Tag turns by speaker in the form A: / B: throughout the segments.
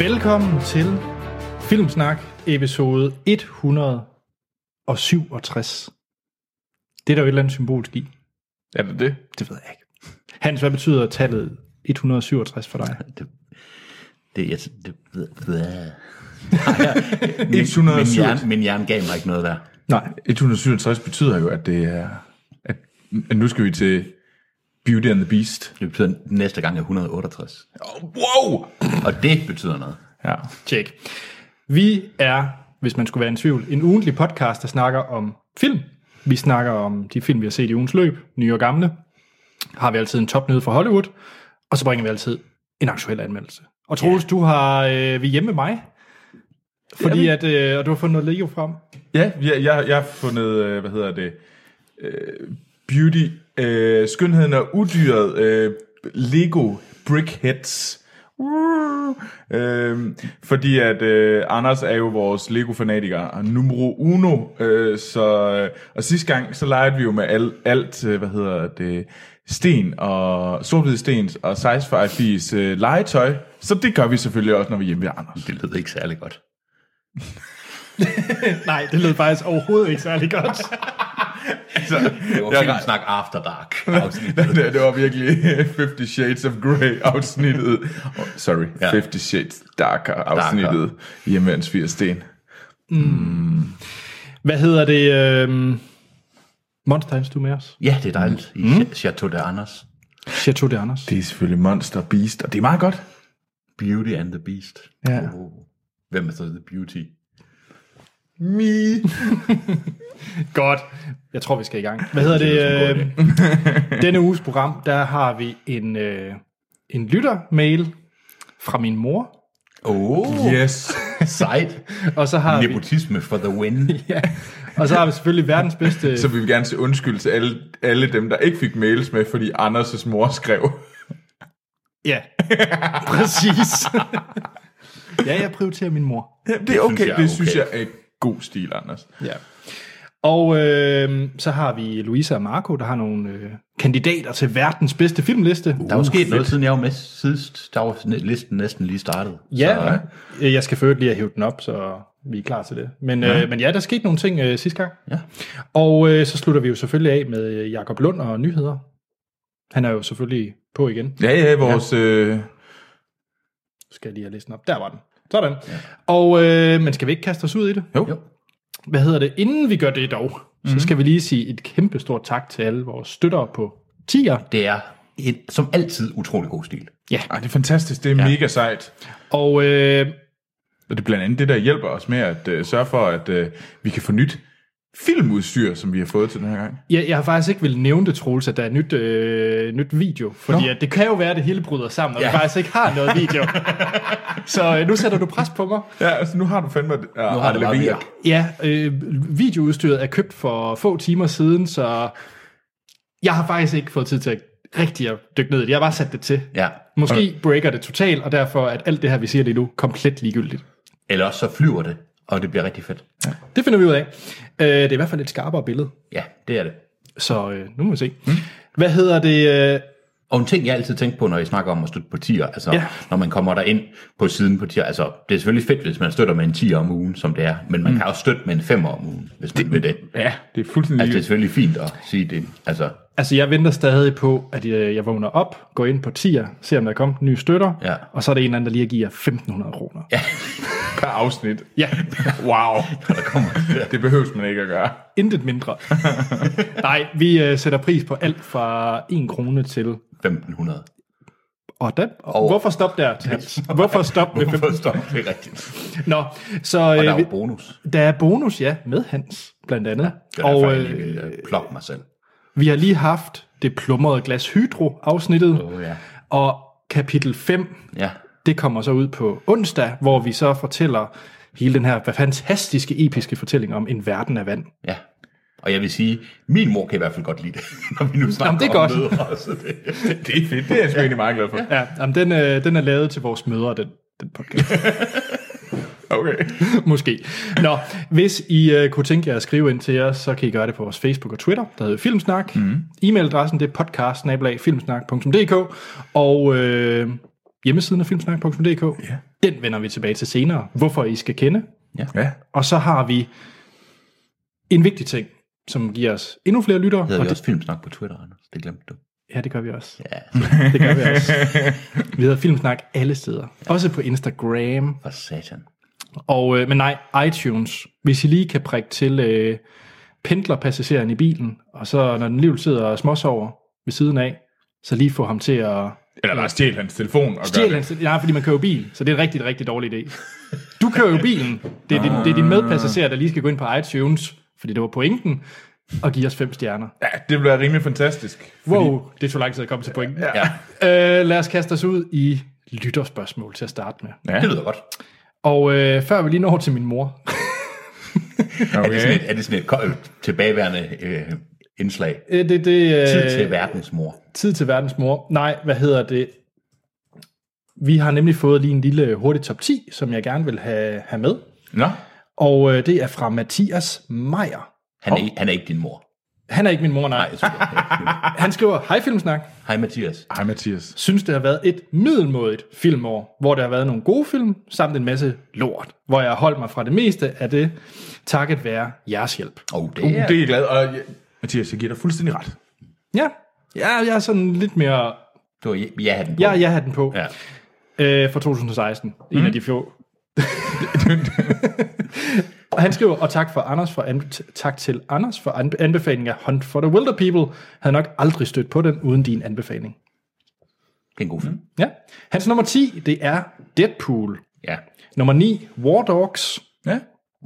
A: Velkommen til Filmsnak episode 167. Det er der jo et eller andet symbolsk i.
B: Er det det?
C: Det ved jeg ikke.
A: Hans, hvad betyder tallet 167 for dig?
C: Det, det, jeg, det, ved, ved. jeg.
B: 167.
C: Min, hjerne, min hjerne gav mig ikke noget der.
A: Nej,
B: 167 betyder jo, at det er... At, at nu skal vi til Beauty and the Beast.
C: Det betyder, at næste gang er 168.
B: Oh, wow!
C: Og det betyder noget.
B: Ja.
A: tjek. Vi er, hvis man skulle være i tvivl, en ugentlig podcast, der snakker om film. Vi snakker om de film, vi har set i ugens løb, nye og gamle. Har vi altid en topnyhed fra Hollywood, og så bringer vi altid en aktuel anmeldelse. Og Troels, du har øh, vi er hjemme med mig, fordi at, øh, og du har fundet noget Lego frem.
B: Ja, jeg, jeg, jeg har fundet, øh, hvad hedder det, øh, Beauty, øh, skønheden og udyret, øh, Lego Brickheads. Uh, øh, fordi at øh, Anders er jo vores Lego-fanatiker, og numero uno, øh, så, øh, og sidste gang, så legede vi jo med al, alt, øh, hvad hedder det, sten og sorthvid stens og sci-fi fis øh, legetøj, så det gør vi selvfølgelig også, når vi er hjemme ved Anders.
C: Det lyder ikke særlig godt.
A: Nej, det lød faktisk overhovedet ikke særlig godt.
B: Altså,
C: Det var
B: jeg-
C: film snak After Dark.
B: det, det- det var virkelig 50 Shades of Grey afsnittet. Oh, sorry,
C: Ja.
B: 50 Shades Darker afsnittet. Hjemmeværens 80 sten.
A: Hvad hedder det? Øh, Monsterhans, du er med os.
C: Ja, det er dejligt. I mm. Chateau de Anders.
A: Chateau de Anders.
B: Det er selvfølgelig Monster Beast, og det er meget godt.
C: Beauty and the Beast.
B: Ja.
C: Oh. Hvem er så The Beauty?
B: Me.
A: Godt. Jeg tror, vi skal i gang. Hvad hedder det?
C: lyder
A: Øh, denne uges program, der har vi en, øh, en lyttermail fra min mor.
C: Oh,
B: Yes.
C: sejt.
A: Og så har, vi,
C: Nepotisme for the win.
A: ja, og så har vi selvfølgelig verdens bedste...
B: Så vi vil gerne sige undskyld til alle, alle dem, der ikke fik mails med, fordi Anders' mor skrev.
A: Ja, præcis. ja, jeg prioriterer min mor.
B: Jamen, det er okay,
C: synes jeg er
B: det synes
C: okay.
B: jeg er god stil, Anders.
A: Ja. Og øh, så har vi Louisa og Marco, der har nogle øh, kandidater til verdens bedste filmliste.
C: Der er jo sket noget, siden jeg var med sidst. Der var næ- listen næsten lige startet.
A: Ja, øh, jeg skal først lige have hævet den op, så vi er klar til det. Men ja, øh, men ja der skete nogle ting øh, sidste gang.
C: Ja.
A: Og øh, så slutter vi jo selvfølgelig af med øh, Jakob Lund og nyheder. Han er jo selvfølgelig på igen.
B: Ja, ja, vores... Ja. Øh,
A: Skal jeg lige have listen op. Der var den. Sådan. Ja. Og, øh, men skal vi ikke kaste os ud i det?
B: jo.
C: Jo.
B: jo.
A: Hvad hedder det? Inden vi gør det dog, mm-hmm. så skal vi lige sige et kæmpe stort tak til alle vores støttere på Tier.
C: Det er et, som altid utrolig god stil.
B: Ej, det er fantastisk, det er ja. mega sejt.
A: Og øh,
B: Og det er blandt andet det, der hjælper os med at øh, sørge for, at øh, vi kan få nyt filmudstyr, som vi har fået til den her gang.
A: jeg, jeg har faktisk ikke vil nævne det, Troels, at der er nyt, øh, nyt video. Fordi at det kan jo være, at det hele bryder sammen, og ja.
C: Ja.
A: vi faktisk ikke har noget video. så øh, nu sætter du pres på mig.
B: Ja, altså nu har du fandme... Uh, nu
C: har det bare virk.
A: Ja, øh, videoudstyret er købt for få timer siden, så jeg har faktisk ikke fået tid til at rigtig at dykke ned i det. Jeg har bare sat det til.
C: Ja.
A: Måske breaker det totalt, og derfor er alt det her, vi siger lige nu, komplet ligegyldigt.
C: Eller også så flyver det, og det bliver rigtig fedt.
A: Det finder vi ud af. Øh, det er i hvert fald et skarpere billede,
C: Ja, det er det.
A: så øh, nu må vi se. Mm. Hvad hedder det? Øh,
C: Og en ting, jeg altid tænker på, når I snakker om at støtte på tier, altså
A: Ja.
C: ja. når man kommer der ind på siden på tier, altså det er selvfølgelig fedt, hvis man støtter med en 10 om ugen, som det er, men man mm. kan også støtte med en 5 om ugen, hvis man det, vil det.
B: Ja, det er fuldstændig...
C: Altså det er
B: Altså,
C: selvfølgelig fint at sige det, altså
A: Altså, jeg venter stadig på, at øh, jeg, jeg vågner op, går ind på tier, ser om der er kommet nye støtter,
C: Ja.
A: og så er det en eller anden, der lige giver 1.500 kroner. Ja.
B: per afsnit.
A: ja,
B: Wow.
C: der kommer
B: det behøves man ikke at gøre.
A: intet mindre. Nej, vi øh, sætter pris på alt fra 1 krone til...
C: 1500.
A: Og da,
C: Og-
A: hvorfor stop der, Hans? Hvorfor stop med 15?
C: Forstår du det rigtigt?
A: Nå, så
C: Og der
A: øh,
C: er
A: vi,
C: jo bonus.
A: der er bonus, ja, med Hans, blandt andet.
C: Det
A: Ja,
C: er og, derfor,
A: og
C: jeg lige
A: øh,
C: vil øh, plukke mig selv.
A: vi har lige haft det plumrede glas hydro-afsnittet,
C: Åh, ja.
A: og kapitel 5
C: Ja,
A: Det kommer så ud på onsdag, hvor vi så fortæller hele den her fantastiske, episke fortælling om en verden af vand.
C: ja. Og jeg vil sige, min mor kan i hvert fald godt lide det, når vi nu snakker
A: Jamen, det er
C: om
A: godt.
C: mødre. Så det,
B: Det er fedt. Det er jeg sgu egentlig meget glad for.
A: Ja, jamen den, øh, den er lavet til vores mødre, den, den podcast.
B: Okay.
A: Måske. Nå, hvis I øh, kunne tænke jer at skrive ind til os, så kan I gøre det på vores Facebook og Twitter, der hedder Filmsnak. Mm. E-mailadressen det er podcast og øh, hjemmesiden er filmsnak.dk. Ja. Den vender vi tilbage til senere, hvorfor I skal kende.
B: Ja.
A: Og så har vi en vigtig ting, som giver os endnu flere lyttere.
C: Hedder
A: og
C: vi også Filmsnak på Twitter, Anders? Det glemte du.
A: Ja, det gør vi også.
C: Ja,
A: Det gør vi også. Vi hedder Filmsnak alle steder. Også på Instagram.
C: for satan.
A: Og, øh, men nej, iTunes. Hvis I lige kan prikke til øh, pendlerpassageren i bilen, og så når den lige sidder og småsover ved siden af, så lige få ham til at...
B: Eller bare stjæl hans telefon og
A: Stjæl
B: gør det.
A: hans... Ja, fordi man kører jo bil, så det er en rigtig, rigtig dårlig idé. Du kører jo bilen. Det er, din, det er din medpassager, der lige skal gå ind på iTunes, fordi det var pointen, og give os fem stjerner.
B: Ja, det bliver rimelig fantastisk.
A: Wow, det tog lang tid at komme til pointen.
C: Ja,
A: Øh, lad os kaste os ud i lytterspørgsmål til at starte med.
C: det lyder godt.
A: Og øh, før vi lige når til min mor,
C: Er det sådan
B: Okay.
C: et, er det sådan et koldt, tilbageværende øh, indslag?
A: øh, det, det, øh,
C: Tid til verdensmor.
A: Tid til verdens mor. Nej, hvad hedder det? Vi har nemlig fået lige en lille hurtig top 10, som jeg gerne vil have, have med.
B: Nå,
A: Og øh, det er fra Mathias Meier.
C: Han er, han er ikke din mor.
A: Han er ikke min mor, nej.
C: Nej, super.
A: Han skriver, hej Filmsnak.
C: Hej Mathias.
B: hej Mathias.
A: Synes det har været et middelmådigt filmår, hvor der har været nogle gode film, samt en masse lort. Hvor jeg har holdt mig fra det meste af det, takket være jeres hjælp.
C: Oh, det
B: Uh,
C: er...
B: det er jeg glad. Og jeg, Mathias, jeg giver dig fuldstændig ret.
A: Ja, ja jeg er sådan lidt mere...
C: Det var, jeg, jeg havde den på.
A: Ja, jeg har den på.
C: Ja.
A: øh, fra 2016. Mm. En af de få. og han skriver, og tak, for Anders for anbe- tak til Anders for anbe- anbefalingen af Hunt for the Wilder People. Havde nok aldrig stødt på den uden din anbefaling.
C: Det er en god
B: Mm.
C: film.
A: Ja. Hans nummer 10, det er Deadpool.
C: Ja.
A: Nummer 9, War Dogs.
B: Ja.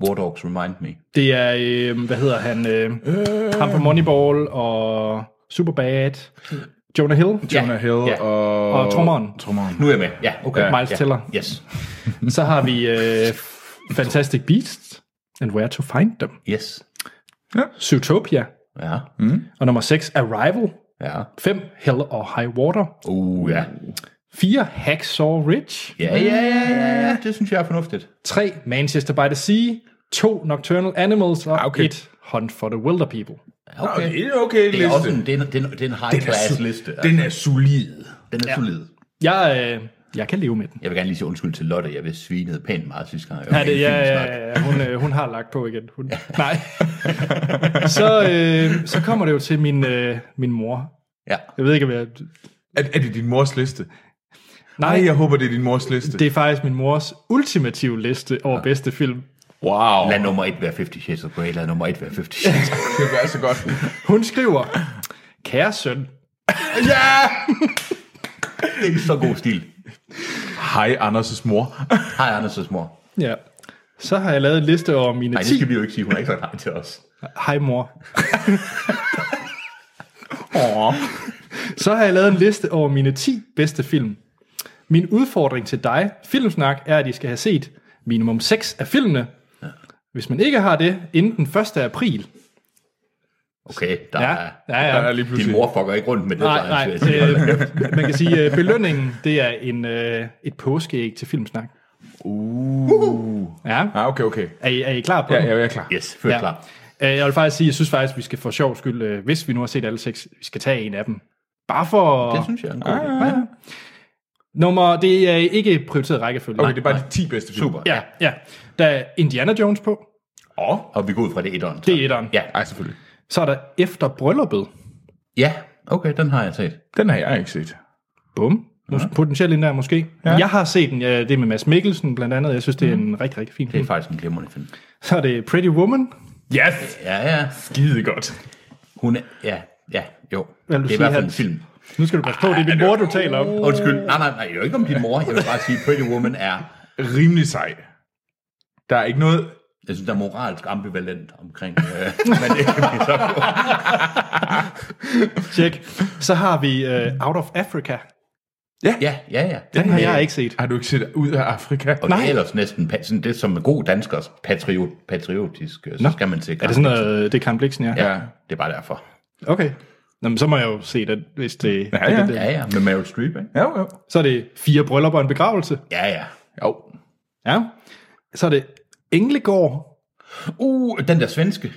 C: War Dogs Remind Me.
A: Det er, øh, hvad hedder han? Øh, øh. Ham fra Moneyball og Superbad. Jonah Hill.
C: Ja.
B: Jonah Hill
C: Ja.
B: og...
A: Og trommeren.
B: Trommeren.
C: Nu er jeg med. Ja, okay.
A: Miles
C: ja.
A: Teller.
C: Yes.
A: Så har vi øh, Fantastic Beasts and Where to Find Them.
C: Yes.
A: Zootopia.
C: Ja.
B: Mm.
A: Og nummer 6, Arrival.
C: Ja.
A: 5, Hell or High Water.
C: Uh, ja.
A: 4, Hacksaw Ridge.
C: Ja, ja, ja, ja, ja. Det synes jeg er fornuftigt.
A: 3, Manchester by the Sea. 2, Nocturnal Animals. Og
B: Ah, okay.
A: 1, Hunt for the Wilder People.
B: Okay. Det er okay
C: Det er også
B: liste.
C: en, det er en, det er en, det er en high class liste. altså.
B: Den er solid.
C: den er solid.
A: Jeg, øh, jeg kan leve med den.
C: Jeg vil gerne lige sige undskyld til Lotte. Jeg vil svinede pænt meget sidste gang. jeg var
A: Ja,
C: med i
A: det, ja,
C: Filmsnak.
A: ja, ja, hun, øh, hun har lagt på igen. Hun, nej. så, øh, så kommer det jo til min, øh, min mor.
C: ja.
A: Jeg ved ikke, hvad jeg...
B: Er, er det din mors liste?
A: Nej,
B: Nej, jeg håber, det er din mors liste.
A: det er faktisk min mors ultimative liste over bedste film.
B: Wow.
C: Lad nummer et være 50 Shades of Grey. Lad nummer et være 50 Shades of
B: Det vil være så godt.
A: Hun skriver, kære søn,
B: ja!
C: Grey. Det er så god stil.
B: Hej Anders' mor.
C: Hej Anders' mor.
A: Ja. Så har jeg lavet en liste over mine
C: Nej, det
A: 10...
C: skal vi jo ikke sige. Hun har ikke sagt hej til os.
A: Hej mor.
B: Åh.
A: Så har jeg lavet en liste over mine 10 bedste film. Min udfordring til dig, Filmsnak, er, at I skal have set minimum 6 af filmene. Hvis man ikke har det, inden den 1. april.
C: Okay, der
A: Ja,
C: er...
A: ja,
B: Der er
A: ja.
B: lige
C: Din
B: pludselig...
C: mor fucker ikke rundt med det.
A: Nej,
C: så
A: nej.
C: han siger,
A: Øh, man kan sige, at belønningen, det er en, øh, et påskeæg til Filmsnak.
B: Uh.
A: Ja.
B: Ah, okay, okay.
A: Er I, er I klar på
B: Ja,
A: det?
B: ja, jeg er klar.
C: Yes, før ja. klar.
A: Øh, Jeg vil faktisk sige, jeg synes faktisk, vi skal for sjov skyld, øh, hvis vi nu har set alle seks, vi skal tage en af dem. Bare for...
C: Det synes jeg er en god idé.
A: Nummer, det er ikke prioriteret rækkefølge.
B: Okay, det er bare de 10 bedste film.
C: Super.
A: Ja, ja. Der er Indiana Jones på.
B: Åh.
C: Og vi går ud fra det er etteren. så.
A: Det er etteren.
C: Ja.
B: Ej, selvfølgelig.
A: Så er der Efter Brylluppet.
C: ja, okay, den har jeg set.
B: Den har jeg ikke set.
A: Bum. Mås- Potentielt en der måske. Ja. Jeg har set den, ja, det er med Mads Mikkelsen blandt andet. Jeg synes, det er
B: Mhm.
A: en rigtig, rigtig fin
C: Det er
A: film.
C: faktisk en glimrende film.
A: Så er det Pretty Woman.
B: Yes!
C: Ja, ja.
B: Skide godt.
C: Hun er... Ja, ja, jo.
A: Hvad vil du
C: det er i
A: sige,
C: hvert fald en
A: Hans?
C: film.
A: Nu skal du passe på, det er din mor, du taler om.
C: Undskyld. Nej, nej, nej. Jeg er jo ikke om din mor. Jeg vil bare sige, Pretty Woman er...
B: Rimelig sej. Der er ikke noget...
C: Jeg synes, der er moralsk ambivalent omkring, øh, men det kan vi så gå.
A: Check. Så har vi uh, Out of Africa.
C: Ja, ja, ja.
A: Den har jeg ikke set.
B: Har du ikke set ud af Afrika?
C: Og det er ellers næsten pa- sådan det, som er god danskers patriot, patriotisk, øh, så skal man se.
A: Er det sådan noget, det er Karen Blixen, ja?
C: Ja, det er bare derfor.
A: Okay. Jamen, så må jeg jo se den, hvis det...
B: Ja, ja.
C: Ja, ja, med Meryl Streep, ikke?
B: Ja, jo, jo.
A: Så er det Fire Bryllup og en Begravelse.
C: Ja, ja.
B: Jo.
A: Ja. Så er det Englegård.
C: Uh, den der svenske.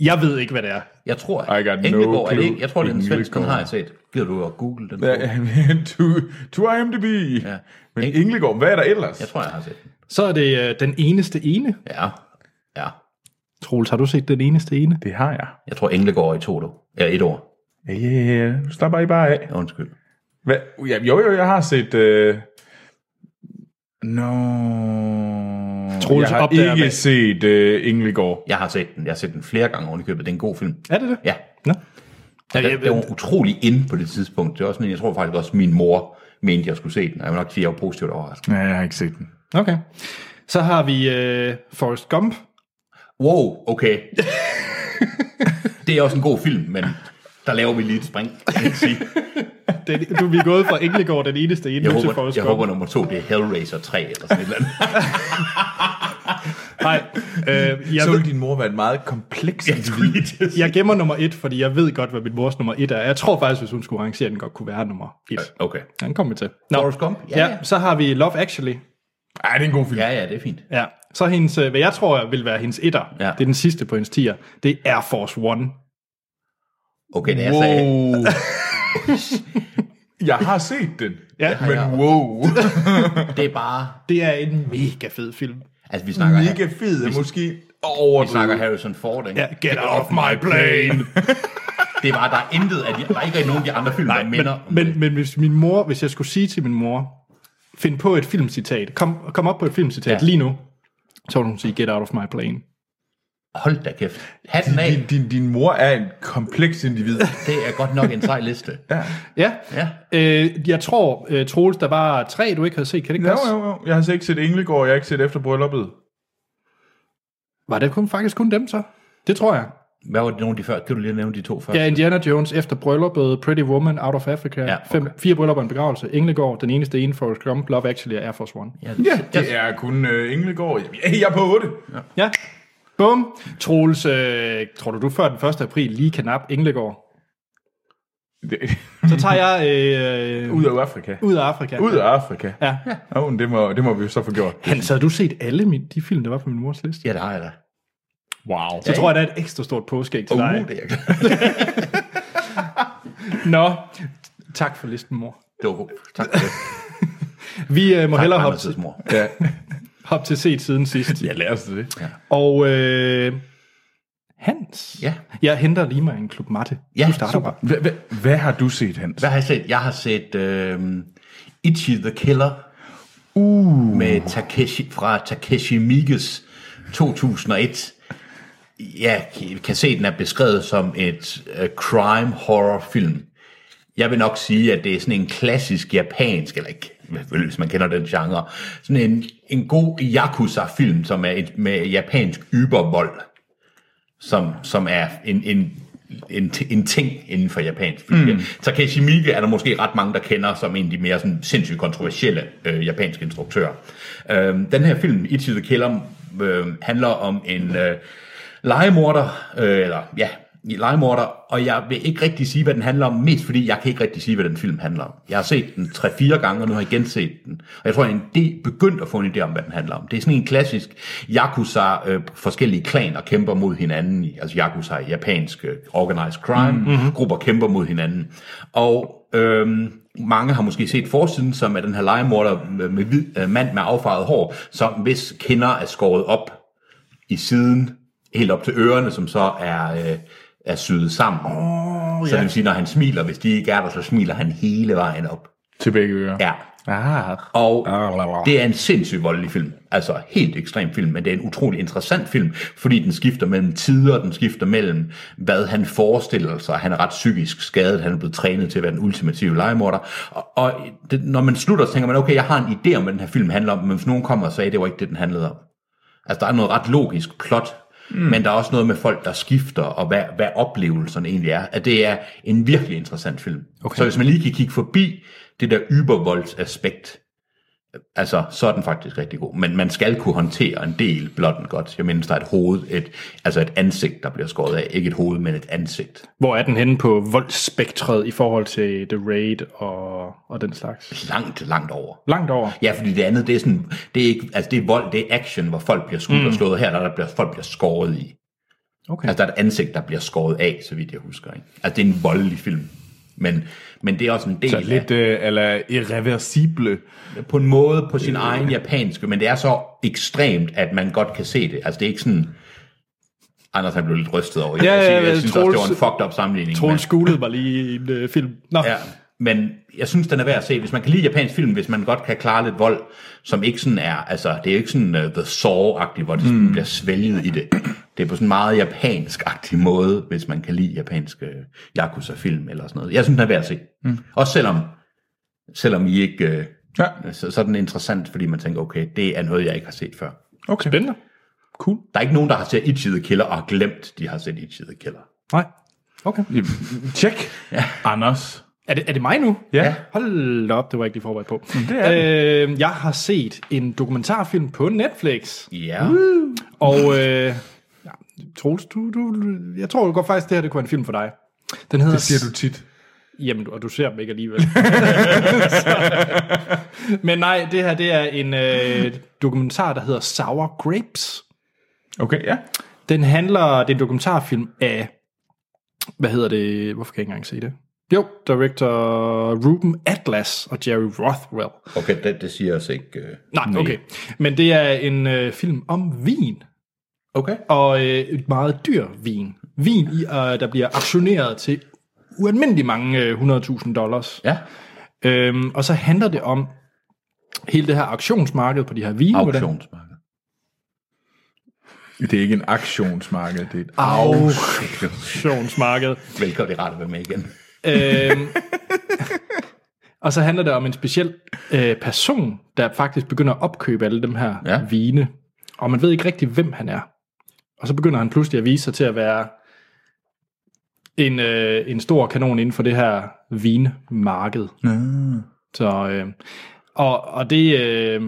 A: Jeg ved ikke, hvad det er.
C: Jeg tror,
B: I got no
C: Englegaard er det
B: clue.
C: ikke. Jeg tror, det er en svensk, den har
B: Englegaard.
C: jeg set. Gider du at google den? Ja,
B: Ja, men to, to IMDb. Ja. Men
C: Eng-
B: Englegård, hvad er der ellers?
C: Jeg tror, jeg har set den.
A: Så er det øh, den eneste ene.
C: Ja, ja.
A: Troels, har du set den eneste ene?
B: Det har jeg.
C: Jeg tror, Englegaard er i to år. Ja, et år.
B: Ja, ja, ja. Nu slapper I bare af.
C: Ja, Undskyld.
B: Hvad? Ja, jo, jo, jeg har set... Øh... No.
A: Troels
B: jeg har
A: opdager,
B: ikke
A: hvad-
B: set øh, Englegård.
C: Jeg har set den. Jeg har set den flere gange oven i købet. Det er en god film.
A: Er det det?
C: Ja.
A: Nå.
C: Og Den, den var utrolig inde på det tidspunkt. Det var sådan, en- jeg tror faktisk også, min mor mente, jeg skulle se den. Og jeg vil nok sige, at jeg var positivt overrasket.
B: Nej, jeg har ikke set den.
A: Okay. Så har vi øh, Forrest Gump.
C: Wow, okay. det er også en god film, men der laver vi lige et spring. kan jeg sige.
A: Den, du, vi er gået fra Englegård, den eneste ene,
C: Jeg
A: nu til
C: håber,
A: Forrest
C: jeg
A: Gump.
C: håber nummer to, det er Hellraiser 3 eller sådan et eller andet.
A: Nej, øh, jeg,
B: Så
A: ved,
B: ville din mor være en meget kompleks individ.
A: jeg gemmer nummer et, fordi jeg ved godt, hvad min mors nummer et er. Jeg tror faktisk, hvis hun skulle arrangere, den godt kunne være nummer et.
C: Okay.
A: Den kommer vi til. Nå.
C: Forrest Gump?
A: Ja, ja, så har vi Love Actually.
B: Ej, det er en god film.
C: Ja, ja, det er fint.
A: Ja. Så hendes, øh, hvad jeg tror vil være hendes etter,
C: Ja.
A: det er den sidste på hendes tier, det er Air Force One.
C: Okay, da jeg sagde,
B: Wow. jeg har set den.
A: Ja.
B: Men wow.
C: det er bare...
A: Det er en mega fed film.
C: Altså, vi snakker,
B: Mega fed, er måske over
C: vi snakker Harrison Ford, ikke?
A: Ja, get off my plane!
C: Det er bare, der er intet af de, der er ikke nogen af de andre film, der minder om
A: Men, men hvis min mor, hvis jeg skulle sige til min mor, find på et filmcitat, kom, kom op på et filmcitat ja.
C: Ja.
A: lige nu, så ville hun sige, get out of my plane.
C: Hold da kæft. Hatten af,
B: Din, din, din mor er en kompleks individ.
C: det er godt nok en sej liste.
A: Ja,
C: Ja.
A: øh, jeg tror, øh, Troels, der var tre, du ikke havde set, kan det ikke
B: Jo,
A: passe?
B: jo, jo. Jeg har altså ikke set Englegård, jeg har ikke set efter brylluppet.
A: Var det kun, faktisk kun dem så? Det tror jeg.
C: Hvad var det nogle af de før? Kan du lige nævne de to før?
A: Ja, Indiana Jones efter brylluppet, Pretty Woman, Out of Africa, ja,
C: Ja,
A: okay. fem, fire bryllupper og en begravelse, Englegård, den eneste ene, Forrest Gump, Love Actually og Air Force One.
C: ja,
B: Ja,
C: ja.
B: det er kun øh, Englegård. Ja, jeg er på 8.
A: Ja, bum. Troels, øh, tror du, du før den 1. april lige kan nappe Englegård?
B: Det,
A: Så tager jeg øh,
B: ud af Afrika.
A: ud af Afrika.
B: Ud af Afrika.
A: Ja.
B: Oh, det, må, det må vi jo så få gjort.
A: Hans, havde du set alle mine, de film, der var på min mors liste?
C: ja, det har jeg da.
B: Wow.
A: Så tror jeg, der er et ekstra stort påskæg til
C: Uh,
A: dig.
C: det, er,
A: Nå, tak for listen, mor.
C: det var godt. Tak for det.
A: Vi øh, må hellere hoppe
C: Anders'
A: til,
C: mor.
B: Ja,
A: hoppe til set siden sidst.
B: ja lad os det.
A: Og øh, Hans,
C: Ja.
A: jeg henter lige mig en klub matte.
C: Ja,
A: du starter
C: super.
A: bare.
B: Hva, hva, hvad har du set, Hans?
C: Hvad har jeg set? Jeg har set øh, Itchy the Killer
B: Uh.
C: med Takeshi, fra Takeshi Miges 2001. Jeg kan se, at den er beskrevet som et øh, crime horror film. Jeg vil nok sige, at det er sådan en klassisk japansk, eller ikke, selvfølgelig, hvis man kender den genre, sådan en, en god Yakuza-film, som er et, med japansk ybervold, som, som er en, en, en, t- en ting inden for japansk film. Mm. Takeshi Miike er der måske ret mange, der kender som en af de mere sådan, sindssygt kontroversielle øh, japanske instruktører. Øh, den her film, Ichi the Killer, øh, handler om en øh, legemorder, øh, eller ja, legemorder, og jeg vil ikke rigtig sige, hvad den handler om, mest fordi jeg kan ikke rigtig sige, hvad den film handler om. Jeg har set den 3-4 gange, og nu har jeg genset den. Og jeg tror, jeg er begyndt at få en idé om, hvad den handler om. Det er sådan en klassisk Yakuza, øh, forskellige klaner kæmper mod hinanden, i- altså Yakuza i japansk øh, organized crime, mm-hmm. grupper kæmper mod hinanden. Og øhm, mange har måske set forsiden, som er den her legemorder med, med hvid, øh, mand med affarvet hår, som hvis kinder er skåret op i siden, helt op til ørerne, som så er, øh, er syet sammen. Oh, så det vil sige, når han smiler, hvis de ikke er der, så smiler han hele vejen op.
B: Til begge ører.
C: Ja.
B: Ah.
C: Og
B: Ah, la, la.
C: det er en sindssygt voldelig film. Altså helt ekstrem film, men det er en utrolig interessant film, fordi den skifter mellem tider, den skifter mellem, hvad han forestiller sig. Han er ret psykisk skadet, han er blevet trænet til at være den ultimative legemorder. Og, og det, når man slutter, så tænker man, okay, jeg har en idé om, hvad den her film handler om, men hvis nogen kommer og sagde, det var ikke det, den handlede om. Altså, der er noget ret logisk plot, mm. men der er også noget med folk, der skifter, og hvad, hvad oplevelserne egentlig er. At det er en virkelig interessant film. Okay. Så hvis man lige kan kigge forbi det der ybervoldsaspekt, altså, så er den faktisk rigtig god. Men man skal kunne håndtere en del blotten godt. Jeg mener, der er et hoved, et, altså et ansigt, der bliver skåret af. Ikke et hoved, men et ansigt.
A: Hvor er den henne på voldsspektret i forhold til The Raid og, og den slags?
C: Langt, langt over.
A: Langt over.
C: Ja, fordi det andet, det er sådan, det er ikke, altså det er vold, det er action, hvor folk bliver skudt mm. og slået her, eller der bliver, folk bliver skåret i.
A: Okay.
C: Altså, der er et ansigt, der bliver skåret af, så vidt jeg husker. Ikke? Altså, det er en voldelig film. Men, men det er også en del
B: Så
C: af...
B: lidt øh, eller irreversible.
C: på en måde på sin egen japanske, men det er så ekstremt, at man godt kan se det. Altså det er ikke sådan... Anders han blev lidt rystet over. Jeg,
A: Ja,
C: ja,
A: ja,
C: ja, jeg,
A: ja,
C: jeg synes
A: Troels-
C: også, det var en fucked up sammenligning.
A: Troels skulede var lige en øh, film. Nå,
C: men, ja, men jeg synes, den er værd at se. Hvis man kan lide japansk film, hvis man godt kan klare lidt vold, som ikke sådan er, altså det er jo ikke sådan uh, The Saw-agtigt, hvor det
A: Hmm.
C: sådan mm. bliver svælget i det. Det er på sådan en meget japansk-agtig måde, hvis man kan lide japanske Yakuza-film eller sådan noget. Jeg synes, den er værd at se.
A: Hmm.
C: Mm. Også selvom, selvom I ikke... øh,
B: Ja,
C: så, så er den interessant, fordi man tænker, okay, det er noget, jeg ikke har set før.
B: okay.
A: spændende.
B: Cool.
C: Der er ikke nogen, der har set Itchy the Killer og har glemt, de har set Itchy the Killer.
A: Nej. Okay.
B: Tjek. Ja. Anders.
A: Er det, er det mig nu?
B: Ja.
A: Hold da op, det var jeg ikke lige forberedt på.
B: det er
A: øh, jeg har set en dokumentarfilm på Netflix,
C: Ja. Mm.
A: og øh, ja, Troels, du, du, jeg tror godt faktisk, det her det kunne være en film for dig. Den hedder...
B: Det siger du tit.
A: Jamen, og du ser dem ikke alligevel. så, men nej, det her det er en øh, dokumentar, der hedder Sour Grapes.
B: Okay, ja.
A: Den handler, det er en dokumentarfilm af, hvad hedder det, hvorfor kan jeg ikke engang se det? Jo, director Ruben Atlas og Jerry Rothwell.
C: Okay, det, det siger os ikke. Uh,
A: Nej, okay. Men det er en øh, film om vin,
C: Okay.
A: og øh, et meget dyr vin. Vin, i, øh, der bliver aktioneret til ualmindelig mange øh, 100.000 dollars.
C: Ja.
A: Øhm, og så handler det om hele det her auktionsmarked på de her vine. hvordan-
C: Auktionsmarked.
B: Det er ikke en aktionsmarked, det er et
A: Auktionsmarked.
C: Velkommen, det er rart at være med igen.
A: øhm, og så handler det om en speciel øh, person, der faktisk begynder at opkøbe alle dem her ja.
C: Ja.
A: vine. Og man ved ikke rigtig, hvem han er. Og så begynder han pludselig at vise sig til at være en, øh, en stor kanon inden for det her vinmarked. Så, øh, og, og det, øh,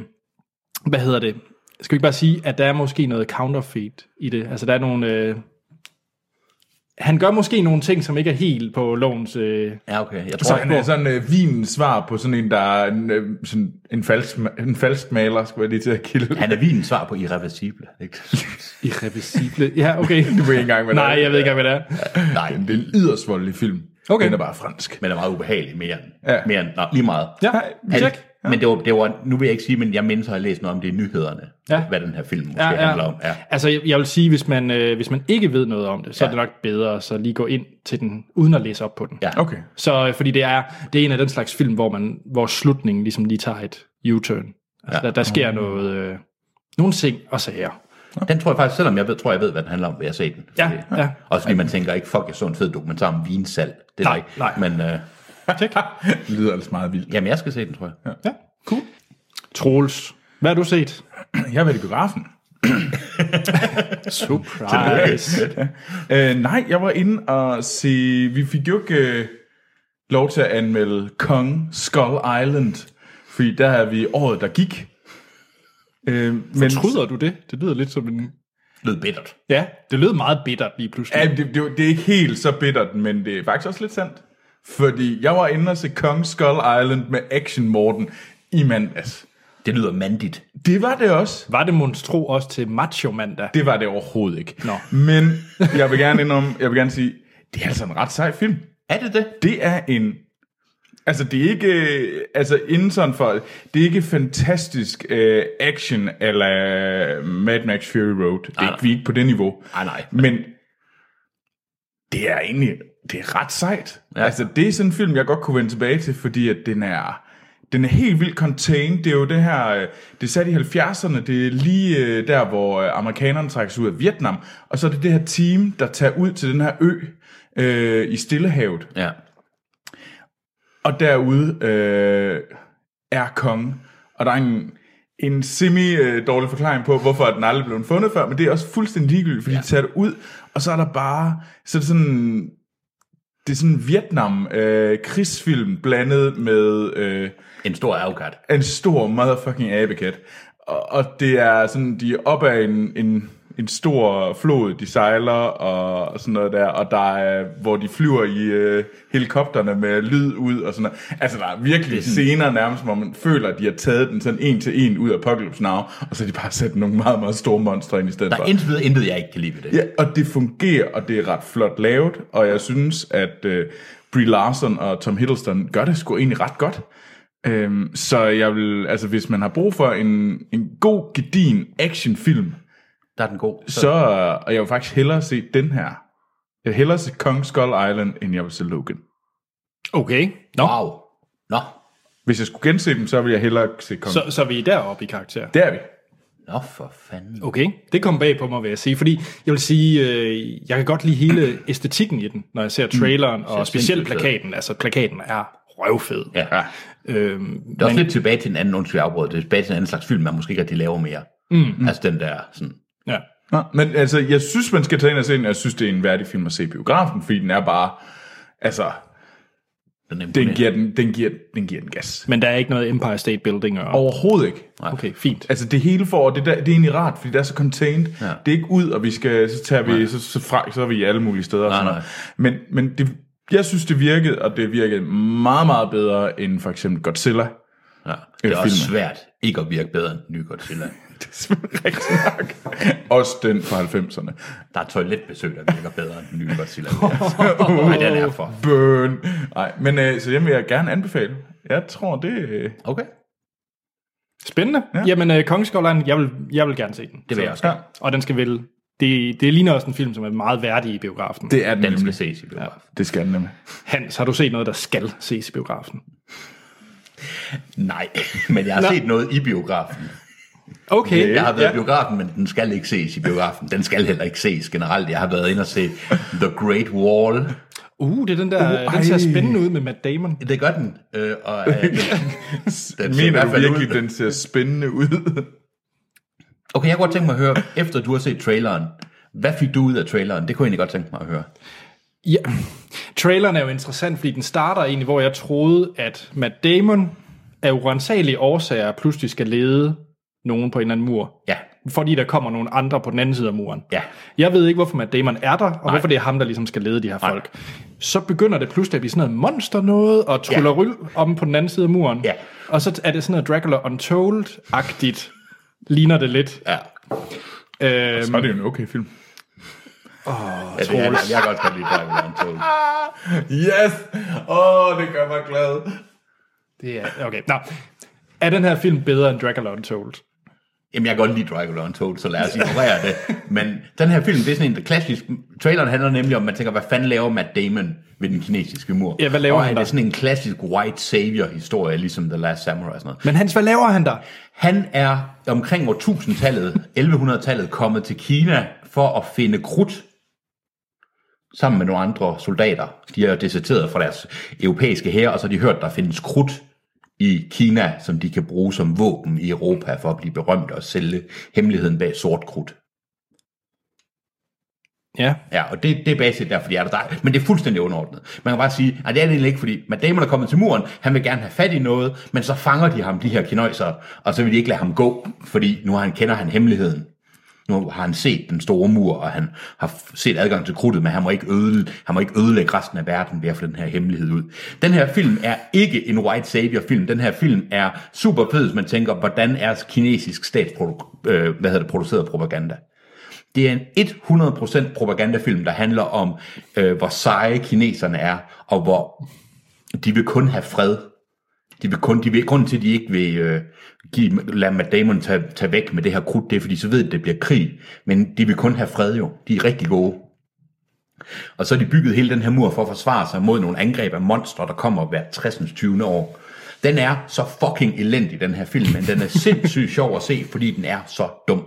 A: hvad hedder det? Skal vi ikke bare sige, at der er måske noget counterfeit i det? Altså der er nogle... Øh, han gør måske nogle ting, som ikke er helt på lovens... Øh,
C: Ja, okay. Jeg tror,
B: Så
C: så,
B: han er sådan øh, vinens svar på sådan en, der er en, øh, sådan en, falsk, en falsk maler, skulle jeg lige til at kilde.
C: han er vinens svar på irreversible. Ikke?
A: irreversible. Ja, okay.
B: Du ved ikke engang, hvad det
A: Nej,
B: er.
A: jeg ved ikke engang, hvad det er.
C: Nej,
B: Det er en yderst voldelig film.
A: Okay.
B: Den er bare fransk.
C: men er meget ubehagelig mere end,
B: Ja.
C: ja. mere end nej, lige meget.
A: Ja, tjek.
C: Men det var, det var, nu vil jeg ikke sige, men jeg mindes at have læst noget om det i nyhederne,
A: Ja.
C: ja. hvad den her film måske
A: Ja, ja.
C: handler om. Ja.
A: Altså, jeg, jeg vil sige, hvis man, øh, hvis man ikke ved noget om det, så ja. er
C: Ja.
A: det nok bedre så lige gå ind til den, uden at læse op på den.
C: Ja.
B: Okay.
A: Så øh, fordi det er, det er en af den slags film, hvor, man, hvor slutningen ligesom lige tager et U-turn. Altså, ja.
C: Ja.
A: der, der sker noget, øh, nogle ting og sager.
C: Den tror jeg faktisk, selvom jeg ved, tror jeg ved, hvad den handler om, vil jeg se den.
A: Ja,
C: Fordi-
A: ja.
C: Også fordi man tænker ikke, fuck, jeg så en fed dokumentar om vinsalg. Det er
A: Nej,
C: der ikke.
A: nej.
C: Men øh,
A: Tjek.
B: Det lyder altså meget vildt.
C: jamen, jeg skal se den, tror jeg. Ja.
A: Ja, cool. Troels, hvad har du set?
B: Jeg har været i biografen.
A: Surprise.
B: Øh, nej, jeg var inde og se... Vi fik jo ikke øh, lov til at anmelde Kong Skull Island, fordi der er vi året, der gik. Øh, men,
A: Tryder du det? Det lyder lidt som en...
C: Lød bittert.
A: Ja, det lød meget bittert lige pludselig.
B: ja, det, det, det er ikke helt så bittert, men det er faktisk også lidt sandt. Fordi jeg var inde og se Kong Skull Island med Action Morten i mandags.
C: Det lyder mandigt.
B: Det var det også.
A: Var det monstro også til macho mandag?
B: Det var det overhovedet ikke.
A: Nå.
B: Men jeg vil gerne indrømme, jeg vil gerne sige, det er altså en ret sej film.
C: Er det det?
B: det er en... Altså, det er ikke... øh, Altså, inden sådan for... Det er ikke fantastisk øh, action eller Mad Max Fury Road. Det er
C: Nej,
B: ikke, vi er ikke på det niveau.
C: Nej, Ah, nej.
B: Men det er egentlig... Det er ret sejt. Ja.
C: Ja.
B: Altså, det er sådan en film, jeg godt kunne vende tilbage til, fordi at den er... Den er helt vildt contained. Det er jo det her... øh, Det er sat i 70'erne. Det er lige øh, der, hvor øh, amerikanerne trækker sig ud af Vietnam. Og så er det det her team, der tager ud til den her ø øh, i Stillehavet.
C: Ja.
B: Og derude øh, er kongen. Og der er en, en semi-dårlig forklaring på, hvorfor den aldrig blev fundet før, men det er også fuldstændig ligegyldigt, fordi ja. de tager det ud, og så er der bare så er det sådan... Det er sådan en Vietnam-krigsfilm blandet med øh,
C: En stor afgat.
B: en stor motherfucking abekat. Og, og det er sådan, de er op ad en, en en stor flod, de sejler og sådan noget der, og der er, hvor de flyver i øh, helikopterne med lyd ud og sådan noget. Altså, der er virkelig scener nærmest, hvor man føler, at de har taget den sådan en til en ud af Apocalypse Now, og så har de bare sat nogle meget, meget store monstre ind i stedet
C: Der
B: for.
C: er intet, ved- intet jeg ikke kan lide ved det.
B: Ja, og det fungerer, og det er ret flot lavet, og jeg synes, at øh, Brie Larson og Tom Hiddleston gør det sgu egentlig ret godt. Øhm, så jeg vil, altså hvis man har brug for en, en god, gedin actionfilm,
C: Der er den god. Så,
B: så, øh, og jeg vil faktisk hellere se den her. Jeg vil hellere se Kong Skull Island, end jeg vil se Logan.
A: Okay, nå. Wow.
C: wow. Nå.
B: Hvis jeg skulle gense dem, så vil jeg hellere se Kong. Så.
A: Så, så er vi er deroppe i karakter.
B: Der er vi.
C: Nå, for fanden.
A: Okay, det kom bag på mig, vil jeg sige. Fordi jeg vil sige, øh, jeg kan godt lide hele æstetikken i den, når jeg ser traileren, mm, og specielt
C: sindssygt fed.
A: plakaten. Altså, plakaten er røvfed.
C: Ja.
B: Ja.
A: Øhm,
C: Det er også lidt tilbage til en anden, undskyld jeg afbrød, det er tilbage til en anden slags film, man måske ikke rigtig laver mere. Mm. Altså den der sådan,
A: ja.
B: Nå, men altså, jeg synes, man skal tage ind og se den, og jeg synes, det er en værdig film at se i biografen, fordi den er bare, altså,
C: den
B: den
C: imponerende.
B: giver den, den giver, den, giver den gas.
A: Men der er ikke noget Empire State Building. Og,
B: Overhovedet ikke.
A: okay, fint.
B: Altså det hele får, og det, der, det er egentlig rart, fordi det er så contained. Ja.
C: Ja.
B: Det er ikke ud, og vi skal, så tager vi, så, så, fra, så er vi i alle mulige steder. og
C: Nej,
B: sådan noget. Men, men det, jeg synes, det virkede, og det virkede meget, meget bedre end for eksempel Godzilla.
C: Ja. Det er
B: Øh,
C: også
B: filmen.
C: svært ikke at virke bedre end den nye Godzilla.
B: Det er selvfølgelig rigtigt nok. Også den fra 90'erne.
C: Der er toiletbesøg, der virker bedre end den nye Godzilla. Nej, den er for.
B: Burn. Nej, men øh, så den vil jeg gerne anbefale. Jeg tror, det... Øh,
C: Okay,
A: Spændende. Ja. Jamen, øh, Kongeskovland, jeg vil, jeg vil gerne se den.
C: det vil jeg også gerne.
A: Og den skal vel... Det, det ligner også en film, som er meget værdig i biografen.
B: det er den,
C: Den skal
B: nemlig.
C: ses i biografen.
B: Det skal den nemlig.
A: Hans, har du set noget, der skal ses i biografen?
C: Nej, men jeg har
A: Nå.
C: set noget i biografen.
A: Okay.
C: Jeg har været
B: Ja.
C: i biografen, men den skal ikke ses i biografen. Den skal heller ikke ses generelt. Jeg har været inde og set The Great Wall.
A: Uh, det er den der...
B: Uh,
A: Uh, den ser
B: ej.
A: spændende ud med Matt Damon.
C: Det gør den. Øh, og, øh, den ser i
B: Mener
C: hvert
B: du
C: fald
B: virkelig,
C: ud.
B: den ser spændende ud?
C: Okay, jeg kunne godt tænke mig at høre, efter du har set traileren, hvad fik du ud af traileren? Det kunne jeg egentlig godt tænke mig at høre.
A: Ja. Traileren er jo interessant, fordi den starter egentlig, hvor jeg troede, at Matt Damon af urensagelige årsager pludselig skal lede nogen på en eller anden mur.
C: Ja,
A: Fordi der kommer nogle andre på den anden side af muren.
C: Ja.
A: Jeg ved ikke, hvorfor Matt Damon er der, og Nej. hvorfor det er ham, der ligesom skal lede de her folk. Så begynder det pludselig at blive sådan noget monster noget, og trulleryl ja. om på den anden side af muren.
C: Ja.
A: Og så er det sådan noget Dracula Untold-agtigt, ligner det lidt.
C: ja.
A: Øhm,
B: Så er det jo en okay film.
C: ja det er, jeg kan godt kan lide Drive Around Told.
B: Yes! Åh, oh, det gør mig glad.
A: det er, okay. Nå. Er den her film bedre end Dracula Untold?
C: Jamen, jeg kan godt lide Dracula Untold, så lad os ignorere det. Men den her film, det er sådan en der klassisk... Traileren handler nemlig om, man tænker, hvad fanden laver Matt Damon ved den kinesiske mur?
A: Ja, hvad laver
C: og
A: han
C: er
A: der?
C: det sådan en klassisk white savior-historie, ligesom The Last Samurai og sådan noget.
A: Men Hans, hvad laver han der?
C: Han er omkring år 1000-tallet, 1100-tallet, kommet til Kina for at finde krudt sammen med nogle andre soldater. De er deserteret fra deres europæiske hære, og så har de hørt, der findes krudt i Kina, som de kan bruge som våben i Europa for at blive berømte og sælge hemmeligheden bag sort krudt.
A: Ja.
C: Ja, og det, det er basic der, fordi er der, der, men det er fuldstændig underordnet. Man kan bare sige, at det er det egentlig ikke, fordi Matt Damon er kommet til muren, han vil gerne have fat i noget, men så fanger de ham, de her kinøjser, og så vil de ikke lade ham gå, fordi nu har han kender han hemmeligheden. Nu har han set den store mur, og han har f- set adgang til krudtet, men han må ikke, ødele, han må ikke ødelægge resten af verden ved at få den her hemmelighed ud. Den her film er ikke en white savior film. Den her film er super fed, hvis man tænker, hvordan er kinesisk statsprodu- øh, hvad hedder det, produceret propaganda. Det er en 100% propagandafilm, der handler om, øh, hvor seje kineserne er, og hvor de vil kun have fred. De vil kun, de vil, grunden til, at de ikke vil øh, give, lade Matt Damon tage, tage væk med det her krudt, det er, fordi så ved de, at det bliver krig. Men de vil kun have fred jo. De er rigtig gode. Og så har de bygget hele den her mur for at forsvare sig mod nogle angreb af monstre, der kommer hvert 60. 20. år. Den er så fucking elendig, den her film, men den er sindssygt sjov at se, fordi den er så dum.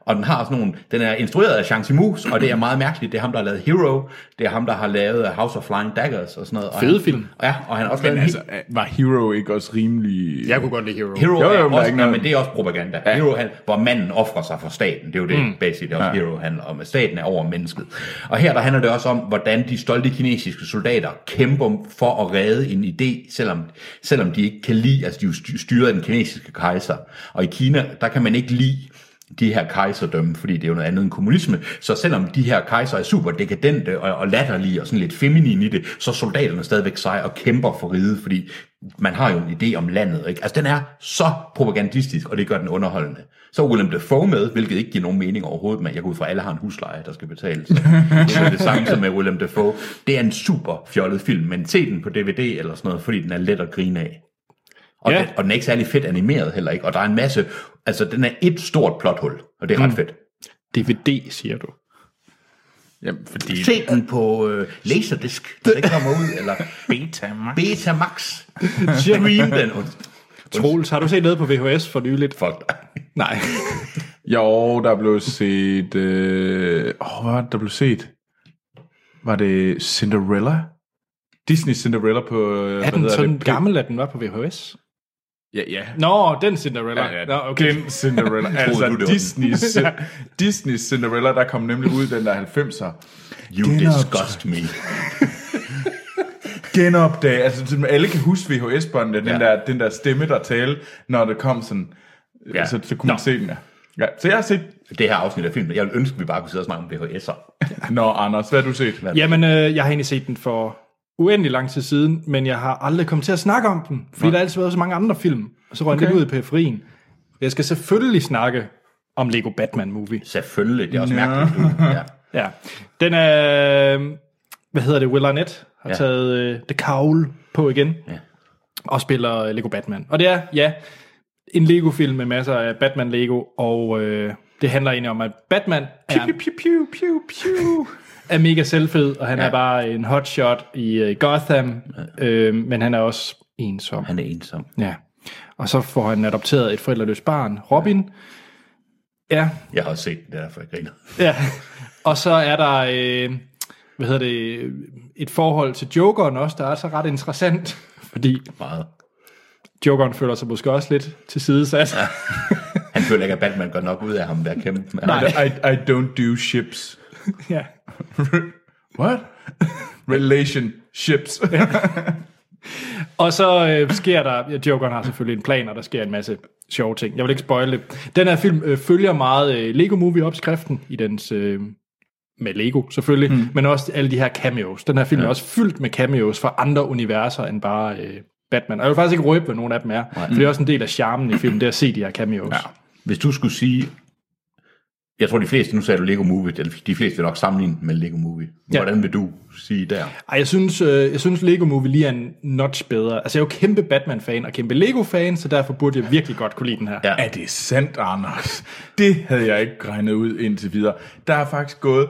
C: Og den har sådan nogle, den er instrueret af Shang Mus, og det er meget mærkeligt. Det er ham, der har lavet Hero, det er ham, der har lavet House of Flying Daggers og sådan noget. Og
A: Fede
C: han-
A: film.
C: Ja, og han har også
B: Men
C: lavet en
B: altså, var Hero ikke også rimelig...
A: Jeg kunne godt lide Hero.
C: Hero
B: Jo,
C: jo,
B: jo,
C: jo, er
B: men der
C: også,
B: er ikke
C: ikke
B: noget-
C: men det er også propaganda. Ja. Hero, han, hvor manden offrer sig for staten. Det er jo det, mm. basic, det også ja. Hero handler om. At staten er over mennesket. Og her der handler det også om, hvordan de stolte kinesiske soldater kæmper for at redde en idé, selvom, selvom de ikke kan lide, altså de er jo sty- styret af den kinesiske kejser. Og i Kina, der kan man ikke lide de her kejserdømme, fordi det er jo noget andet end kommunisme. Så selvom de her kejser er super dekadente og, og latterlige og sådan lidt feminine i det, så er soldaterne stadigvæk seje og kæmper for riget, fordi man har jo en idé om landet. Ikke? Altså den er så propagandistisk, og det gør den underholdende. Så er Willem Dafoe med, hvilket ikke giver nogen mening overhovedet, men jeg går ud fra, at alle har en husleje, der skal betales. Så Det er det samme som med Willem Dafoe. Det er en super fjollet film, men se den på DVD eller sådan noget, fordi den er let at grine af. Og,
A: Ja.
C: ja. den, og den er ikke særlig fedt animeret heller ikke. Og der er en masse... Altså, den er et stort plothul, og det er ret fedt.
A: DVD, siger du.
B: Jamen, fordi...
C: Se den på øh, Laserdisc, når det kommer ud, eller
B: Betamax.
C: Betamax. Stream den. Und-
A: Troels, har du set noget på VHS for nyligt?
C: Fuck dig.
A: Nej.
B: Jo, der blev set... Øh, åh, hvad var det, der blev set? Var det Cinderella? Disney Cinderella på... øh,
A: Er
B: hvad
A: den
B: hedder
A: sådan
B: det?
A: gammel, at den var på VHS?
B: Ja, ja.
A: Nå, den Cinderella.
B: Ja, ja,
A: Nå, okay.
B: Den Cinderella.
C: Troede du,
B: altså
C: det var den?
B: Disney, Disney Cinderella, der kom nemlig ud den der 90'er.
C: You disgust me.
B: Genopdag. Altså, sådan, alle kan huske VHS-båndet, den,
C: Ja.
B: der, den der stemme, der talte, når det kom sådan...
C: Ja.
B: Ja. Så, så kunne man se den, ja. ja. Så jeg har set...
C: Det her afsnit af filmen. Jeg ville ønske, at vi bare kunne sidde og snakke om VHS'er.
B: Nå, Anders, hvad har du set?
A: Jamen, øh, jeg har egentlig set den for uendelig lang tid siden, men jeg har aldrig kommet til at snakke om den, fordi der har altid været så mange andre film, og så røg okay. den lidt ud i periferien. Jeg skal selvfølgelig snakke om Lego Batman Movie.
C: Selvfølgelig. Det er også mærkeligt. du- Ja.
A: Ja. Den er, øh, hvad hedder det, Will Arnett har ja.
C: Ja.
A: taget øh, The Cowl på igen, ja.
C: Ja.
A: og spiller øh, Lego Batman. Og det er, ja, en Lego-film med masser af Batman-Lego, og øh, det handler egentlig om, at Batman er,
B: Piu, piu, piu, piu, piu.
A: er mega selvfed, og han ja.
C: Ja.
A: er bare en hotshot i øh, Gotham, ja. øh, men han er også ensom.
C: Han er ensom.
A: Ja. Og så får han adopteret et forældreløst barn, Robin. Ja,
C: Jeg har også set den, det er derfor jeg griner.
A: Ja, og så er der, øh, hvad hedder det, et forhold til Jokeren også, der er så ret interessant, fordi
C: Meget.
A: Jokeren føler sig måske også lidt til sidesat. Ja.
C: Han føler ikke, at Batman går nok ud af ham ved at kæmpe med ham.
A: Nej.
B: I, I don't do ships.
A: ja.
B: What? Relationships.
A: Og så øh, sker der, ja, Jokeren har selvfølgelig en plan, og der sker en masse sjove ting. Jeg vil ikke spoil det. Den her film øh, følger meget øh, Lego Movie opskriften i dens... Øh, med Lego selvfølgelig, mm. men også alle de her cameos. Den her film ja. er også fyldt med cameos fra andre universer end bare øh, Batman. Og jeg vil faktisk ikke røbe, hvad nogen af dem er, for det er også en del af charmen i filmen, det er at se de her cameos. Mm. Ja.
C: Hvis du skulle sige... Jeg tror, de fleste, nu sagde du Lego Movie, eller de fleste vil nok sammenligne med Lego Movie.
A: Ja.
C: Hvordan vil du sige der?
A: Ej, jeg synes, øh, jeg synes Lego Movie lige er en notch bedre. Altså, jeg er jo kæmpe Batman-fan og kæmpe Lego-fan, så derfor burde jeg virkelig godt kunne lide den her.
C: Ja.
B: er det sandt, Anders? Det havde jeg ikke regnet ud indtil videre. Der er faktisk gået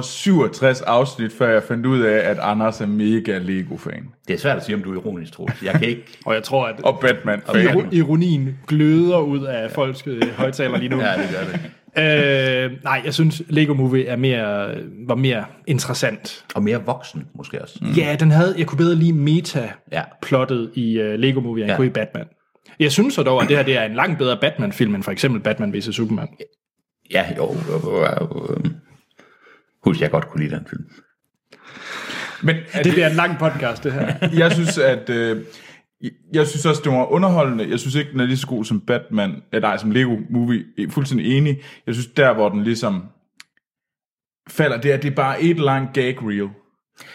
B: 167 afsnit, før jeg fandt ud af, at Anders er mega Lego-fan.
C: Det er svært at sige, om du er ironisk, Troels. Jeg kan ikke...
A: Og jeg tror, at
B: Og Batman-fan.
A: iro- ironien gløder ud af folks øh, højtaler lige nu.
C: Ja, det gør det.
A: øh, nej, jeg synes, Lego Movie er mere, var mere interessant.
C: Og mere voksen, måske også.
A: Mm. Ja, den havde, jeg kunne bedre lide meta-plottet i øh, Lego Movie, end jeg
C: Ja.
A: kunne i Batman. Jeg synes så dog, at det her det er en langt bedre Batman-film, end for eksempel Batman vs. Superman.
C: Ja, jo. jo, jo, jo. øh. Husk, jeg godt kunne lide den film.
B: Men er
A: Det bliver en lang podcast, det her.
B: jeg synes, at... Øh, jeg synes også, det var underholdende. Jeg synes ikke, den er lige så god som Batman, eh, nej, som Lego Movie. Jeg er fuldstændig enig. Jeg synes, der hvor den ligesom falder, det er, det er bare et langt gag reel.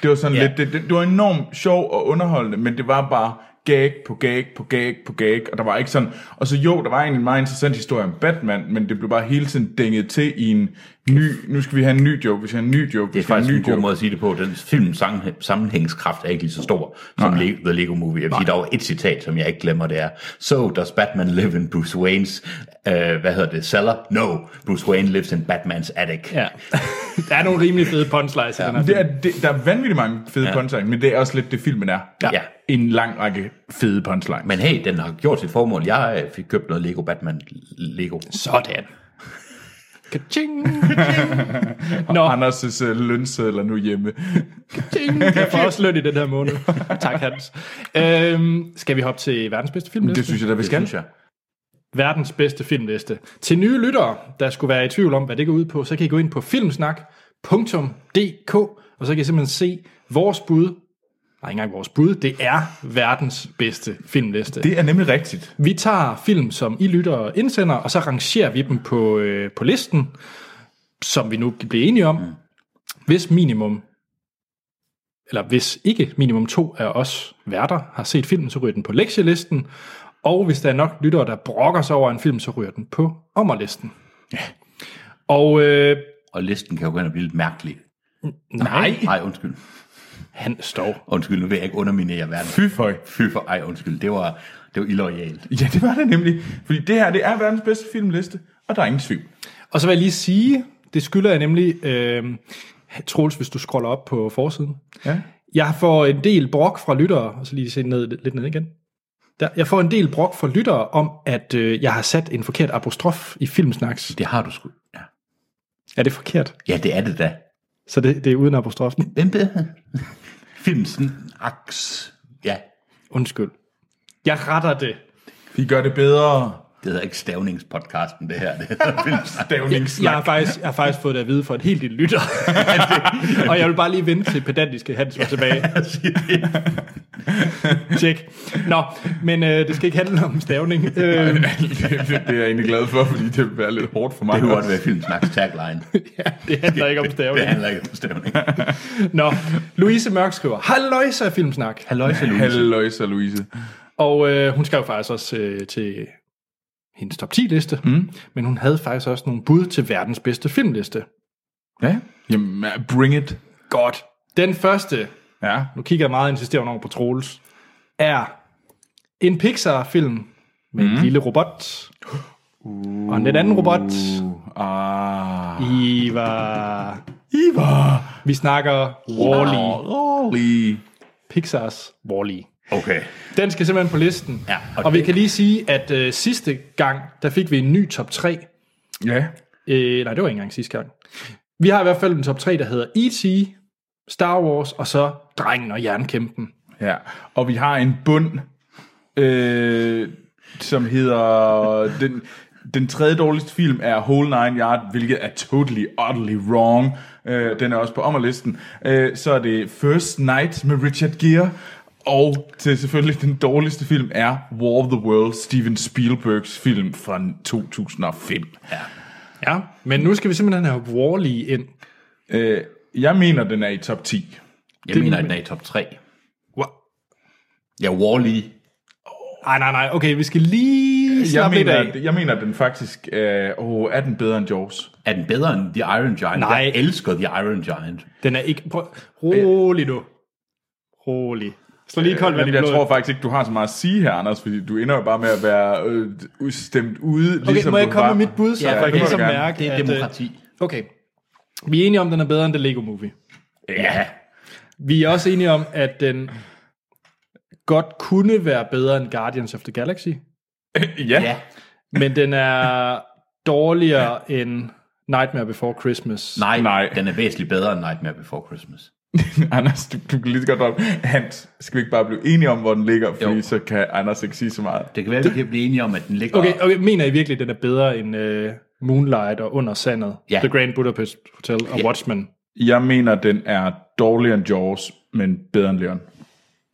B: Det var sådan
C: Ja.
B: yeah. lidt, det, det, det, var enormt sjov og underholdende, men det var bare gag på gag på gag på gag, og der var ikke sådan, og så jo, der var egentlig en meget interessant historie om Batman, men det blev bare hele tiden dænget til i en ny, nu skal vi have en ny joke, vi skal have en ny joke,
C: Det
B: vi
C: er
B: skal have
C: faktisk
B: en
C: en
B: ny
C: god
B: joke.
C: måde at sige det på. Den films sammenhæ- sammenhængskraft er ikke lige så stor som Le- The Lego Movie. Jeg vil sige, der var et citat, som jeg ikke glemmer, det er So does Batman live in Bruce Wayne's, øh, hvad hedder det, cellar? No, Bruce Wayne lives in Batman's attic.
A: Ja. Der er nogle rimelig fede punchlines ja. i den her
C: Altså-
B: Det er, det, der er vanvittigt mange fede ja. punchlines, men det er også lidt det, filmen er.
A: Ja.
C: ja.
B: En lang række fede punchlines.
C: Men hey, den har gjort sit formål. Jeg øh, fik købt noget Lego Batman Lego.
A: Sådan. Ka-ching,
B: Og Anders' uh, lønsedler nu hjemme.
A: ka-ching. Jeg får også løn i den her måned. tak, Hans. Øhm, skal vi hoppe til verdens bedste filmliste?
B: Det synes jeg da, vi skal.
C: synes jeg.
A: Verdens bedste filmliste. Til nye lyttere, der skulle være i tvivl om, hvad det går ud på, så kan I gå ind på filmsnak.dk, og så kan I simpelthen se vores bud. nej, ikke engang vores bud, det er verdens bedste filmliste.
B: Det er nemlig rigtigt.
A: Vi tager film, som I lytter og indsender, og så rangerer vi dem på, øh, på listen, som vi nu kan blive enige om. Hvis minimum, eller hvis ikke minimum to af os værter har set filmen, så ryger den på lektielisten. Og hvis der er nok lyttere, der brokker sig over en film, så ryger den på ommerlisten. Ja. Og øh,
C: Og listen kan jo gå hen og blive lidt mærkelig.
A: nej,
C: Ej, undskyld.
A: han står.
C: Undskyld, nu vil jeg ikke underminere verden.
B: Fy for.
C: Fy for, ej, undskyld. Det var, det var illoyalt.
B: Ja, det var det nemlig. Fordi det her, det er verdens bedste filmliste, og der er ingen tvivl.
A: Og så vil jeg lige sige, det skylder jeg nemlig, øh, Troels, hvis du scroller op på forsiden.
B: Ja.
A: Jeg får en del brok fra lyttere, og så lige se ned, lidt ned igen. Der, jeg får en del brok fra lyttere om, at øh, jeg har sat en forkert apostrof i Filmsnacks.
C: Det har du sgu. Ja,
A: Er det forkert?
C: ja det er det da.
A: Så det, det er uden apostrofen.
C: Hvem det? Filmsen. Aks. Ja,
A: Undskyld. Jeg retter det.
B: Vi gør det bedre.
C: det hedder ikke stavningspodcasten, det her. Det hedder Filmsen.
B: Stavnings.
A: Jeg har, faktisk, jeg har faktisk fået det at vide for et helt lille lytter. og jeg vil bare lige vente til pedantiske Hans var tilbage. Tjek. Nå, men øh, det skal ikke handle om stavning. Øh,
B: det, det er jeg egentlig glad for, fordi det vil være lidt hårdt for mig.
C: Det kunne godt
B: også.
C: være Filmsnaks tagline.
A: det handler ikke om
C: Det
A: stavning.
C: handler ikke om stavning.
A: Nå, Louise Mørk skriver, Halløjsa Filmsnak.
C: Halløjse, Louise.
B: Halløjsa, Louise.
A: Og øh, hun skrev faktisk også øh, til hendes top 10-liste, mm. men hun havde faktisk også nogle bud til verdens bedste filmliste.
B: Ja. Jamen, bring it.
A: Godt. Den første,
B: Ja.
A: nu kigger jeg meget insisterende over på Troels, er en Pixar-film med mm. en lille robot uh. og en lidt anden robot.
B: Ah.
A: Ivar.
B: Ivar.
A: Vi snakker Wall-E.
B: Wally.
A: Pixars Wall-E.
C: Okay.
A: Den skal simpelthen på listen.
C: Ja,
A: og
C: og
A: og vi
C: det-
A: kan lige sige, at øh, sidste gang, der fik vi en ny top 3.
B: Ja.
A: Øh, nej, det var ikke engang sidste gang. Vi har i hvert fald en top 3, der hedder E.T., Star Wars, og så Drengen og Jernkæmpen.
B: Ja. Og vi har en bund, øh, som hedder... Den, den tredje dårligste film er Whole Nine Yard, hvilket er totally, utterly wrong. Øh, den er også på ommerlisten. Øh, så er det First Night med Richard Gere. Og til selvfølgelig den dårligste film er War of the Worlds, Steven Spielbergs film fra 2005.
A: Ja, men nu skal vi simpelthen have Wall-E ind.
B: Øh, jeg mener, den er i top 10.
C: Jeg mener, at den er i top 3.
A: Wha-
C: Ja, Wall-E.
A: Ej, nej, nej, okay, vi skal lige
B: Jeg
A: slappe lidt
B: mener,
A: af.
B: at- jeg mener, at den faktisk øh, åh, er den bedre end Jaws.
C: Er den bedre end The Iron Giant?
A: Nej.
C: Jeg elsker The Iron Giant.
A: Den er ikke... Prøv, rolig nu. Rolig. Øh, Slå lige koldt vand i
B: Jamen, jeg
A: blodet.
B: tror faktisk ikke, du har så meget at sige her, Anders, fordi du ender jo bare med at være øh, stemt ude. ligesom
A: Okay, må jeg
B: du
A: komme
B: var.
A: med mit bud, så
C: Ja,
A: ja,
C: det
A: jeg kan
B: må du
A: ligesom
B: gerne.
A: mærke,
C: Det er
A: at... øh,
C: demokrati.
A: Okay, vi er enige om, at den er bedre end The Lego Movie.
C: Ja.
A: Vi er også enige om, at den godt kunne være bedre end Guardians of the Galaxy,
B: Ja.
C: Ja.
B: ja.
A: men den er dårligere end Nightmare Before Christmas.
C: Nej,
B: Nej.
C: Nej, den er væsentligt bedre end Nightmare Before Christmas.
B: Anders, du, du kan lige så godt droppe. Hans, skal vi ikke bare blive enige om, hvor den ligger? Fordi
C: Jo.
B: så kan Anders ikke sige så meget.
C: Det kan være, vi kan blive enige om, at den ligger...
A: Okay, okay, mener I virkelig, at den er bedre end uh, Moonlight og Under Sandet,
C: Ja.
A: The Grand Budapest Hotel og Watchmen?
B: Jeg mener, den er dårligere end Jaws, men bedre end Leon.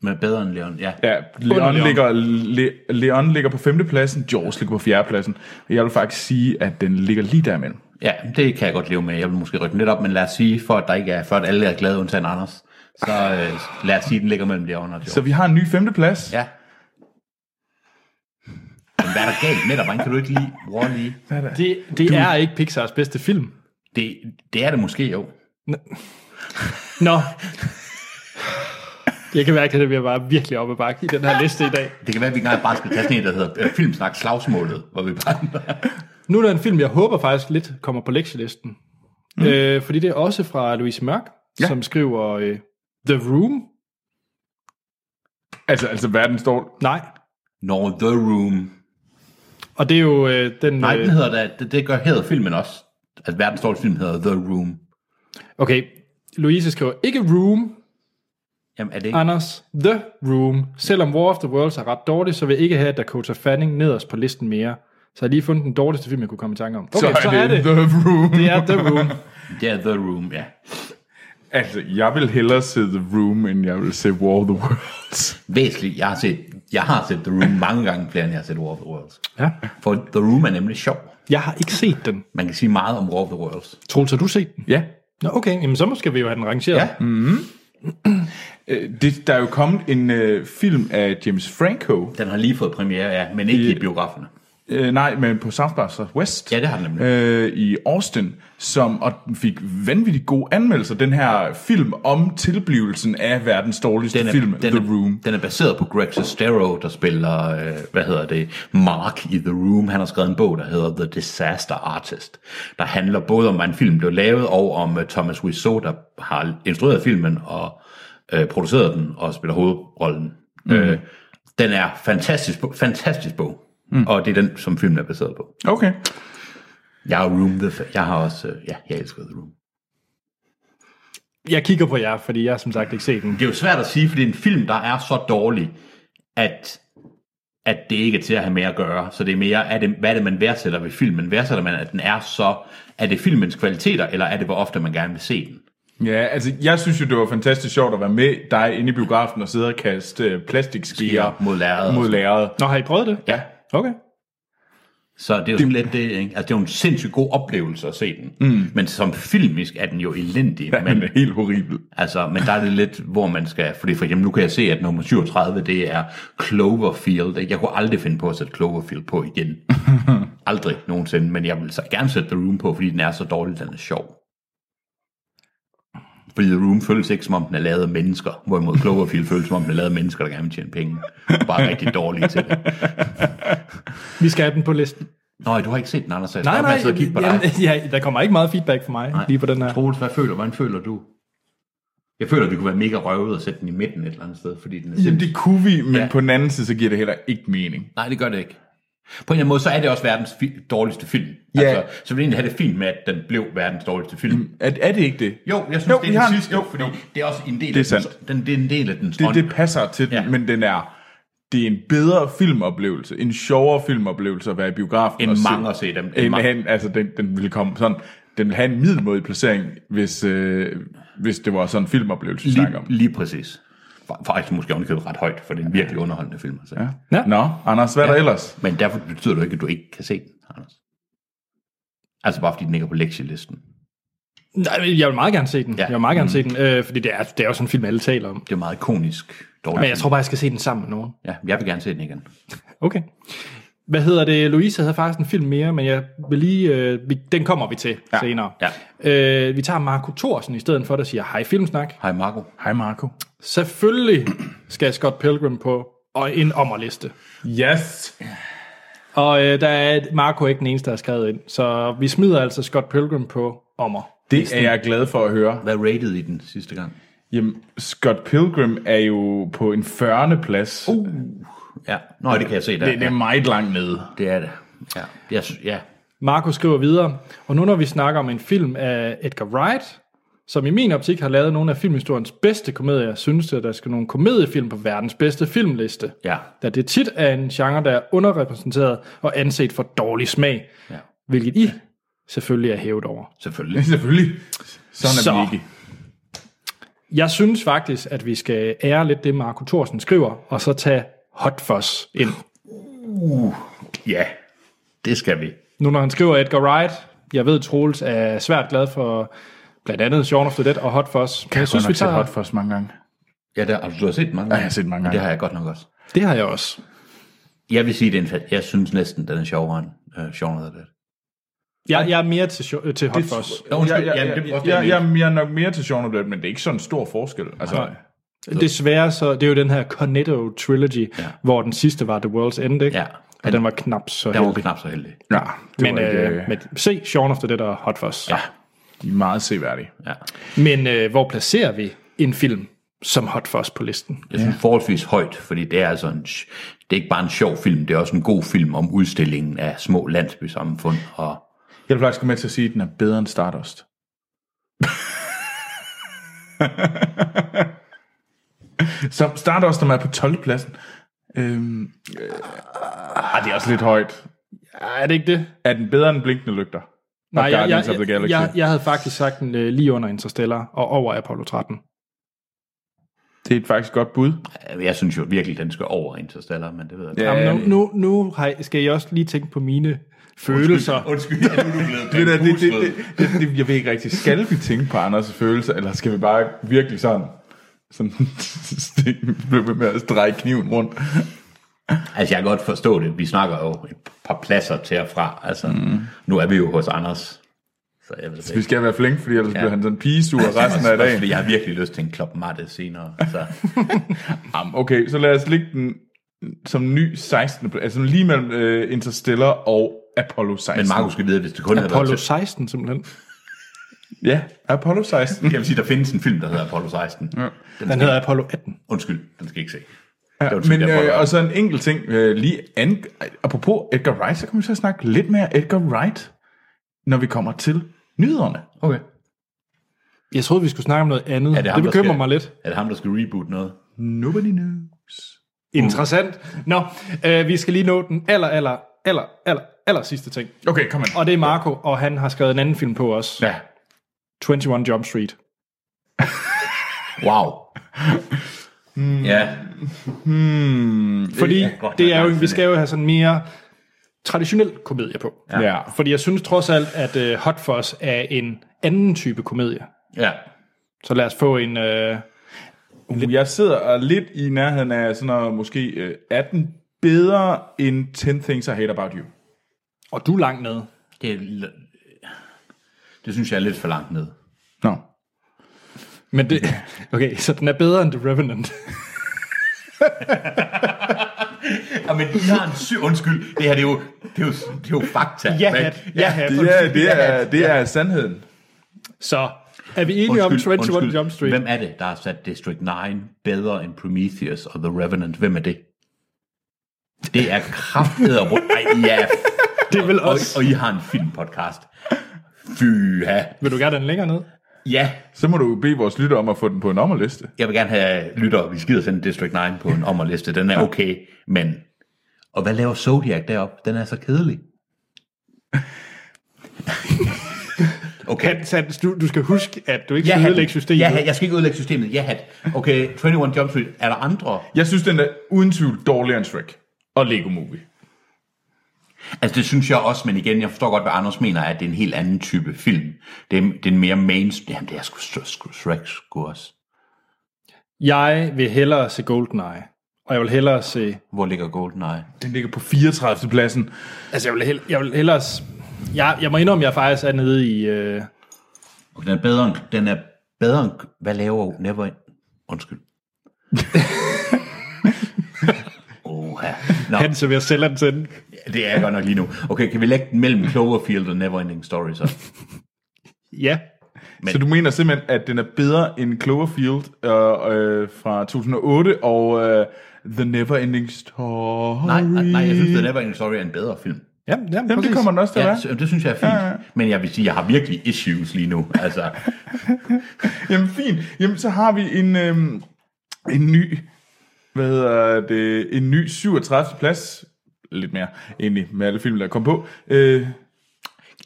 C: Men bedre end Leon, ja.
B: Ja, Leon,
A: Leon.
B: Ligger, Le, Leon ligger på femtepladsen, Jaws ligger på fjerdepladsen. Og jeg vil faktisk sige, at den ligger lige derimellem.
C: Ja, det kan jeg godt leve med. Jeg vil måske rykke den lidt op, men lad os sige, for at, der ikke er, for at alle er glade undtagen Anders, så øh, lad os sige, at den ligger mellem Leon og Leon.
B: Så vi har en ny femteplads.
C: Ja. Men hvad er der galt med dig? Hvordan kan du ikke lide Wall-E?
A: Det, det er ikke Pixars bedste film.
C: Det, det er det måske jo.
A: Nå. Jeg kan mærke, at det bliver bare virkelig oppe bakke i den her liste i dag.
C: Det kan være, at vi engang bare skal tage sådan en, der hedder øh, Filmsnak Slagsmålet, hvor vi bare...
A: Nu er der en film, jeg håber faktisk lidt kommer på lektielisten.
C: Mhm.
A: Mm. Øh, fordi det er også fra Louise Mørk, ja. som skriver øh, The Room.
B: Altså, altså verdens dårligste.
A: Nej.
C: Når The Room.
A: Og det er jo øh, den...
C: Nej,
A: øh,
C: den hedder da, det, det gør hedder filmen også. At verdens største film hedder The Room.
A: Okay. Louise skriver ikke Room,
C: Jamen, er det ikke?
A: Anders. The Room. Selvom War of the Worlds er ret dårlig, så vil jeg ikke have Dakota Fanning nederst på listen mere. Så jeg har lige fundet den dårligste film, jeg kunne komme i tanke om. Okay, så, så er det.
B: The Room.
A: Det er The Room.
C: Det er The Room, ja.
B: Altså, jeg vil hellere se The Room, end jeg vil se War of the Worlds.
C: Væsentligt, jeg har set, jeg har set The Room mange gange flere, end jeg har set War of the Worlds.
A: Ja.
C: For The Room er nemlig sjov.
A: Jeg har ikke set den.
C: Man kan sige meget om War of the Worlds.
A: Troels, har du set den?
B: ja.
A: Nå, okay. Jamen, så skal vi jo have den rangeret.
C: Ja.
B: Øh, Det, der er jo kommet en øh, film af James Franco.
C: Den har lige fået premiere, ja, men ikke i biograferne.
B: Øh, nej, men på South by Southwest.
C: Ja, det har den nemlig.
B: øh, i Austin, som og den fik vanvittigt gode anmeldelser. Den her film om tilblivelsen af verdens dårligste
C: Den er,
B: film,
C: den,
B: The
C: er,
B: Room.
C: den er baseret på Greg Sestero, der spiller, øh, hvad hedder det, Mark i The Room. Han har skrevet en bog, der hedder The Disaster Artist, der handler både om, hvordan filmen blev lavet, og om øh, Thomas Wiseau, der har instrueret filmen og øh, produceret den og spiller hovedrollen. Mm. Øh, den er fantastisk, bo- fantastisk bog, mm. og det er den, som filmen er baseret på.
B: Okay.
C: Jeg har, room the, fa- jeg har også, øh, ja, jeg elsker The Room.
A: Jeg kigger på jer, fordi jeg har som sagt ikke set den.
C: Det er jo svært at sige, for det er en film, der er så dårlig, at, at det ikke er til at have med at gøre. Så det er mere, er det, hvad er det, man værdsætter ved filmen? Værdsætter man, at den er så... Er det filmens kvaliteter, eller er det, hvor ofte man gerne vil se den?
B: Ja, altså jeg synes jo, det var fantastisk sjovt at være med dig inde i biografen og sidde og kaste øh, plastikskeer
C: Skeer mod lærredet.
B: Mod lærredet.
A: Nå, har I prøvet det?
B: Ja.
A: Okay.
C: Så det er jo sådan lidt det, ikke? Altså, det er jo en sindssygt god oplevelse at se den. Mm. Men som filmisk er den jo elendig. Ja,
B: Men
C: men,
B: det er helt horribel.
C: altså, men der er det lidt, hvor man skal... Fordi for eksempel, nu kan jeg se, at nummer 37, det er Cloverfield. ikke? Jeg kunne aldrig finde på at sætte Cloverfield på igen. aldrig nogensinde. Men jeg vil så gerne sætte The Room på, fordi den er så dårlig, den er sjov. Fordi The Room føles ikke, som om den er lavet af mennesker. Hvorimod Cloverfield føles, som om den er lavet af mennesker, der gerne vil tjene penge. Og bare er rigtig dårlige til det.
A: Vi skal have den på listen.
C: Nå, du har ikke set den, Anders. så Jeg nej, nej, jeg og kigge på dig.
A: jamen, ja, der kommer ikke meget feedback fra mig nej. lige på den her.
C: Troels, hvad føler, hvordan føler du? Jeg føler, det kunne være mega røvet at sætte den i midten et eller andet sted, fordi den er
B: Jamen
C: Jamen,
B: det kunne vi, men
C: Ja.
B: ja. på den anden side, så giver det heller ikke mening.
C: Nej, det gør det ikke. På en eller anden måde, så er det også verdens fi- dårligste film.
B: Ja.
C: Altså, så vil jeg egentlig have det fint med, at den blev verdens dårligste film. Mm.
B: Er, er det ikke det?
C: Jo, jeg synes,
B: Jo,
C: det
B: vi
C: er
B: har
C: den
B: en-
C: sidste,
B: jo,
C: fordi
B: jo.
C: det er også en del,
B: er
C: af dens,
B: sandt.
C: den, det er en del af dens
B: Det,
C: ånd.
B: det passer til den,
C: Ja.
B: ja. men den er... Det er en bedre filmoplevelse, en sjovere filmoplevelse at være i biografen.
C: End
B: og
C: mange at se dem. End
B: End
C: mange.
B: han, altså, den, den ville komme sådan... Den ville have en middelmodig placering, hvis, øh, hvis det var sådan en filmoplevelse, vi snakker om.
C: lige, lige præcis. Fa- Faktisk måske ovenikøbet ret højt, for det er en virkelig underholdende film. Altså. Ja.
A: Ja.
B: Nå, Anders, hvad er der ellers?
C: Men derfor betyder det jo ikke, at du ikke kan se den, Anders. Altså bare fordi den ikke er på lektielisten.
A: Nej, jeg vil meget gerne se den.
C: Ja.
A: Jeg vil meget gerne mm. se den, øh, fordi det er, det er jo sådan en film, alle taler om.
C: Det er meget ikonisk dårligt.
A: Men jeg tror bare, jeg skal se den sammen med nogen.
C: Ja, jeg vil gerne se den igen.
A: Okay. Hvad hedder det? Louise havde faktisk en film mere, men jeg vil lige, øh, vi, den kommer vi til ja. senere.
C: Ja.
A: Øh, vi tager Marco Thorsen i stedet for, der siger, hej Filmsnak.
C: Hej Marco.
B: Hej, Marco.
A: Selvfølgelig skal Scott Pilgrim på og en ommerliste.
B: Yes!
A: Og øh, der er Marco ikke den eneste, der har skrevet ind. Så vi smider altså Scott Pilgrim på ommer.
B: Det er jeg glad for at høre.
C: Hvad rated I den sidste gang?
B: Jamen, Scott Pilgrim er jo på en 40. plads. Uh,
C: Ja, Nå, det kan jeg se der.
B: det, det er meget langt nede.
C: det er det. Ja. Jeg, sy- ja.
A: Marco skriver videre, og nu når vi snakker om en film af Edgar Wright, som i min optik har lavet nogle af filmhistoriens bedste komedier, synes jeg, der skal nogle komediefilm på verdens bedste filmliste.
C: Ja.
A: Da det tit er en genre, der er underrepræsenteret og anset for dårlig smag,
C: ja,
A: hvilket I selvfølgelig er hævet over.
C: selvfølgelig.
B: Selvfølgelig. Sådan er
A: Så.
B: vi ikke.
A: Jeg synes faktisk, at vi skal ære lidt det, Marco Thorsen skriver, og så tage Hot Fuzz ind.
C: Ja, det skal vi.
A: Nu når han skriver Edgar Wright, jeg ved, Troels er svært glad for blandt andet Shaun of the Dead og Hot Fuzz. Men jeg synes, vi tager...
B: hot for os mange gange.
C: Ja, der, altså, du har set den mange gange.
B: jeg har set den mange
C: Men Det
B: gange.
C: har jeg godt nok også.
A: Det har jeg også.
C: Jeg vil sige, det er en, fa- jeg synes næsten, den er sjovere end uh, Shaun of the Dead.
A: Jeg, jeg er mere til, sjo- øh, til Hot Fuzz.
C: Nå, undskyld.
B: Jeg, jeg,
C: Jamen,
B: jeg,
C: det er
B: jeg,
C: også det, jeg
B: jeg, jeg, jeg er nok mere til Shaun of the Dead, men det er ikke sådan en stor forskel. Altså,
A: Nej. Desværre så, det er jo den her Cornetto Trilogy, ja. hvor den sidste var The World's End, ikke?
C: Ja.
A: Og den var knap så
C: Der var
A: heldig.
C: knap så heldig.
B: ja, det
A: Men,
B: men, var ikke, øh,
A: øh, men se Shaun of the Dead og Hot Fuzz. Ja.
B: de er meget seværdige.
C: Ja.
A: Men øh, hvor placerer vi en film som Hot Fuzz på listen?
C: Jeg synes forholdsvis højt, fordi det er altså en, sj- det er ikke bare en sjov film, det er også en god film om udstillingen af små landsbysamfund. Og
B: Jeg vil faktisk gå med til at sige, at den er bedre end Stardust. Så Stardust, som er på 12. pladsen. Øhm, øh, ah, det er også lidt højt.
A: Er det ikke det?
B: Er den bedre end Blinkende Lygter?
A: Nej, jeg, jeg,
B: Guardians of the
A: jeg,
B: Galaxy.
A: jeg, jeg havde faktisk sagt den øh, lige under Interstellar og over Apollo 13.
B: Det er et faktisk godt bud.
C: øh, Jeg synes jo virkelig, den skal over Interstellar, men det ved jeg ikke.
B: Ja.
A: Jamen, nu, nu, nu har jeg- skal jeg også lige tænke på mine følelser.
C: Undskyld, ja, nu er du blevet
B: Det, der, det, det, det, det, det, jeg ved ikke rigtig, skal vi tænke på Anders' følelser, eller skal vi bare virkelig sådan, sådan blive ved med at dreje kniven rundt?
C: Altså, jeg kan godt forstå det. Vi snakker jo et par pladser til og fra. Altså, mm. nu er vi jo hos Anders. Så jeg ved det
B: Vi
C: ikke.
B: skal være flink, fordi ellers ja. bliver han sådan pigesur resten af
C: Også, også,
B: dagen.
C: fordi jeg har virkelig lyst til en klop matte senere. Så.
B: Jamen, okay, så lad os ligge den som ny 16. plads, altså lige mellem uh, Interstellar og Apollo 16.
C: Men Markus skal vide, at hvis det kun havde
A: Apollo
C: været
A: 16 simpelthen.
B: Ja, Apollo 16.
C: til... Jeg vil sige, der findes en film, der hedder Apollo 16. Ja.
A: Den hedder Apollo 18.
C: Undskyld, den skal I ikke se.
B: Ja,
C: Det var
B: men,
C: tydeligt, jeg prøver.
B: øh, og så en enkelt ting, øh, lige an, ej, apropos Edgar Wright, så kommer vi til at snakke lidt mere Edgar Wright, når vi kommer til nyhederne.
C: Okay.
A: Jeg troede, vi skulle snakke om noget andet.
C: Er
A: Ja,
C: det
A: det,
C: ham,
A: det
C: der
A: bekymrer
C: skal-
A: mig lidt.
C: Er det ham, der skal reboot noget?
B: Nobody knows.
A: Interessant. Nå, øh, vi skal lige nå den aller, aller, aller, aller, aller sidste ting.
B: Okay, kom ind.
A: Og det er Marco, og han har skrevet en anden film på os.
B: Ja.
A: 21 Jump Street.
C: Wow. Mm. Ja,
A: Fordi
C: er godt nok
A: det er jo,
C: lang
A: vi skal jo have sådan mere traditionel komedie på.
B: Ja.
A: Fordi jeg synes trods alt, at øh, Hot Fuzz er en anden type komedie.
C: ja.
A: Så lad os få en... Øh,
B: Uh, jeg sidder og lidt i nærheden af sådan noget, måske øh, er den bedre end 10 Things I Hate About You.
A: og du er langt nede.
C: Det, er l- det synes jeg er lidt for langt ned.
B: Nå.
A: Men det, okay, så den er bedre end The Revenant.
C: Ja, men de har en syg... Undskyld, det her det er jo, det er jo, det er jo fakta.
A: Ja,
C: men-
A: hat. Ja, hat.
B: Det er, det er, det er sandheden.
A: Så er vi enige om 21 Jump Street?
C: Hvem er det, der har sat District 9 bedre end Prometheus og The Revenant? Hvem er det? Det er kraftedder rundt. Ej, ja.
A: Det er vel
C: Og,
A: os.
C: og I har en filmpodcast. Fyha.
A: Vil du gerne have den længere ned?
C: Ja,
B: Så må du jo bede vores lytter om at få den på en ommerliste.
C: jeg vil gerne have lytter, vi skider sende District 9 på en ommerliste. Den er okay, men... Og hvad laver Zodiac deroppe? Den er så kedelig. Okay.
A: Hans, Hans, du, du skal huske, at du ikke
C: Ja,
A: skal
C: hat.
A: ødelægge systemet.
C: Ja, hat. jeg skal ikke ødelægge systemet. Ja, hat. Okay, 21 Jump Street. Er der andre?
B: Jeg synes, den er uden tvivl dårligere end Shrek og Lego Movie.
C: Altså, det synes jeg også, men igen, jeg forstår godt, hvad Anders mener, at det er en helt anden type film. Det er, det er en mere mainstream. Jamen, det er sgu, sgu, sgu Shrek sgu også.
A: Jeg vil hellere se GoldenEye. Og jeg vil hellere se...
C: Hvor ligger GoldenEye?
B: Den ligger på 34. pladsen.
A: Altså, jeg vil, hell, jeg vil hellere... s- Jeg, jeg må indrømme, at jeg faktisk er nede i... Øh,
C: Okay, den er bedre end, den er bedre end, hvad laver Never Undskyld. Oha. Nå,
A: han så ved at sælge den til den.
C: det er jeg godt nok lige nu. Okay, kan vi lægge den mellem Cloverfield og Neverending Story så?
A: Ja.
B: Men. Så du mener simpelthen, at den er bedre end Cloverfield øh, øh, fra 2008 og øh, The Never Ending Story?
C: Nej, nej, nej, jeg synes, The Neverending Story er en bedre film.
A: Ja, ja,
B: Jamen, det
A: præcis.
B: kommer den også til at
C: Ja,
B: være.
C: så- det synes jeg er fint. Ja, ja. Men jeg vil sige, jeg har virkelig issues lige nu. Altså,
B: Jamen fint. Jamen så har vi en, øhm, en ny, hvad hedder det, en ny 37. plads. Lidt mere egentlig med alle film, der kom på. Øh,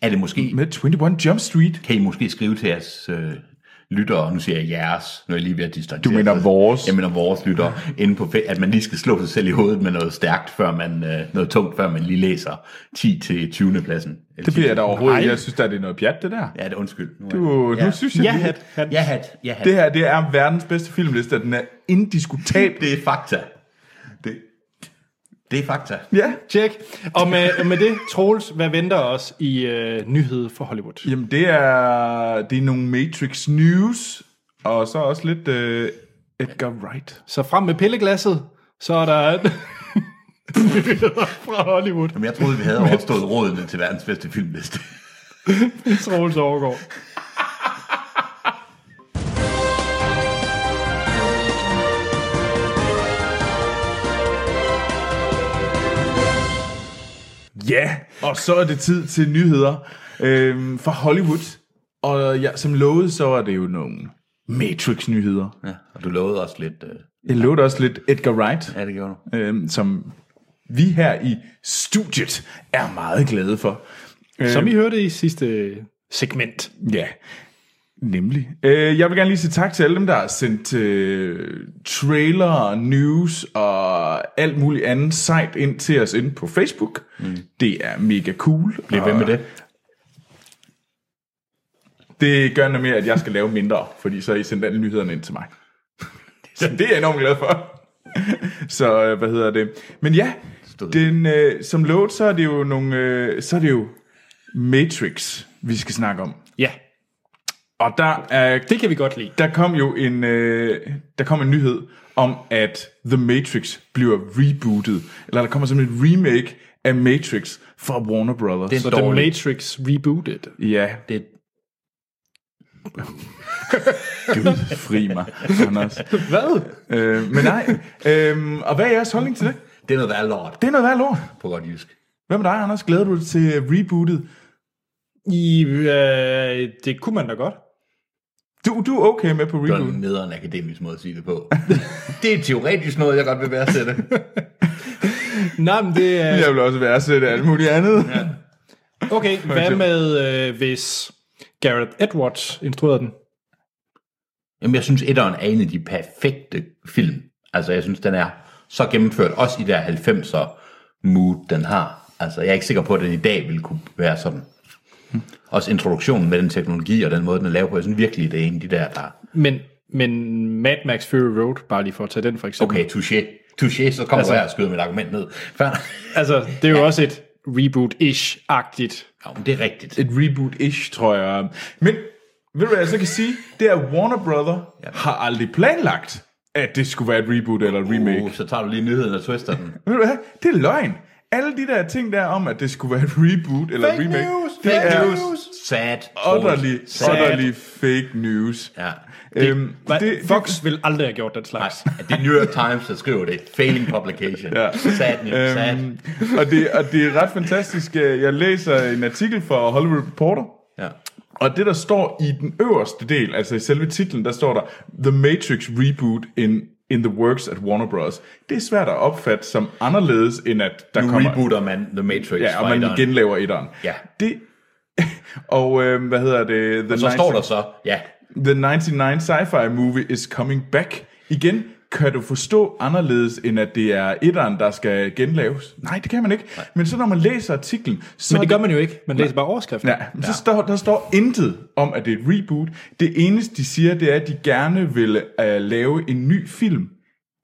C: er det måske...
B: med 21 Jump Street.
C: Kan I måske skrive til jeres øh, lyttere, nu siger jeg jeres, nu er jeg lige ved at distancere.
B: Du mener
C: mig.
B: vores?
C: Jeg mener vores lyttere, inde på, fe- at man lige skal slå sig selv i hovedet med noget stærkt, før man, øh, noget tungt, før man lige læser 10 til 20. pladsen.
B: Det bliver jeg da overhovedet.
A: Nej.
B: Jeg synes, der er det noget pjat, det der.
C: Ja, det er undskyld. Nu, er
B: Du,
C: jeg,
B: Nu
C: ja.
B: synes jeg,
A: Ja,
B: lige-
A: hat, hat.
C: Ja, hat, ja, hat.
B: det
C: Det,
B: her det er verdens bedste filmliste, og den er indiskutabel.
C: det er fakta. Det, det er fakta.
B: Ja.
A: Tjek. Og med, med det, Troels, hvad venter os i øh, nyhed for Hollywood?
B: Jamen det er, det er nogle Matrix News, og så også lidt øh, Edgar Wright.
A: Så frem med pilleglasset, så er der... nyheder fra Hollywood.
C: Jamen, jeg troede, vi havde overstået rådene til verdens bedste filmliste.
A: Troels overgår.
B: Ja, og så er det tid til nyheder øhm, fra Hollywood. Og ja, som lovet, så er det jo nogle Matrix-nyheder.
C: Ja, og du lovede også lidt... Øh,
B: Jeg lovede også lidt Edgar Wright,
C: ja, det gjorde du.
B: øhm, som vi her i studiet er meget glade for.
A: øh. som I hørte i sidste segment.
B: Ja, nemlig. Øh, jeg vil gerne lige sige tak til alle dem, der har sendt øh, trailer, news og alt muligt andet sejt ind til os inde på Facebook. Mm. Det er mega cool.
C: Bliv ved med det.
B: Det gør nemlig, at jeg skal lave mindre, fordi så har I sendt alle nyhederne ind til mig. Så det er jeg enormt glad for. Så øh, hvad hedder det? Men ja, den, øh, som lovet, så er det jo nogle, øh, så er det jo Matrix, vi skal snakke om.
A: Ja,
B: Og der er
A: det kan vi godt lide.
B: der kom jo en, øh, der kom en nyhed om, at The Matrix bliver rebootet. Eller der kommer simpelthen et remake af Matrix fra Warner Brothers.
C: Det er
A: Så
C: en
A: The
C: dårlig.
A: Matrix Rebooted.
B: Ja,
C: Det er
B: Gud, fri mig, Anders.
A: Hvad?
B: Øh, men nej, øh, og hvad er jeres holdning til det?
C: Det er noget værd lort,
B: Det er noget værd lort.
C: på godt jysk.
B: Hvad med dig, Anders? Glæder du dig til rebootet?
A: I, øh, det kunne man da godt.
B: Du, du er okay med på
C: Det var en
B: rebooten.
C: nederen akademisk måde at sige det på. det er teoretisk noget, jeg godt vil værdsætte.
A: Nej, men det er...
B: Jeg vil også værdsætte alt muligt andet. Ja.
A: Okay, hvad med, øh, hvis Gareth Edwards instruerede den?
C: Jamen, jeg synes, etteren er en af de perfekte film. Altså, jeg synes, den er så gennemført, også i der 90'er mood, den har. Altså, jeg er ikke sikker på, at den i dag ville kunne være sådan. Også introduktionen med den teknologi og den måde, den er lavet på. Jeg synes virkelig, det er en af de der, der...
A: Men, men Mad Max Fury Road, bare lige for at tage den for eksempel.
C: Okay, touché. Touché, så kommer
A: Altså-
C: altså, du her og skyder mit argument ned. Fair.
A: Altså, det er jo også et reboot-ish-agtigt.
C: Ja, men det er rigtigt.
B: et reboot-ish, tror jeg. Men ved du, hvad jeg så kan sige? Det er, at Warner Brother ja. har aldrig planlagt, at det skulle være et reboot eller et remake.
C: Uh, så tager du lige nyheden og twister den.
B: Ved du hvad? Det er løgn. Alle de der ting der om, at det skulle være et reboot eller
A: Fake
B: et remake,
A: news,
B: det
A: fake
B: er
A: news.
C: Sad.
B: utterly,
C: Sad.
B: utterly fake news.
C: Ja.
B: Øhm,
A: Hvad,
B: det,
A: det, Fox ville aldrig have gjort den slags.
C: Nej, det er New York Times, der skriver det. Failing publication.
B: Ja.
C: Sad news. Sad.
B: øhm, og, det, og det er ret fantastisk. Øh, Jeg læser en artikel fra Hollywood Reporter,
C: Ja.
B: Og det, der står i den øverste del, altså i selve titlen, der står der The Matrix Reboot in, in the Works at Warner Bros. Det er svært at opfatte som anderledes, end at der
C: Nu
B: kommer...
C: rebooter man The Matrix.
B: ja, og man
C: fra etteren.
B: genlaver etteren.
C: Ja.
B: Det, og øh, hvad hedder det? The
C: Så står der så, ja,
B: The 99 Sci-Fi Movie is coming back. Igen, kan du forstå anderledes, end at det er etteren, der skal genlaves? Nej, det kan man ikke. Nej. Men så når man læser artiklen, så
A: Men det gør man jo ikke. Man læser bare overskriften.
B: Ja, men så står, der står intet om, at det er et reboot. Det eneste, de siger, det er, at de gerne vil uh, lave en ny film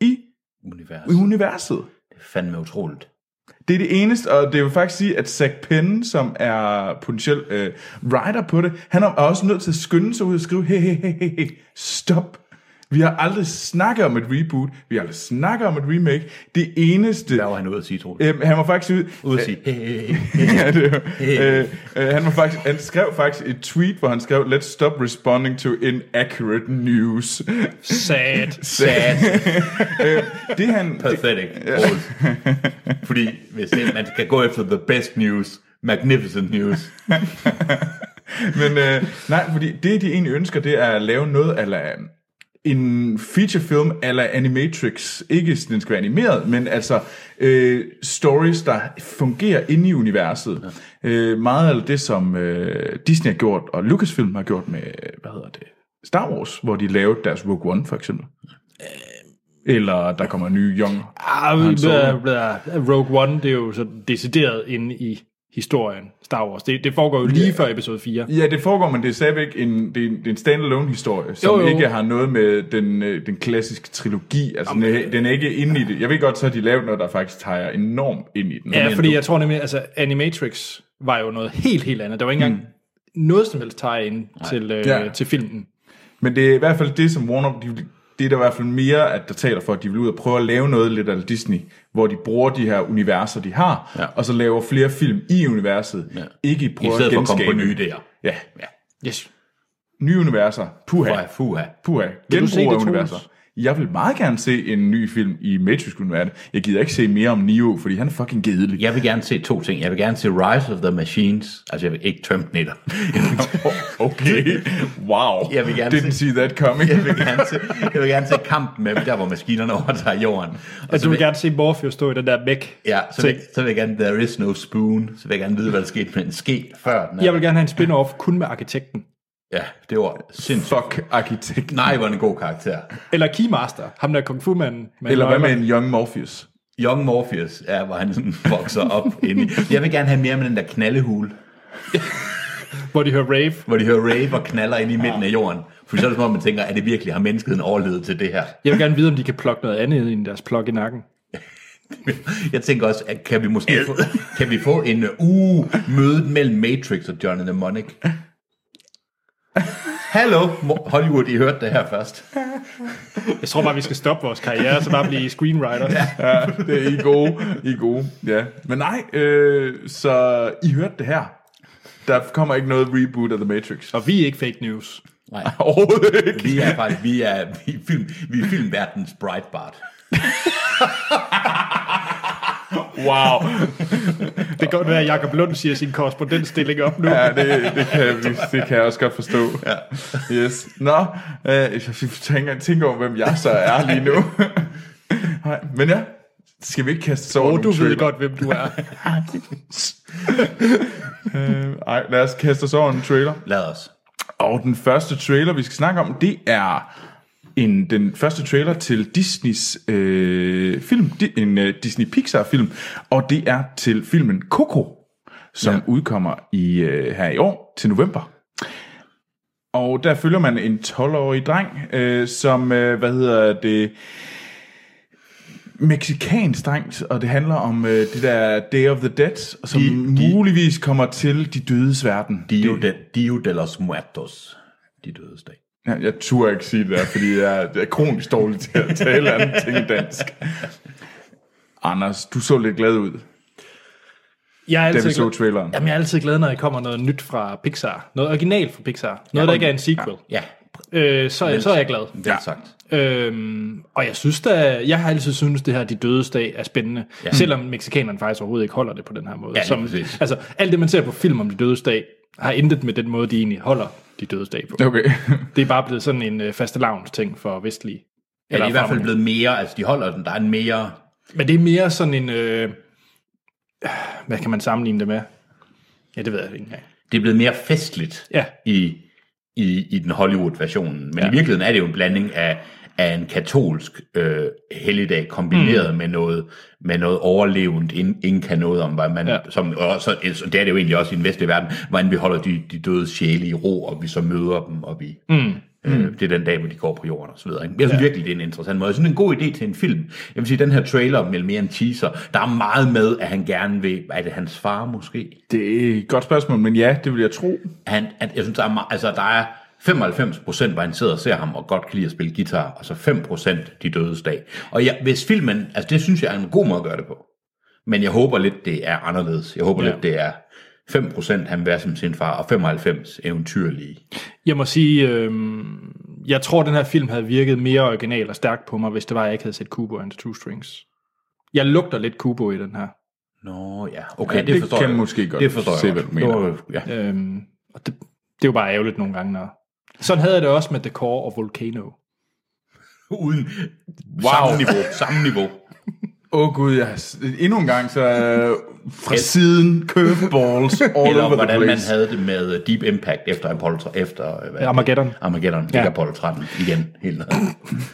B: i
C: universet.
B: universet.
C: Det er fandme utroligt.
B: Det er det eneste, og det vil faktisk sige, at Zack Penn, som er potentiel øh, writer på det, han er også nødt til at skynde sig ud og skrive, hey, hey, hey, hey, hey, stop. Vi har aldrig snakket om et reboot. Vi har aldrig snakket om et remake. Det eneste...
C: Der var han ude at sige, Troels.
B: Øhm, øh, han var faktisk ude,
C: Ude at sige, hey, hey, hey, hey.
B: ja, det er, øh, øh, han, var faktisk, han skrev faktisk et tweet, hvor han skrev, let's stop responding to inaccurate news.
A: Sad.
C: sad,
B: øh, Det han... Det,
C: pathetic, Troels. Fordi hvis det, man skal gå efter the best news, magnificent news,
B: men øh, nej, fordi det, de egentlig ønsker, det er at lave noget af en featurefilm eller Animatrix. Ikke, sådan, den skal være animeret, men altså øh, stories, der fungerer inde i universet. Øh, meget af det, som øh, Disney har gjort, og Lucasfilm har gjort med, hvad hedder det, Star Wars, hvor de lavede deres Rogue One, for eksempel. Eller der kommer en ny Young
A: Ah,
B: Solo.
A: bla, bla. Rogue One, det er jo så decideret inde i historien. Star Wars. Det, det foregår jo lige før episode 4.
B: Ja, det foregår, men det er stadigvæk en, det er en, det er en standalone historie, som
A: Jo,
B: jo,
A: jo.
B: jo. ikke har noget med den, øh, den klassiske trilogi. Altså, den
C: øh,
B: er, den er ikke inde i det. Jeg ved godt, så har de lavet noget, der faktisk tager enormt ind i den.
A: Ja, fordi jeg tror nemlig, altså Animatrix var jo noget helt, helt andet. Der var ikke engang mm. noget som helst tegn til, øh, ja.
B: Ja.
A: til filmen.
B: Men det er i hvert fald det, som Warner... De, vil- det er der i hvert fald mere, at der taler for, at de vil ud og prøve at lave noget lidt af Disney, hvor de bruger de her universer, de har,
C: Ja.
B: ja. og så laver flere film i universet. Ja. Ikke
C: i
B: prøver
C: stedet
B: at
C: for at komme
B: genskabe.
C: på nye idéer.
B: Ja,
A: Yes.
B: nye universer. Puha.
C: Fuha, fuha.
B: Puha.
A: du se det,
B: Genbrug af
A: Troels?
B: universer. Jeg vil meget gerne se en ny film i Matrix-universet. Jeg gider ikke se mere om Neo, fordi han er fucking kedelig.
C: Jeg vil gerne se to ting. Jeg vil gerne se Rise of the Machines. Altså, jeg vil ikke Terminator. Jeg vil,
B: Okay, wow.
C: Jeg vil gerne
B: Didn't see that coming.
C: jeg vil, gerne, se, jeg vil gerne se kampen med dem, der, hvor maskinerne overtager jorden. Og
A: Altså,
C: så
A: du vil
C: vil,
A: gerne se Morpheus stå i den der mæk.
C: ja, så vil, så vil jeg gerne, there is no spoon. Så vil jeg gerne vide, hvad der skete med en ske før. Den er-
A: Jeg vil gerne have en spin-off kun med arkitekten.
C: Ja, det var sindssygt.
B: Fuck arkitekt.
C: Nej, hvor er den en god karakter.
A: Eller Keymaster, ham der kung fu-manden. med
B: Eller hvad med
A: nøgler.
B: en Young Morpheus?
C: Young Morpheus, ja, hvor han sådan vokser op inde i. Jeg vil gerne have mere med den der knaldehule,
A: Hvor de hører rave.
C: hvor de hører rave og knaller ind i midten af jorden. For så er det som om, man tænker, er det virkelig, har menneskeheden overlevet til det her?
A: Jeg vil gerne vide, om de kan plukke noget andet end deres plug i nakken.
C: Jeg tænker også, at kan vi måske få, kan vi få en uge uh, mødet mellem Matrix og John Mnemonic? Hallo, Mo- Hollywood, I hørte det her først.
A: Jeg tror bare, vi skal stoppe vores karriere, og så bare blive screenwriter. Ja.
B: Ja, det er I er gode. I er gode, ja. Men nej, øh, så I hørte det her. Der kommer ikke noget reboot af The Matrix.
A: Og vi er ikke fake news.
C: Nej,
B: Overhovedet ikke.
C: vi er faktisk, vi er, vi er, film, vi er filmverdens Breitbart.
B: Wow.
A: Det kan godt være, at Jacob Lund siger sin korrespondentstilling op nu.
B: Ja, det, det, kan, vi, det kan jeg også godt forstå. Ja. Yes. Nå, øh, jeg tænker, tænker over, hvem jeg så er lige nu. Nej, men ja. Skal vi ikke kaste så
A: Og du ved godt, hvem du er.
B: Øh, ej, lad os kaste os over en trailer.
C: Lad os.
B: Og den første trailer, vi skal snakke om, det er en, den første trailer til Disneys øh, film, di, en øh, Disney Pixar film, og det er til filmen Coco, som ja. udkommer i øh, her i år til november. Og der følger man en 12-årig dreng, øh, som, øh, hvad hedder det, mexikansk drengt, og det handler om øh, det der Day of the Dead, som de,
C: de-
B: muligvis kommer til de dødes verden.
C: Dio de, Dio de los Muertos. De dødes dag.
B: Ja, jeg turde ikke sige det der, fordi jeg er, jeg er kronisk dårlig til at tale andre ting end dansk. Anders, du så lidt glad ud,
A: Jeg er
B: da vi
A: altid,
B: så
A: glad,
B: traileren.
A: jamen, jeg er altid glad, når jeg kommer noget nyt fra Pixar. Noget original fra Pixar. Noget, der ikke er en sequel.
C: Ja,
A: Øh, så, så er jeg glad.
C: vel ja. sagt.
A: Øhm, og jeg synes da, jeg har altid synes det her De Dødes Dag er spændende, ja. selvom mexikanerne faktisk overhovedet ikke holder det på den her måde.
C: lige præcis.
A: altså, alt det man ser på film om De Dødes Dag, har intet med den måde, de egentlig holder De Dødes Dag på.
B: Okay.
A: Det er bare blevet sådan en øh, faste ting for vestlige.
C: Ja, det er i hvert fald
A: for-
C: blevet mere, altså de holder den, der er en mere...
A: Men det er mere sådan en, øh, hvad kan man sammenligne det med? Ja, det ved jeg ikke engang.
C: Det er blevet mere festligt
A: Ja.
C: i, i, i den Hollywood-versionen. Men ja. i virkeligheden er det jo en blanding af, af en katolsk øh, helligdag kombineret mm. med noget med noget overlevende, in, ingen kan noget om, hvad man,
A: Ja.
C: ja. som, og så, så det er det jo egentlig også i den vestlige verden, hvordan vi holder de, de døde sjæle i ro, og vi så møder dem, og vi... Mm. Øh, det er den dag, hvor de går på jorden og så videre. Ikke? Jeg synes ja. virkelig, det er en interessant måde. Jeg synes, det er en god idé til en film. Jeg vil sige, den her trailer med mere en teaser, der er meget med, at han gerne vil... Er det hans far måske?
B: Det er et godt spørgsmål, men ja, det vil jeg tro.
C: han, at jeg synes, der er, meget- altså, der er 95% hvor han sidder og ser ham og godt kan lide at spille guitar, og så 5% de dødes dag. Og jeg, hvis filmen, altså det synes jeg er en god måde at gøre det på. Men jeg håber lidt, det er anderledes. Jeg håber ja. lidt, det er 5% han vil være som sin far, og 95 eventyrlige.
A: Jeg må sige, øh, jeg tror, den her film havde virket mere original og stærk på mig, hvis det var, jeg ikke havde set Kubo and the Two Strings. Jeg lugter lidt Kubo i den her.
C: Nå ja, okay, ja, det,
B: det
C: forstår
B: kan
C: jeg.
B: måske godt
C: det forstår
B: se,
C: jeg
B: hvad
C: godt.
B: du mener.
C: Nå, Ja.
A: Øhm, og det, det er jo bare ærgerligt nogle gange. Når... Sådan havde jeg det også med The Core og Volcano.
C: Uden samme niveau, samme niveau.
B: Åh oh, gud, jeg, har s- endnu en gang, så øh, fra siden, curveballs all
C: Eller
B: over the
C: hvordan man
B: place.
C: havde det med øh, Deep Impact efter Apollo, efter øh, hvad er det?
A: Armageddon.
C: Armageddon, ja.
A: Ja.
C: ikke Apollo 13 igen, helt ned.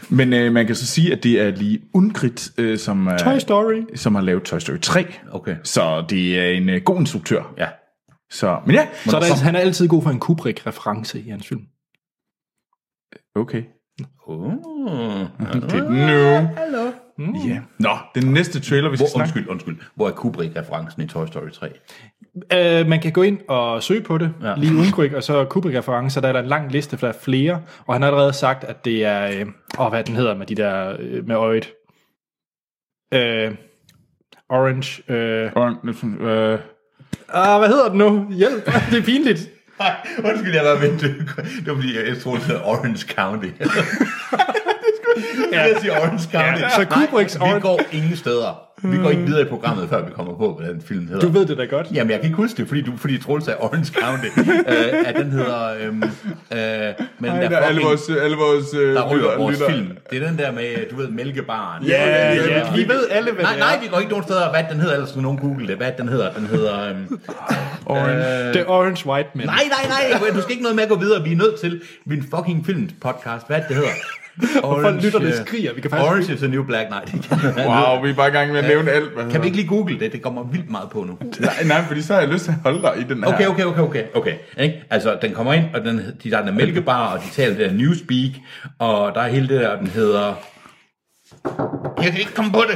B: Men øh, man kan så sige, at det er lige Unkrit, øh, som, øh,
A: Toy Story.
B: som har lavet Toy Story 3.
C: Okay.
B: Så det er en øh, god instruktør.
C: Ja.
B: Så, men ja,
A: Så er der, han er altid god for en Kubrick-reference i hans film.
B: okay.
C: Uh,
B: Det er
A: Ah,
B: nu. Hallo.
A: Hmm.
B: Ja. Nå, den næste trailer, vi skal
C: hvor,
B: snakke
C: undskyld, undskyld. Hvor er Kubrick-referencen i Toy Story 3?
A: Øh, man kan gå ind og søge på det, ja.
C: Ja.
A: lige uden Kubrick, og så Kubrick-referencer, der er der en lang liste, for der er flere, og han har allerede sagt, at det er, øh, åh, hvad den hedder med de der, øh, med øjet, øh, Orange, øh,
B: Or, øh,
A: ah, hvad hedder den nu? Hjælp, det er pinligt.
C: Nej, undskyld, jeg var ved. Det var fordi, jeg troede, det hedder Orange County. ja. Jeg siger Orange County.
A: Ja, så Kubricks
C: Nej, vi
A: Orange-
C: går ingen steder. Vi går ikke videre i programmet, før vi kommer på, hvad den film hedder.
A: Du ved det da godt.
C: Jamen, jeg kan ikke huske det, fordi, du, fordi Troels sagde Orange County. øh, at den hedder... Øhm, øh, men Ej,
B: Der er alle vores, alle vores, øh,
C: der ryger
B: lytter-
C: vores
B: lytter.
C: film. Det er den der med, du ved, mælkebaren. Øh,
A: Ja, ja,
B: Vi ved alle, hvad
C: Nej,
B: det er.
C: nej, vi går ikke nogen steder. Hvad den hedder, ellers skal nogen google det. Hvad den hedder, den hedder... Øhm,
A: Orange. The Orange White Man.
C: Nej, nej, nej, du skal ikke noget med at gå videre. Vi er nødt til min fucking filmpodcast. Hvad er det, det hedder?
A: Folk lytter det
C: øh,
A: skriger. Vi kan faktisk...
C: Orange is the new black, nej. det kan-
B: Wow, vi er bare i gang med at nævne alt, hvad
C: Kan vi ikke lige google det? Det kommer vildt meget på nu.
B: Nej, nej, fordi så har jeg lyst til at holde dig i den her.
C: Okay, okay, okay, okay. okay. Ikke? Altså, den kommer ind, og den, de der, den er mælkebar, og de taler det der newspeak, og der er hele det der, den hedder... Jeg kan ikke komme på det.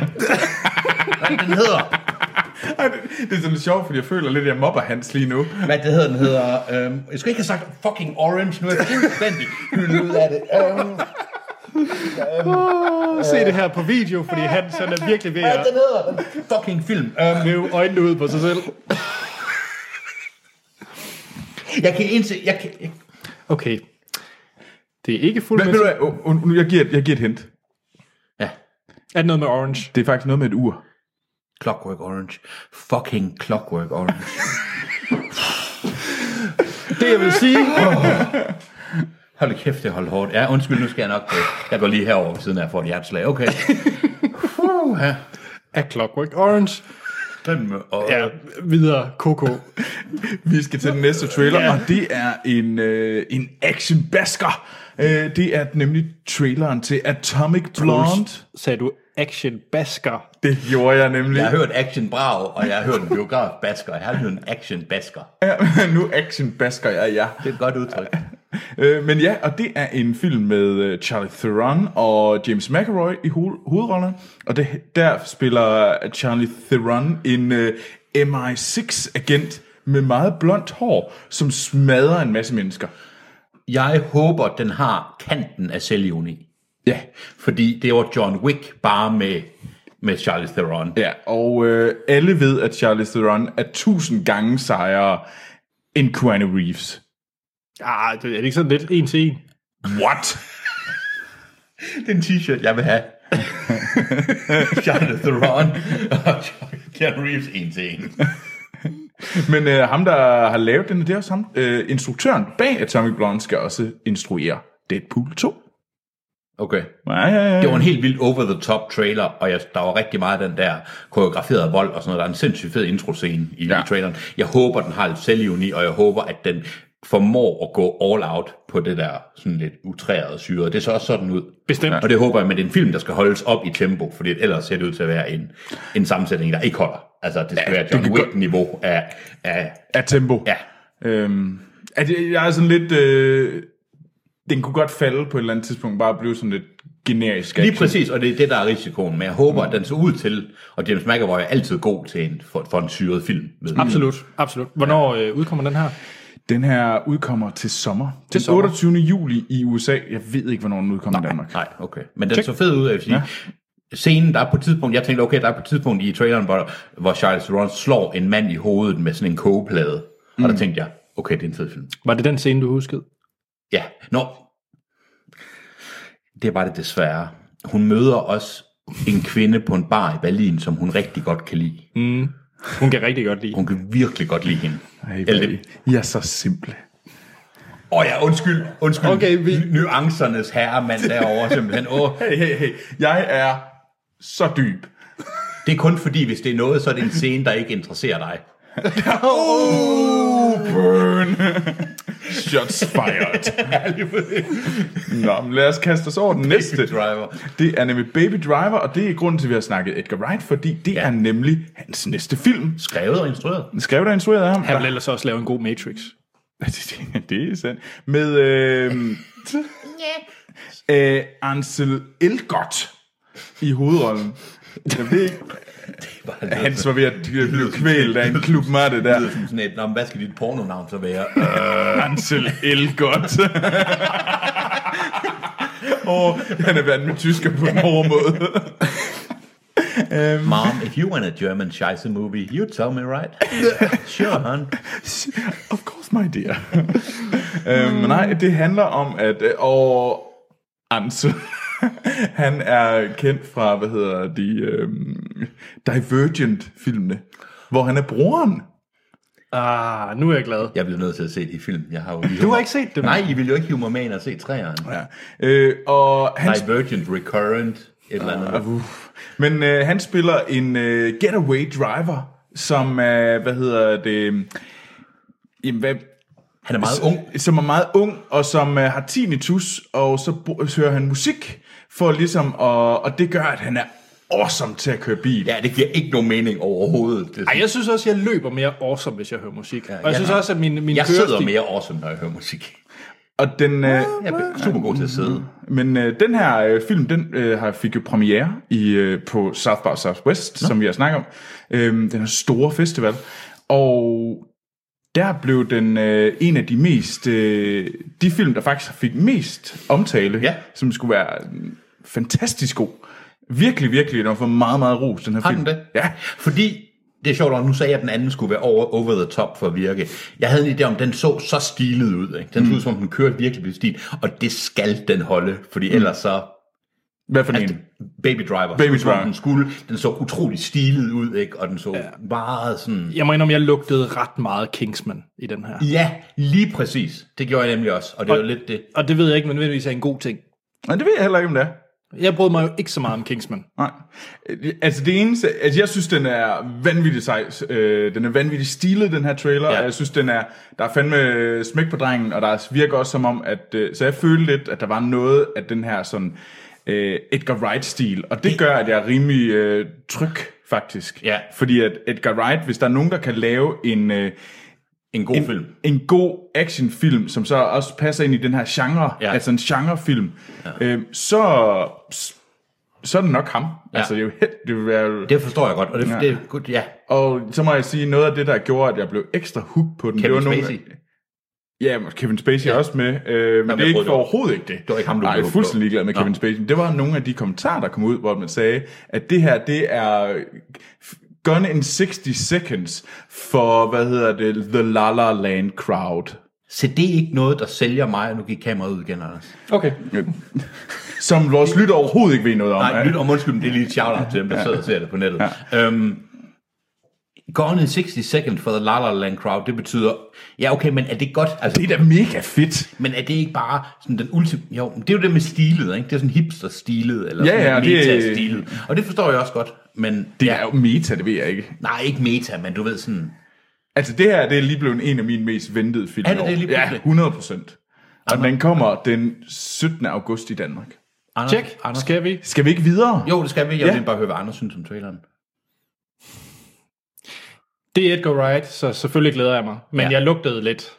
C: Hvad den hedder?
B: Ej, det- Det er sådan lidt sjovt, fordi jeg føler lidt, at jeg mobber Hans lige nu.
C: Hvad det hedder, den hedder... Øhm, jeg skulle ikke have sagt fucking orange, nu er jeg fuldstændig hyldet ud af det. Øhm,
A: Åh, se det her på video, fordi han, han er virkelig ved
C: hvad
A: at
C: den hedder, den fucking film. Øhm,
A: rive øjnene ud på sig selv.
C: jeg kan indse... Jeg kan, jeg,
A: Okay. Det er ikke
B: Men ved du
A: fuldmæssigt.
B: hvad, oh, oh, nu- jeg giver, et- jeg giver et hint.
C: ja.
A: Er det noget med orange?
B: Det er faktisk noget med et ur.
C: Clockwork Orange. Fucking Clockwork Orange.
A: Det jeg vil sige...
C: Hold da kæft, det holdt hårdt. Ja, undskyld, nu skal jeg nok... Jeg går lige herover ved siden af, jeg får et hjerteslag. Okay. Uh, ja.
A: Er Clockwork Orange.
C: Den med, og,
A: Ja, videre Coco.
B: Vi skal til den næste trailer, og det er en, øh, en action-basker. Øh, det er nemlig traileren til Atomic Blonde.
A: Sagde du action basker.
B: Det gjorde jeg nemlig.
C: Jeg har hørt Action Brav, og jeg har hørt en biograf Basker. Jeg har aldrig hørt en Action Basker.
B: Ja, men nu action-basker jeg, ja.
C: Det er et godt udtryk.
B: Øh, men ja, og det er en film med øh, Charlie Theron og James McAvoy i ho- hovedrollerne. Og det, der spiller Charlie Theron en øh, MI6-agent med meget blondt hår, som smadrer en masse mennesker.
C: Jeg håber, den har kanten af selvironi.
B: Ja,
C: Fordi det var John Wick bare med, med Charlie Theron.
B: ja og øh, alle ved, at Charlie Theron er tusind gange sejere end Keanu Reeves.
A: Ah, det er det ikke sådan lidt en til en.
B: What?
C: Det er en t-shirt, jeg vil have. Charlie Theron og Keanu Reeves en til en.
B: Men øh, ham, der har lavet den, det er også ham. Øh, instruktøren bag Atomic Blonde skal også instruere Deadpool 2.
C: Okay.
B: Ja, ja, ja.
C: Det var en helt vildt over-the-top trailer, og jeg, der var rigtig meget af den der koreograferede vold og sådan noget. Der er en sindssygt fed introscene i, ja.
B: Ja.
C: i traileren. Jeg håber, den har lidt selvivni, og jeg håber, at den formår at gå all out på det der sådan lidt utrærede syre. Det ser også sådan ud.
A: Bestemt.
C: Og det håber jeg, men det er en film, der skal holdes op i tempo, fordi ellers ser det ud til at være en, en sammensætning, der ikke holder. Altså, det skal ja, være
B: det
C: John
B: kan
C: Wick-niveau af, af...
B: Af tempo.
C: Ja.
B: Øhm, at jeg, jeg er sådan lidt... Øh, den kunne godt falde på et eller andet tidspunkt, bare blive sådan lidt generisk.
C: Lige præcis, og det er det, der er risikoen. Men jeg
B: Mm.
C: håber, at den ser ud til, og James McAvoy er altid god til en, for, for en syret film. Ved jeg.
A: Absolut, absolut. Hvornår øh, udkommer den her?
B: Den her udkommer til sommer. Til den
A: sommer.
B: 28. juli i USA. Jeg ved ikke, hvornår den udkommer i Danmark.
C: Nej, okay. Men den så fed ud, jeg vil sige. Ja. Scenen, der er på et tidspunkt, jeg tænkte, okay, der er på et tidspunkt i traileren, hvor, hvor Charles Theron slår en mand i hovedet med sådan en kogeplade. Mm. Og der tænkte jeg, okay, det er en fed film.
A: Var det den scene, du huskede?
C: Ja, nå. Det var det desværre. Hun møder også en kvinde på en bar i Berlin, som hun rigtig godt kan lide. Mm.
A: Hun kan rigtig godt lide.
C: Hun kan virkelig godt lide hende.
B: Ej,
C: Eller
B: hvor
C: det-
B: I- I er så simple.
C: Åh oh, ja, undskyld, undskyld.
A: Okay, vi-
C: Ny- Nuancernes herremand derovre simpelthen. Åh,
B: Hey, hey, hey. Jeg er så dyb.
C: det er kun fordi, hvis det er noget, så er det en scene, der ikke interesserer dig.
B: Burn. Shots fired. Nå, men lad os kaste os over den næste.
C: Driver.
B: Det er nemlig Baby Driver, og det er grunden til, at vi har snakket Edgar Wright, fordi det er nemlig hans næste film.
C: Skrevet og instrueret.
B: Skrevet og instrueret af ham.
A: Han vil ellers også lave en god Matrix.
B: det, det er sandt. Med øh, øh, Ansel Elgort i hovedrollen. Jeg ved ikke, Hans var ved at blive kvælt af en klubmatte der.
C: lyder som sådan et, "Nå, men hvad skal dit pornonavn så være? Øh,
B: Ansel Elgort. og han er vandt med tysker på en hård måde.
C: Mom, if you want a German scheisse movie, you tell me right. sure, hon.
B: Of course, my dear. øhm, nej, det handler om, at... Øh, og Ansel... Han er kendt fra, hvad hedder de, øhm, Divergent-filmene, hvor han er broren.
A: Ah, nu er jeg glad.
C: Jeg bliver nødt til at se de film. Jeg har jo
A: Du har ikke set dem?
C: Nej, I vil jo ikke hive mig med ind og se træerne.
B: Ja. Øh, og han
C: Divergent, Recurrent, et eller andet.
B: Uh, Men øh, han spiller en øh, getaway driver, som er, hvad hedder det, øhm, jamen, hvad,
C: Han er meget ung.
B: som er meget ung, og som øh, har tinnitus, og så, bo- så hører han musik, for ligesom, og, og det gør, at han er awesome til at køre bil.
C: Ja, det giver ikke nogen mening overhovedet. Det er sådan,
A: Ej, jeg synes også, jeg løber mere awesome, hvis jeg hører musik. Ja, og jeg
C: jeg
A: synes
C: har-
A: også, at min, min
C: jeg sidder
A: kørestil-
C: mere awesome, når jeg hører musik.
B: Og den, øh,
C: Jeg er super god til at sidde.
B: men øh, den her øh, film, den øh, har- fik jo premiere i, øh, på South by Southwest, Nå. som vi har snakket om. Øh, den her store festival. Og der blev den øh, en af de mest, øh, de film, der faktisk fik mest omtale,
C: Ja.
B: som skulle være øh, fantastisk god. Virkelig, virkelig, den har fået meget, meget ros, den her
C: Har
B: film.
C: den det?
B: Ja.
C: Fordi, det er sjovt, og nu sagde jeg, at den anden skulle være over, over the top for at virke. Jeg havde en idé om, at den så så stilet ud. Ikke? Den så ud, som om den kørte virkelig på stil. Og det skal den holde, fordi ellers så...
B: Hvad for en?
C: Baby Driver.
B: Baby
C: som om
B: Driver.
C: Den, skulle, den så utrolig stilet ud, ikke? og den så ja. meget sådan...
A: Jeg må indrømme, jeg lugtede ret meget Kingsman i den her.
C: Ja, lige præcis. Det gjorde jeg nemlig også, og det var lidt det.
A: Og det ved jeg ikke, men nødvendigvis er en god ting.
B: Men det ved jeg heller ikke, om det er.
A: Jeg brød mig jo ikke så meget om Kingsman.
B: Nej. Øh, Altså det eneste, altså jeg synes den er vanvittig sej, øh, den er vanvittig stilet den her trailer, ja.
C: Ja.
B: og jeg synes den er, der er fandme øh, smæk på drengen, og der virker også som om, at, øh, så jeg følte lidt, at der var noget af den her sådan øh, Edgar Wright-stil, og det gør, at jeg er rimelig øh, tryg faktisk.
C: Ja.
B: Fordi at Edgar Wright, hvis der er nogen, der kan lave en... Øh,
C: En god film.
B: en god actionfilm, som så også passer ind i den her genre, ja.
C: Ja.
B: altså en genrefilm, ja. øhm, så, så er det nok ham. Ja. Altså, det er jo helt, det vil være, det...
C: Det forstår jeg godt, og det, ja. det er godt, ja.
B: Og så må jeg sige, noget af det, der gjorde, at jeg blev ekstra hooked på den,
C: Kevin
B: det var nogle-
C: Spacey.
B: Ja, men Kevin Spacey ja. også med, øh, men det er
C: jeg troede,
B: ikke for
C: det var-
B: overhovedet ikke det.
C: var ikke ham, du
B: Nej, jeg
C: blev
B: er
C: hooked på.
B: fuldstændig ligeglad med Kevin Spacey. Det var nogle af de kommentarer, der kom ud, hvor man sagde, at det her, det er gone in 60 seconds for, hvad hedder det, The La La Land crowd.
C: Så det er ikke noget, der sælger mig, og nu gik kameraet ud igen, Anders.
A: Okay.
B: Som vores lytter overhovedet ikke ved noget om.
C: Nej,
B: ja.
C: lyt om undskyld, men det er lige et shout-out til dem, der sidder og ser det på nettet. Ja. Øhm, Gone in 60 seconds for the La La Land crowd, det betyder, ja okay, men er det godt, altså,
B: Det er da mega fedt.
C: men er det ikke bare sådan den ultim... Jo, men det er jo det med stilet, ikke? Det er sådan hipster-stilet, eller
B: Ja,
C: sådan
B: ja, det-
C: meta-stilet. Og det forstår jeg også godt, men...
B: Det
C: ja,
B: er jo meta, det ved jeg ikke.
C: Nej, ikke meta, men du ved sådan...
B: Altså, det her det er lige blevet en af mine mest ventede film.
C: Er det
B: i år.
C: det lige
B: Ja,
C: pludselig?
B: 100 procent. Og den kommer den 17. august i Danmark.
C: Anders,
A: Tjek.
C: Anders.
A: Skal vi?
B: Skal vi ikke videre?
C: Jo, det skal vi. Jeg
B: Ja.
C: vil bare høre, hvad Anders synes om traileren.
A: Det er Edgar Wright, så selvfølgelig glæder jeg mig. Men ja.
C: Ja.
A: jeg lugtede lidt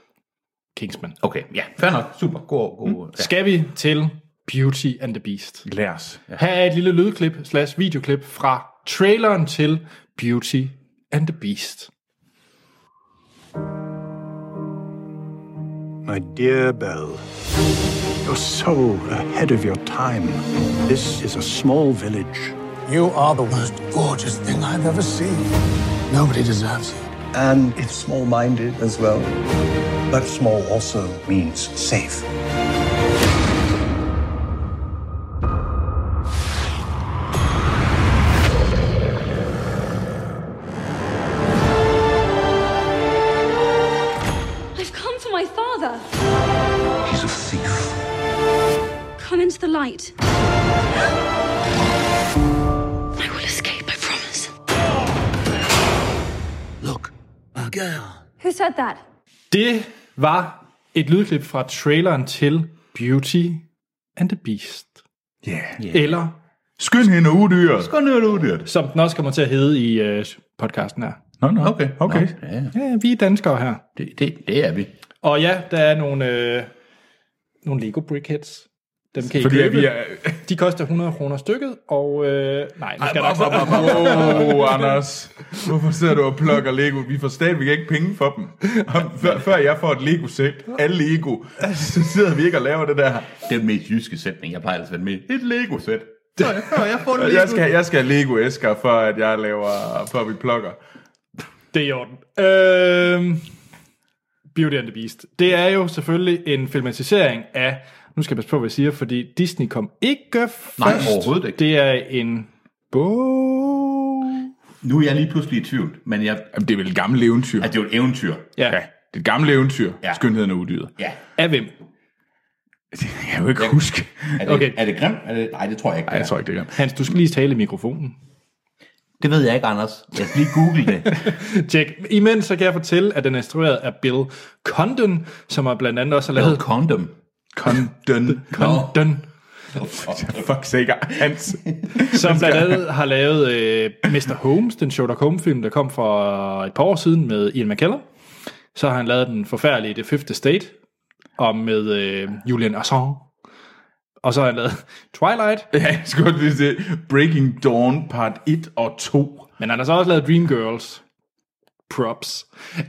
A: Kingsman.
C: Okay, ja, fair nok. Super, god, god. Mm. Ja.
A: Skal vi til Beauty and the Beast?
B: Lad os.
A: Her er et lille lydklip slash videoklip fra traileren til Beauty and the Beast.
D: My dear Belle, you're so ahead of your time. This is a small village,
E: You are the most gorgeous thing I've ever seen. Nobody deserves you.
F: and it's small minded as well. But small also means safe.
G: I've come for my father.
F: He's a thief.
G: Come into the light. I will escape, I promise.
E: Look, a girl.
G: Who said that?
A: Det var et lydklip fra traileren til Beauty and the Beast.
B: Ja. Yeah.
A: Eller,
B: Skynd hende og udyret.
C: Skal nu er det udyrt.
A: som den også kommer til at hedde i øh, podcasten her.
B: Nå, nå.
C: Okay.
B: Okay.
C: Nå, ja, ja.
A: Ja, vi er danskere her.
C: det, det, det er vi.
A: Og ja, der er nogle, øh, nogle Lego Brickheads. Dem kan I
B: Fordi at
A: købe.
B: vi er...
A: De koster 100 kroner stykket, og... Øh, nej, nu skal jeg nok stoppe.
B: Wow, Anders. Hvorfor sidder du og plukker Lego? Vi får stadigvæk ikke penge for dem. Og før, før jeg får et Lego-sæt af Lego, så sidder vi ikke og laver det der.
C: Det er den mest jyske sætning, jeg plejer altid at være med. i. Et Lego-sæt. Så jeg, så jeg får en Lego.
B: Jeg skal, jeg skal have Lego-æsker, for at jeg laver, for at vi plukker.
A: Det er i orden. Øhm, Øh, Beauty and the Beast. Det er jo selvfølgelig en filmatisering af Nu skal jeg passe på, hvad jeg siger, fordi Disney kom ikke først.
C: Nej, overhovedet ikke.
A: Det er en bog.
C: Nu er jeg lige pludselig i tvivl, men jeg,
B: Jamen, det er vel et gammelt eventyr.
C: altså, det er jo et eventyr.
A: Ja.
B: ja. Det er et gammelt eventyr,
C: Ja.
B: ja. Skønheden og udyret.
C: Ja.
A: Af hvem?
B: Det kan jeg jo ikke huske.
C: Er det,
A: Okay.
C: okay. er det grim? Er det, nej, det tror jeg ikke.
B: Nej, jeg tror ikke, det er gammelt.
A: Hans, du skal lige tale i mikrofonen.
C: Det ved jeg ikke, Anders. Jeg skal lige google det.
A: Tjek. Imens så kan jeg fortælle, at den er instrueret af Bill Condon, som har blandt andet også har
C: Hvad
A: lavet
C: Condom?
B: Condon.
A: Condon,
B: Fuck sikker. Hans.
A: som blandt andet har lavet øh, Mr. Holmes, den Sherlock Holmes-film, der kom for et par år siden med Ian McKellen. Så har han lavet den forfærdelige The Fifth Estate, og med øh, Julian Assange. Og så har han lavet Twilight,
B: Ja, jeg skulle godt lige se Breaking Dawn part 1 og 2.
A: men han har så også lavet Dreamgirls. Props.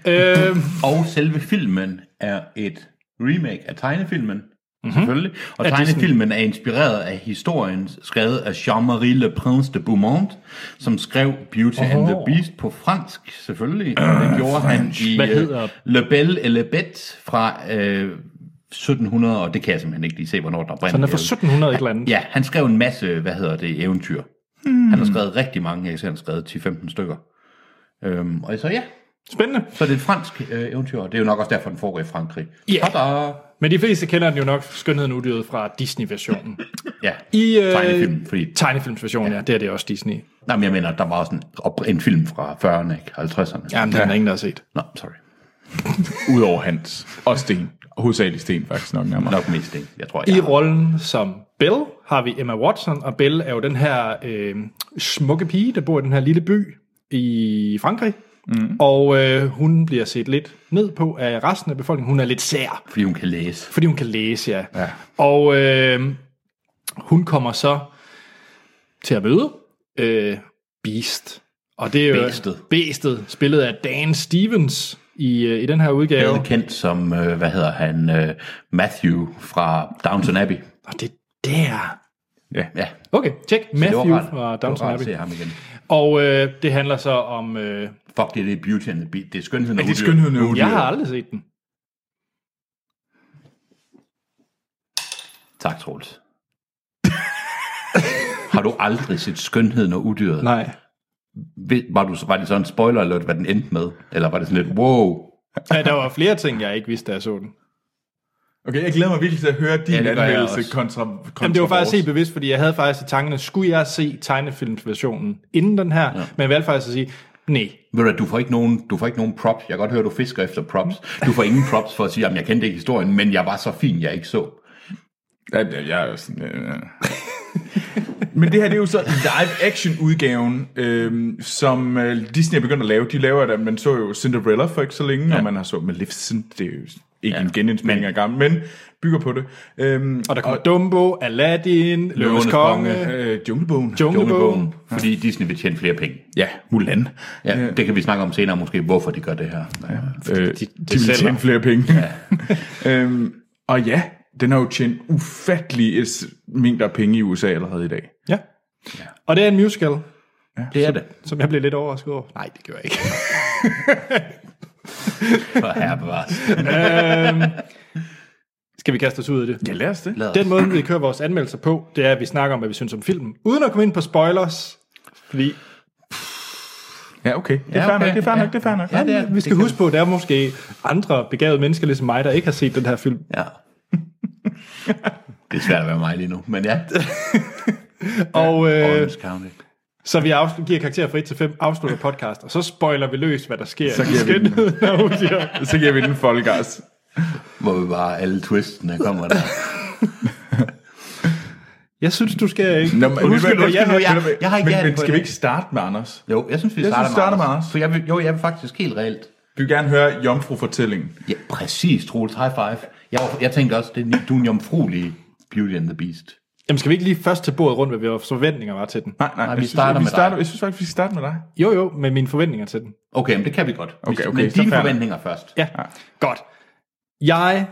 A: Øh,
C: Og selve filmen er et remake af tegnefilmen.
A: Mhm.
C: Mm-hmm. Selvfølgelig. Og tegnefilmen er inspireret af historien skrevet af Jean-Marie Le Prince de Beaumont, som skrev Beauty oh. and the Beast på fransk, selvfølgelig. Uh, det gjorde han i
A: Ah, Hvad
C: øh,
A: hedder-
C: Le Belle et Le Bête fra øh, 1700, og det kan jeg simpelthen ikke lige se, hvornår der brænder.
A: så den er fra 1700 et eller andet.
C: Ja, han skrev en masse, hvad hedder det, eventyr. Hmm. Han har skrevet rigtig mange, jeg ser, han har skrevet 10-15 stykker. Øhm, og så ja,
A: Spændende.
C: så det er et fransk øh, eventyr, og det er jo nok også derfor, den foregår i Frankrig.
A: Ja.
C: Yeah.
A: Men de fleste kender den jo nok, Skønheden og Udyret, fra Disney-versionen.
C: Ja,
A: I, øh,
C: tegnefilm, fordi...
A: Tegnefilmsversionen, ja. ja, det er det også Disney.
C: Nej, men jeg mener, der var også en, op- en film fra 40'erne, ikke? 50'erne.
A: Jamen, det er der ingen, der har set.
C: Nå, sorry.
B: Udover Hans. Og Sten. Hovedsageligt Sten, faktisk nok nærmere.
C: Nok mest det, jeg tror, jeg
A: I
C: har.
A: rollen som Belle har vi Emma Watson, og Belle er jo den her øh, smukke pige, der bor i den her lille by i Frankrig. Mm. Og øh, hun bliver set lidt ned på af resten af befolkningen. Hun er lidt sær,
C: fordi hun kan læse.
A: fordi hun kan læse, ja. ja. Og øh, hun kommer så til at møde øh, Beast. Og det er jo
C: Beastet.
A: Beastet, spillet af Dan Stevens i, øh, i den her udgave.
C: Han er kendt som, øh, hvad hedder han, øh, Matthew fra Downton Abbey.
A: Og det er der.
C: Ja,
A: Okay, tjek.
C: det var
A: Matthew
C: rart.
A: fra
C: det
A: Downton
C: var rart at
A: Abbey.
C: se ham igen.
A: Og øh, det handler så om... Øh,
C: Fuck, det er det Beauty and the Beast. Det er skønheden
B: Er det skønheden og
A: jeg
B: udyret?
A: har aldrig set den.
C: Tak, Troels. har du aldrig set skønheden og udyret?
A: Nej.
C: Ved- Var, du, var det så en spoiler alert, hvad den endte med? Eller var det sådan lidt, wow?
A: Ja, der var flere ting, jeg ikke vidste, da jeg så den.
B: Okay, jeg glæder mig virkelig til at høre din
C: Ja, det gør jeg
B: anmeldelse
C: også.
B: kontra, kontra
A: Jamen, det var faktisk
B: vores.
A: helt bevidst, fordi jeg havde faktisk i tankerne, skulle jeg se tegnefilmsversionen inden den her? Ja. Men jeg valgte faktisk at sige, nej.
C: Ved du, hvad, du får ikke nogen, du får ikke nogen props. Jeg kan godt høre, du fisker efter props. Du får ingen props for at sige, at jeg kendte ikke historien, men jeg var så fin, jeg ikke så.
B: Ja, det- jeg er jo sådan... Øh. Men det her, det er jo så live-action-udgaven, øh, som øh, Disney er begyndt at lave. De laver det, man så jo Cinderella for ikke så længe, ja. og man har så Maleficent, det er jo ikke ja. en genindspilning af gammel, men bygger på det. Øhm,
A: Og der kom og Dumbo, Aladdin, Løvenes Konge,
C: Konge,
A: Konge
B: øh, Junglebogen.
A: Junglebogen.
C: Junglebogen, fordi Disney vil tjene flere penge.
B: Ja, Mulan.
C: Ja, det kan vi snakke om senere måske, hvorfor de gør det her. Ja.
B: Øh, de, de vil
A: sælger.
B: tjene flere penge. Ja. øhm, og ja, den har jo tjent ufattelige s- mængder penge i USA allerede i dag.
A: Ja. Og det er en musical,
C: Det er det.
A: som jeg blev lidt overrasket over. Nej, det gjorde jeg ikke.
C: For herre bevares.
A: Skal vi kaste os ud af det?
B: Ja, lad os det.
A: Den måde, vi kører vores anmeldelser på, det er, at vi snakker om, hvad vi synes om filmen, uden at komme ind på spoilers. Fordi
B: Ja, okay. Det er
C: Ja,
B: fair
C: okay.
B: nok, det er fair
C: Ja.
B: nok, det er fair nok.
C: Ja, det er,
A: vi skal
C: det kan-
A: huske på, at der er måske andre begavede mennesker, ligesom mig, der ikke har set den her film.
C: Ja. Det er svært at være mig lige nu, men ja.
A: Og øh,
C: Orange County.
A: så vi afslutter, giver karakter fra 1 til 5, afslutter podcast, og så spoiler vi løs, hvad der sker. Så
B: giver vi den.
A: den.
B: Så giver vi den folkegas.
C: Hvor vi bare alle twistene kommer der.
A: Jeg synes, du skal ikke.
B: Nå, men,
A: Husk,
B: men-
A: du, jeg,
B: men-
A: jeg,
C: jeg- jeg har ikke
B: men,
C: gæret
B: men
C: på
B: skal vi
C: det.
B: ikke starte med Anders?
C: Jo, jeg synes, vi
B: Jeg
C: starter,
B: synes, vi starter
C: med
B: med
C: Anders.
B: Anders.
C: For jeg vil, jo, jeg vil faktisk helt reelt
B: Vi vil gerne høre jomfru-fortællingen.
C: Ja, præcis, Troels. High five. Jeg, var, jeg tænkte også, det er, en- du er en jomfruelig Beauty and the Beast.
A: jamen, skal vi ikke lige først til bordet rundt, hvad vores forventninger var til den?
B: Nej,
C: Nej,
B: nej, jeg
C: vi
B: synes-
C: starter
B: vi
C: med dig.
B: starter, Jeg synes faktisk, vi skal starte med dig.
A: Jo, jo, med mine forventninger til den.
C: Okay, men det kan vi godt. Hvis-
B: Okay, okay,
C: men
B: så
C: dine
B: fair nok.
C: forventninger først.
A: Ja, godt. Jeg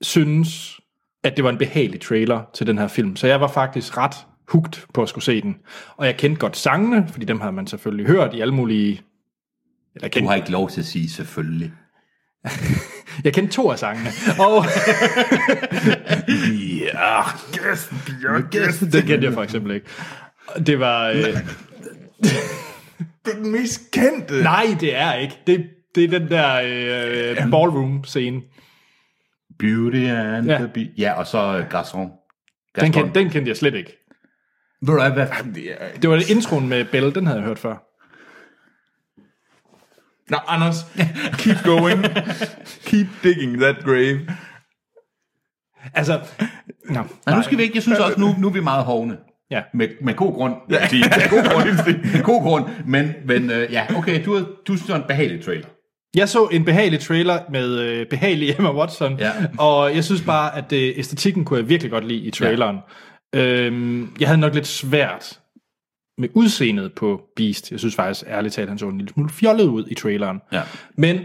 A: synes, at det var en behagelig trailer til den her film, så jeg var faktisk ret hugt på at skulle se den. Og jeg kendte godt sangene, fordi dem har man selvfølgelig hørt i alle mulige... Eller
C: Du
A: kendt.
C: har ikke lov til at sige selvfølgelig.
A: Jeg kendte to af sangene. Og
B: Ja, yes, yes.
A: det kendte jeg for eksempel ikke. Det var... Øh,
B: Det er den mest kendte.
A: nej, det er ikke. Det, det er den der øh, ballroom-scene.
C: Beauty and
A: Ja.
C: ja. the Beast. Ja, og så øh, Garçon.
A: Den,
C: Garçon.
A: kendte, den kendte jeg slet ikke.
C: Ved du hvad, hvad?
B: Det er-
A: Det var introen med Belle, den havde jeg hørt før.
B: Nå, Anders, keep going. keep digging that grave.
A: Altså, no,
C: Nej, nu skal vi ikke. Jeg synes også, nu, nu er vi meget hovne.
A: Ja.
C: Med, med god grund. vil jeg sige. Med god grund. med god grund. Men, men øh, ja, okay, du, har- du synes, det var en behagelig trailer.
A: Jeg så en behagelig trailer med øh, behagelig Emma Watson,
C: Ja.
A: og jeg synes bare, at øh, æstetikken kunne jeg virkelig godt lide i traileren. Ja. Øhm, jeg havde nok lidt svært med udseendet på Beast. Jeg synes faktisk, ærligt talt, han så en lille smule fjollet ud i traileren.
C: Ja.
A: Men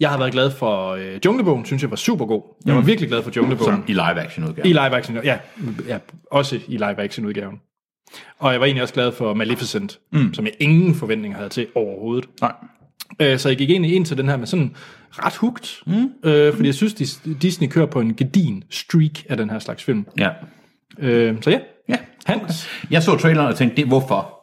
A: jeg har været glad for øh, Junglebogen, synes jeg var super god. Jeg
C: Mm.
A: var virkelig glad for Junglebogen.
C: I live action udgave.
A: I live action, ja, ja, også i live action udgaven. Og jeg var egentlig også glad for Maleficent, mm. som jeg ingen forventninger havde til overhovedet.
B: Nej.
A: Øh, så jeg gik egentlig ind til den her med sådan ret hugt, mm. øh, fordi jeg synes, Dis- Disney kører på en gedin streak af den her slags film.
C: Ja.
A: Øh, så ja,
C: ja.
A: Hans.
C: Jeg så traileren og tænkte, det, hvorfor?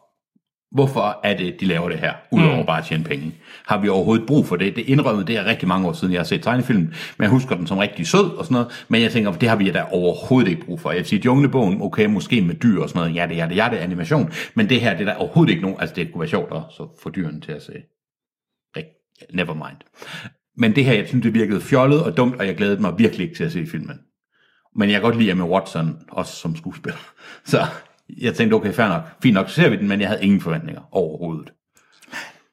C: Hvorfor er det, de laver det her, udover mm. bare at tjene penge? Har vi overhovedet brug for det? Det indrømmede det er rigtig mange år siden, jeg har set tegnefilmen, men jeg husker den som rigtig sød og sådan noget, men jeg tænker, det har vi da overhovedet ikke brug for. Jeg vil sige, Junglebogen, okay, måske med dyr og sådan noget, ja, det er det, ja, det er animation, men det her, det er der overhovedet ikke nogen, altså det kunne være sjovt at så få dyrene til at se. Rigt- Never mind. Men det her, jeg synes, det virkede fjollet og dumt, og jeg glædede mig virkelig ikke til at se filmen. Men jeg kan godt lide Emma Watson, også som skuespiller. Så jeg tænkte, okay, fair nok. Fint nok, så ser vi den, men jeg havde ingen forventninger overhovedet.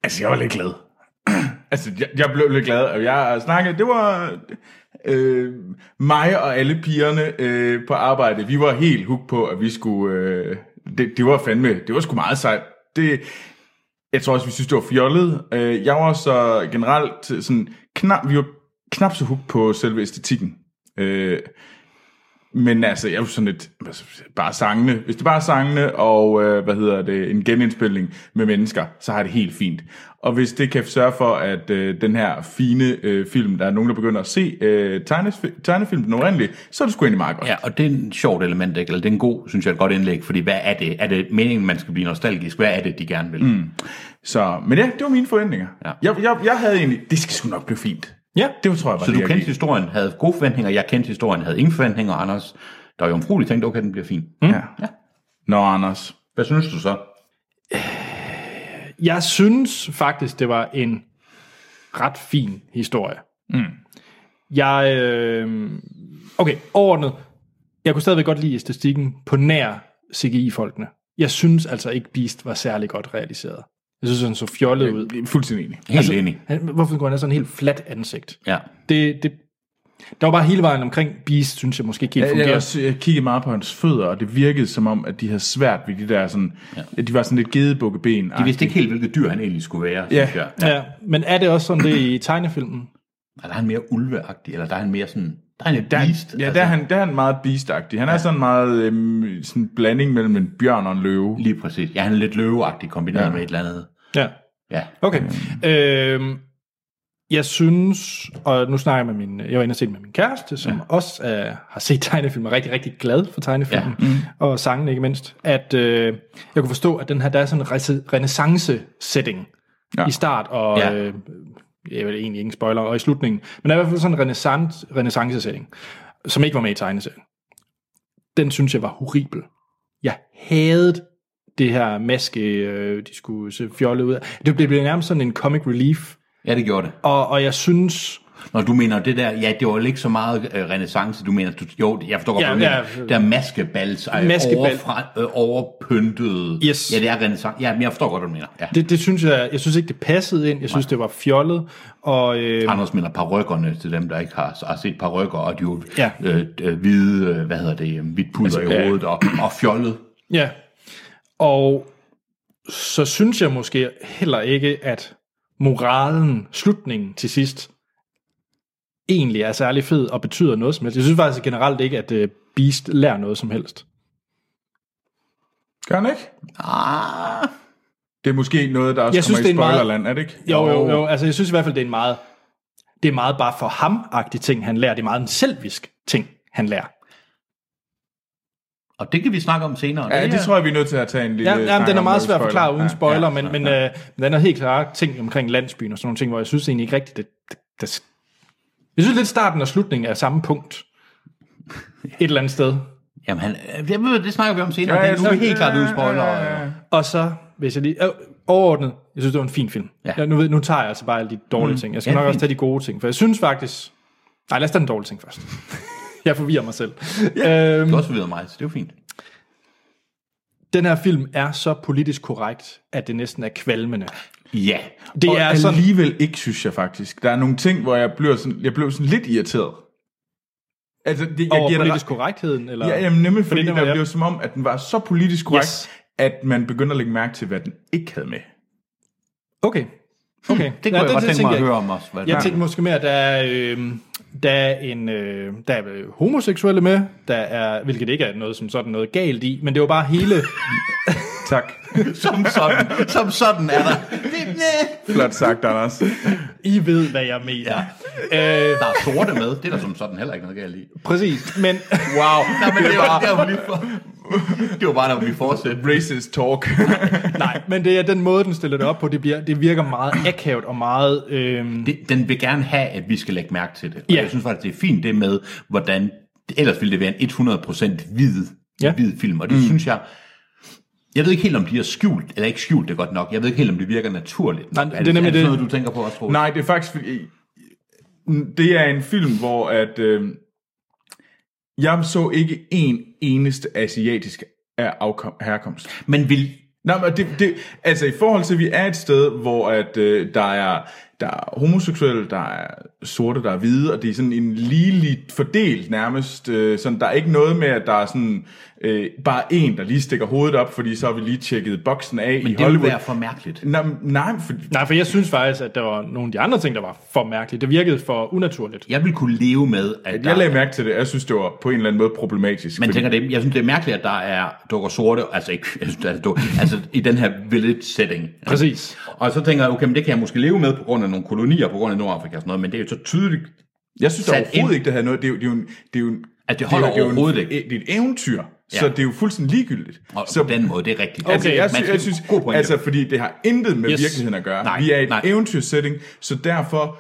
B: Altså, jeg var lidt glad. altså, jeg, jeg blev lidt glad, og jeg snakkede, det var øh, mig og alle pigerne øh, på arbejde, vi var helt hooked på, at vi skulle, øh, det, det var fandme, det var sgu meget sejt. Det, jeg tror også, vi synes, det var fjollet. Øh, jeg var så generelt sådan, knap, vi var knap så hooked på selve æstetikken. Øh, men altså, jeg er jo sådan lidt, altså, bare sangene. Hvis det bare er sangene og, øh, hvad hedder det, en genindspilning med mennesker, så har jeg det helt fint. Og hvis det kan sørge for, at øh, den her fine øh, film, der er nogen, der begynder at se øh, tegnef- tegnefilm den oprindelige, så er det sgu egentlig meget godt.
C: Ja, og det er en sjovt element, ikke? eller det er en god, synes jeg, et godt indlæg, fordi hvad er det? Er det meningen, man skal blive nostalgisk? Hvad er det, de gerne vil? Mm.
B: Så, men ja, det var mine forventninger.
C: Ja.
B: Jeg, jeg, jeg havde egentlig, det skal sgu nok blive fint.
A: Ja.
B: Det tror jeg bare,
C: Så
B: det,
C: du
B: jeg
C: kendte
B: gik-
C: historien, havde gode forventninger, jeg kendte historien, havde ingen forventninger, og Anders, der jo omfrueligt tænkte, okay, den bliver fin. Mm.
A: Hmm?
B: Ja. ja. Nå, Anders.
C: Hvad synes du så?
A: jeg synes faktisk, det var en ret fin historie. Mm. Jeg, øh, okay, overordnet, jeg kunne stadigvæk godt lide æstetikken på nær CGI-folkene. Jeg synes altså ikke, Beast var særlig godt realiseret. Jeg synes, han så fjollet ud.
B: Jeg er Fuldstændig enig.
C: Helt altså, enig.
A: Han, hvorfor kunne han have sådan en helt flat ansigt?
C: Ja.
A: Det, det, der var bare hele vejen omkring Beast, synes jeg måske ikke helt
B: Jeg, jeg,
A: fungerer.
B: har også, jeg kiggede meget på hans fødder, og det virkede som om, at de havde svært ved de der sådan... Ja. De var sådan lidt gedebukket ben.
C: De vidste ikke helt, hvilket dyr han egentlig skulle være,
B: Ja.
C: synes jeg.
A: Ja, men er det også sådan det i tegnefilmen?
C: Er der han mere ulveagtig, eller der er han mere sådan... Der er han et
B: Der,
C: beast. Altså,
B: ja,
A: altså-
B: der er, han, der er han meget beastagtig. Han ja. er sådan meget øhm, sådan en blanding mellem en bjørn og en løve.
C: Lige præcis. Ja, han er lidt løveagtig kombineret ja. med et eller andet.
A: Ja.
C: Ja.
A: Okay. Øhm, jeg synes, og nu snakker jeg med min, jeg var inde og se den med min kæreste, som ja. også øh, har set tegnefilm, og er rigtig, rigtig glad for tegnefilmen, ja. mm. og sangen ikke mindst, at øh, jeg kunne forstå, at den her, der er sådan en rese- renaissance-setting ja. i start, og ja.
C: Ja.
A: øh, jeg vil egentlig ingen spoiler, og i slutningen, men der er i hvert fald sådan en renaissance, renaissance-setting, som ikke var med i tegneserien. Den synes jeg var horribel. Jeg hadede det her maske, øh, de skulle se fjollet ud. Det blev, blev nærmest sådan en comic relief,
C: Ja, det gjorde det.
A: og, og jeg synes,
C: Når du mener det der, ja, det var jo ikke så meget øh, renaissance, du mener, du, jo, jeg forstår godt,
A: Ja,
C: hvad du mener.
A: ja.
C: Det er maskebals, øh,
A: Maskebal.
C: overfra, øh, overpyntet.
A: Yes.
C: Ja, det er renaissance. Ja, men jeg forstår godt, hvad du mener. Ja. Det,
A: det, det synes jeg, jeg synes ikke, det passede ind. Jeg synes, det var fjollet, og øh,
C: Anders mener parrykkerne til dem, der ikke har, har set parrykker, og de jo
A: Ja.
C: øh, øh, hvide, øh, hvad hedder det, øh, hvidt pulver altså, i hovedet, og, og fjollet.
A: ja. Og så synes jeg måske heller ikke, at moralen, slutningen til sidst, egentlig er særlig fed og betyder noget som helst. Jeg synes faktisk generelt ikke, at øh, Beast lærer noget som helst.
B: Gør han ikke?
C: Ah,
B: Det er måske noget, der også
A: Jeg
B: jeg
A: synes,
B: kommer synes, i
A: det er en meget-
B: spoilerland, er det ikke?
A: Jo, jo, jo. Altså, jeg synes i hvert fald, det er en meget Det er meget bare for ham-agtige ting, han lærer. Det er meget en selvisk ting, han lærer.
C: Og det kan vi snakke om senere.
B: Ja, det
C: er-
B: tror jeg, vi er nødt til at tage en lille
A: Ja, ja
B: snak
A: den er
B: om
A: meget
B: med
A: svær at forklare uden spoiler,
B: Ja, ja,
A: men, men øh, den er helt klare ting omkring landsbyen og sådan nogle ting, hvor jeg synes egentlig ikke rigtigt, det, det, det jeg synes lidt starten og slutningen er samme punkt. Et eller andet sted.
C: Jamen, han, det, det snakker vi om senere.
B: Ja,
C: Ja,
B: ja,
C: det er nu
B: så-
C: helt klart uden spoiler.
B: Ja, ja, ja.
A: Og så, hvis jeg lige... Øh, overordnet, jeg synes, det var en fin film. Ja.
C: Ja.
A: Jeg, nu, ved, nu tager jeg altså bare alle de dårlige mm. ting. Jeg skal
C: Ja,
A: ja, nok også
C: fint.
A: tage de gode ting, for jeg synes faktisk... Nej, lad os tage den dårlige ting først. jeg forvirrer mig selv. Ja. Øhm,
C: Du har også videre mig, så det er jo fint.
A: den her film er så politisk korrekt, at det næsten er kvalmende.
C: Ja.
A: Det
B: og
A: er sådan...
B: alligevel ikke, synes jeg faktisk. Der er nogle ting, hvor jeg blev sådan, jeg blev sådan lidt irriteret. Altså, det, jeg
A: Over
B: giver dig
A: politisk korrektheden? Eller?
B: Ja, jamen, nemlig fordi,
A: den
B: fordi
A: var-
B: der blev som om, at den var så politisk korrekt,
A: Yes.
B: yes. at man begyndte at lægge mærke til, hvad den ikke havde med.
A: Okay. Okay.
C: Det kunne ja, jeg godt tænke
A: tænker
C: mig at
A: ikke.
C: høre om også. Hvad
A: Jeg tænkte måske mere, at der er, øh, der er en, øh, der er øh, homoseksuelle med, der er, hvilket ikke er noget som sådan noget galt i, men det var bare hele...
B: Tak.
C: Som sådan, som sådan er der. Det, næh.
B: Flot sagt, Anders.
A: I ved, hvad jeg mener. Ja. Øh,
C: Der er sorte med, det er der som sådan heller ikke noget galt i.
A: præcis, men...
B: Wow.
C: Nej, men det var, der var lige for... Det var bare, der var lige fortsæt.
B: Racist talk.
A: Nej, men det er den måde, den stiller det op på, det, bliver, det virker meget akavet og meget... Øh,
C: Det, den vil gerne have, at vi skal lægge mærke til det. Og
A: Ja.
C: ja. jeg synes faktisk, det er fint det med, hvordan... Ellers ville det være en 100% hvid,
A: Ja.
C: ja. hvid film, og det mm. synes jeg... Jeg ved ikke helt, om de har skjult, eller ikke skjult det godt nok. Jeg ved ikke helt, om det virker naturligt.
A: Nej,
C: nok.
A: det er nemlig
C: er det.
A: det.
C: sådan noget, du tænker på også, Troels?
B: Nej, det er faktisk... fordi- Det er en film, hvor at... Øh, jeg så ikke en eneste asiatisk af afkom- herkomst.
C: Men vil,
B: Nej, men det, det, altså i forhold til, at vi er et sted, hvor at, øh, der, er, der er homoseksuelle, der er sorte, der er hvide, og det er sådan en ligeligt fordelt nærmest. Øh, sådan, der er ikke noget med, at der er sådan øh, bare en, der lige stikker hovedet op, fordi så har vi lige tjekket boksen af
C: men
B: i
C: det vil
B: Hollywood.
C: være for mærkeligt.
B: Nej, men- nej, for,
A: nej, for jeg synes faktisk, at der var nogle af de andre ting, der var for mærkelige. Det virkede for unaturligt.
C: Jeg vil kunne leve med, at der
B: jeg lagde mærke til det. Jeg synes, det var på en eller anden måde problematisk.
C: Man
B: fordi-
C: tænker, det, jeg synes, det er mærkeligt, at der er dukker sorte, altså ikke, jeg synes, der er dukker, altså i den her village setting.
A: Præcis.
C: Og så tænker jeg, okay, men det kan jeg måske leve med på grund af nogle kolonier, på grund af Nordafrika og sådan noget, men det er jo så tydeligt,
B: Jeg synes da
C: sat
B: overhovedet
C: ind.
B: ikke, det havde noget. Det er jo, det er jo, en- det er jo en,
C: At det holder
B: det er jo en-
C: overhovedet ikke.
B: Det er et eventyr, ja. så
C: Ja.
B: det er jo fuldstændig ligegyldigt.
C: og
B: så
C: så, på den måde, det er rigtigt.
B: Okay, altså, jeg,
C: Man
B: sy-
C: skal-
B: jeg synes,
C: god pointe.
B: altså, fordi det har intet med
A: Yes.
B: yes. virkeligheden at gøre.
C: Nej,
B: vi er i et
C: nej.
B: eventyrsetting, så derfor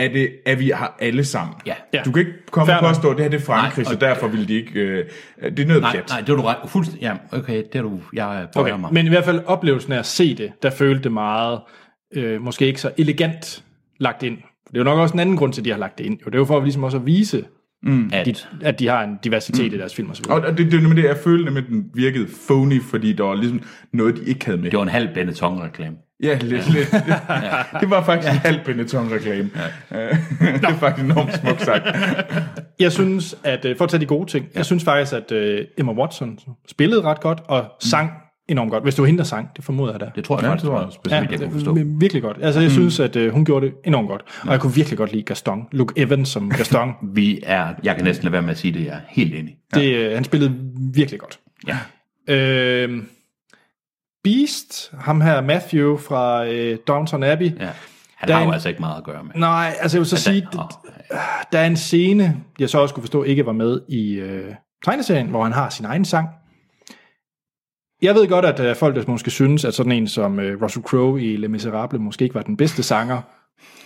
B: er det, at vi har alle sammen.
C: Ja.
A: Ja.
B: Du kan ikke komme
A: Fair
B: og påstå, at det her det er Frankrig,
C: Nej,
B: så
C: og-
B: derfor vil de ikke... Øh, det er noget
C: nej,
B: pjat.
C: nej, det er du ret, fuldstændig, ja, okay, det er du, jeg bøjer
A: Okay,
C: mig.
A: men i hvert fald oplevelsen af at se det, der følte det meget, øh, måske ikke så elegant lagt ind. Det er jo nok også en anden grund til, at de har lagt det ind. Jo, det er jo for at ligesom også at vise,
C: at,
A: de, at de har en diversitet mm. i deres film og så videre.
B: Og og det, det er nemlig det, jeg følte nemlig, at den virkede phony, fordi der var ligesom noget, de ikke havde med.
C: det var en halv Benetton-reklame.
B: Ja, lidt, lidt. Det var faktisk en halv Benetton-reklame. Ja. det er faktisk enormt smukt sagt.
A: Jeg synes, at øh, for at tage de gode ting, ja. jeg synes faktisk, at øh, Emma Watson spillede ret godt og sang enormt godt. Hvis du henter sang, Mm. det formoder jeg da.
C: Det tror jeg ja, faktisk, det var, specielt, ja, jeg kunne forstå.
A: men virkelig godt. Altså, jeg mm. synes, at øh, hun gjorde det enormt godt. Og jeg kunne virkelig godt lide Gaston. Luke Evans som Gaston.
C: Vi er, jeg kan næsten lade være med at sige det, jeg er helt enig.
A: det, øh, han spillede virkelig godt.
C: Ja.
A: Øh, Beast, ham her Matthew fra øh, Downton Abbey.
C: ja. Han
A: Der er
C: har jo
A: en-
C: altså ikke meget at gøre med.
A: Nej, altså jeg vil så sige,
C: Åh,
A: d- der er en scene, jeg så også kunne forstå ikke var med i øh, tegneserien, hvor han har sin egen sang. Jeg ved godt, at øh, folk der måske synes, at sådan en som øh, Russell Crowe i Les Misérables måske ikke var den bedste sanger.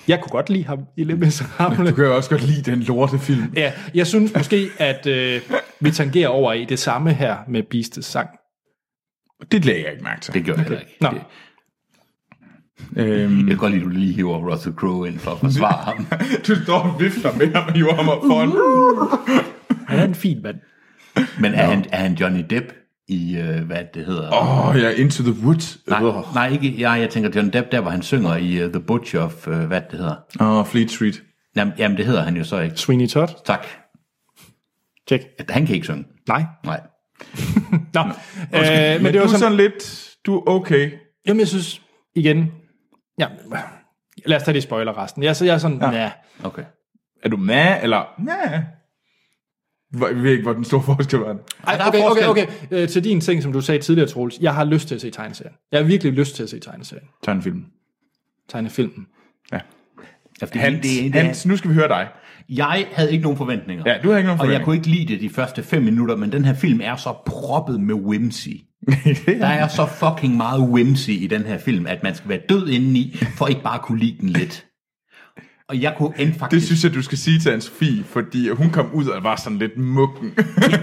A: Jeg kunne godt lide ham i Les Misérables.
B: Du kan jo også godt lide den lortefilm.
A: Ja, jeg synes måske, at øh, vi tangerer over i det samme her med Beastes sang.
B: Det lagde jeg ikke mærke til.
C: det gjorde jeg heller ikke.
A: Nå.
C: Det,
B: Øhm,
C: Jeg kan godt lide, at du lige hiver Russell Crowe ind for at forsvare ham.
B: Du står og vifter med ham og hiver ham op foran.
A: Han er en fin mand.
C: Men er, han, er han Johnny Depp i, øh, hvad det hedder?
B: Åh, oh, jeg er into the woods.
C: Nej, nej, ikke. Ja, jeg tænker Johnny Depp, der hvor han synger i uh, The Butcher of, uh, hvad det hedder.
B: Åh, oh, Fleet Street.
C: Jamen, jamen, det hedder han jo så ikke.
A: Sweeney Todd,
C: Tak.
A: tjek.
C: Han kan ikke synge.
A: Nej.
C: Nej.
A: Nå, øh,
B: Men, men det var du er sådan lidt, du er okay.
A: Jamen, jeg synes, igen, ja, lad os tage de spoiler resten. Jeg, så jeg er sådan, ja. ja.
C: Okay.
B: Er du mad, eller? Nej. Jeg ved ikke, hvor den store forskel var.
A: Ej,
C: der er
A: okay, okay,
C: forskel.
A: okay. Øh, til din ting, som du sagde tidligere, Troels, jeg har lyst til at se tegneserien. Jeg har virkelig lyst til at se tegneserien.
B: Tegnefilm.
A: Tegnefilmen.
B: Ja.
C: Fordi
B: Hans,
C: det- det er-
B: Hans, nu skal vi høre dig.
C: Jeg havde ikke nogen forventninger.
B: Ja, du havde
C: Og
B: ikke nogen
C: jeg
B: forventninger.
C: kunne ikke lide det de første fem minutter, men den her film er så proppet med whimsy. Der er så fucking meget whimsy i den her film, at man skal være død indeni, for ikke bare at kunne lide den lidt. Og jeg kunne end faktisk...
B: Det synes jeg, du skal sige til Anne-Sophie, fordi hun kom ud og var sådan lidt mukken.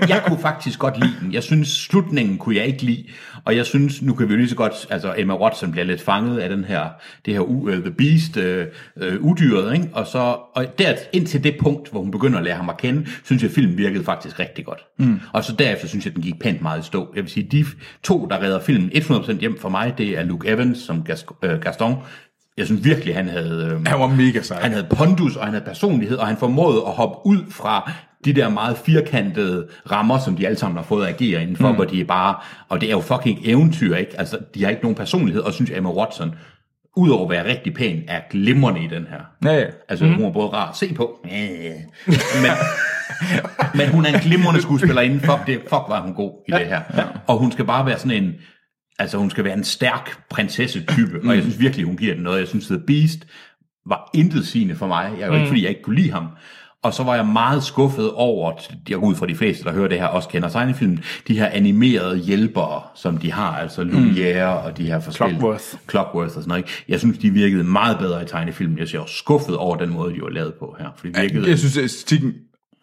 C: jeg kunne faktisk godt lide den. Jeg synes, slutningen kunne jeg ikke lide. Og jeg synes, nu kan vi jo lige så godt... Altså, Emma Watson bliver lidt fanget af den her, det her uh, The Beast, uh, uh, udyret, ikke? Og, så, og der, indtil det punkt, hvor hun begynder at lære ham at kende, synes jeg, filmen virkede faktisk rigtig godt. Mm. Og så derefter synes jeg, den gik pænt meget i stå. Jeg vil sige, de to, der redder filmen 100% hjem for mig, det er Luke Evans som Gas- øh, Gaston. Jeg synes virkelig, han havde... Øh,
B: Han var mega sej.
C: han havde pondus, og han havde personlighed, og han formåede at hoppe ud fra de der meget firkantede rammer, som de alle sammen har fået at agere indenfor, mm. hvor de er bare, og det er jo fucking eventyr, ikke? Altså, de har ikke nogen personlighed, og synes Emma Watson, udover at være rigtig pæn, er glimrende i den her.
B: Ja, ja.
C: Altså, mm. hun er både rar at se på, øh, men, men hun er en glimrende skuespillerinde. Fuck, det, fuck var hun god i det her. Og hun skal bare være sådan en... Altså, hun skal være en stærk prinsesse-type, og jeg synes virkelig, hun giver den noget. Jeg synes, The Beast var intet sigende for mig. Jeg var ikke, fordi jeg ikke kunne lide ham. Og så var jeg meget skuffet over, jeg går ud fra de fleste, der hører det her, også kender tegnefilmen, de her animerede hjælpere, som de har, altså Lumière og de her forskellige...
A: Clockworth.
C: Clockworth og sådan noget. Ikke? Jeg synes, de virkede meget bedre i tegnefilmen. Jeg er skuffet over den måde, de var lavet på her. For det virkede...
B: Jeg synes, at stikken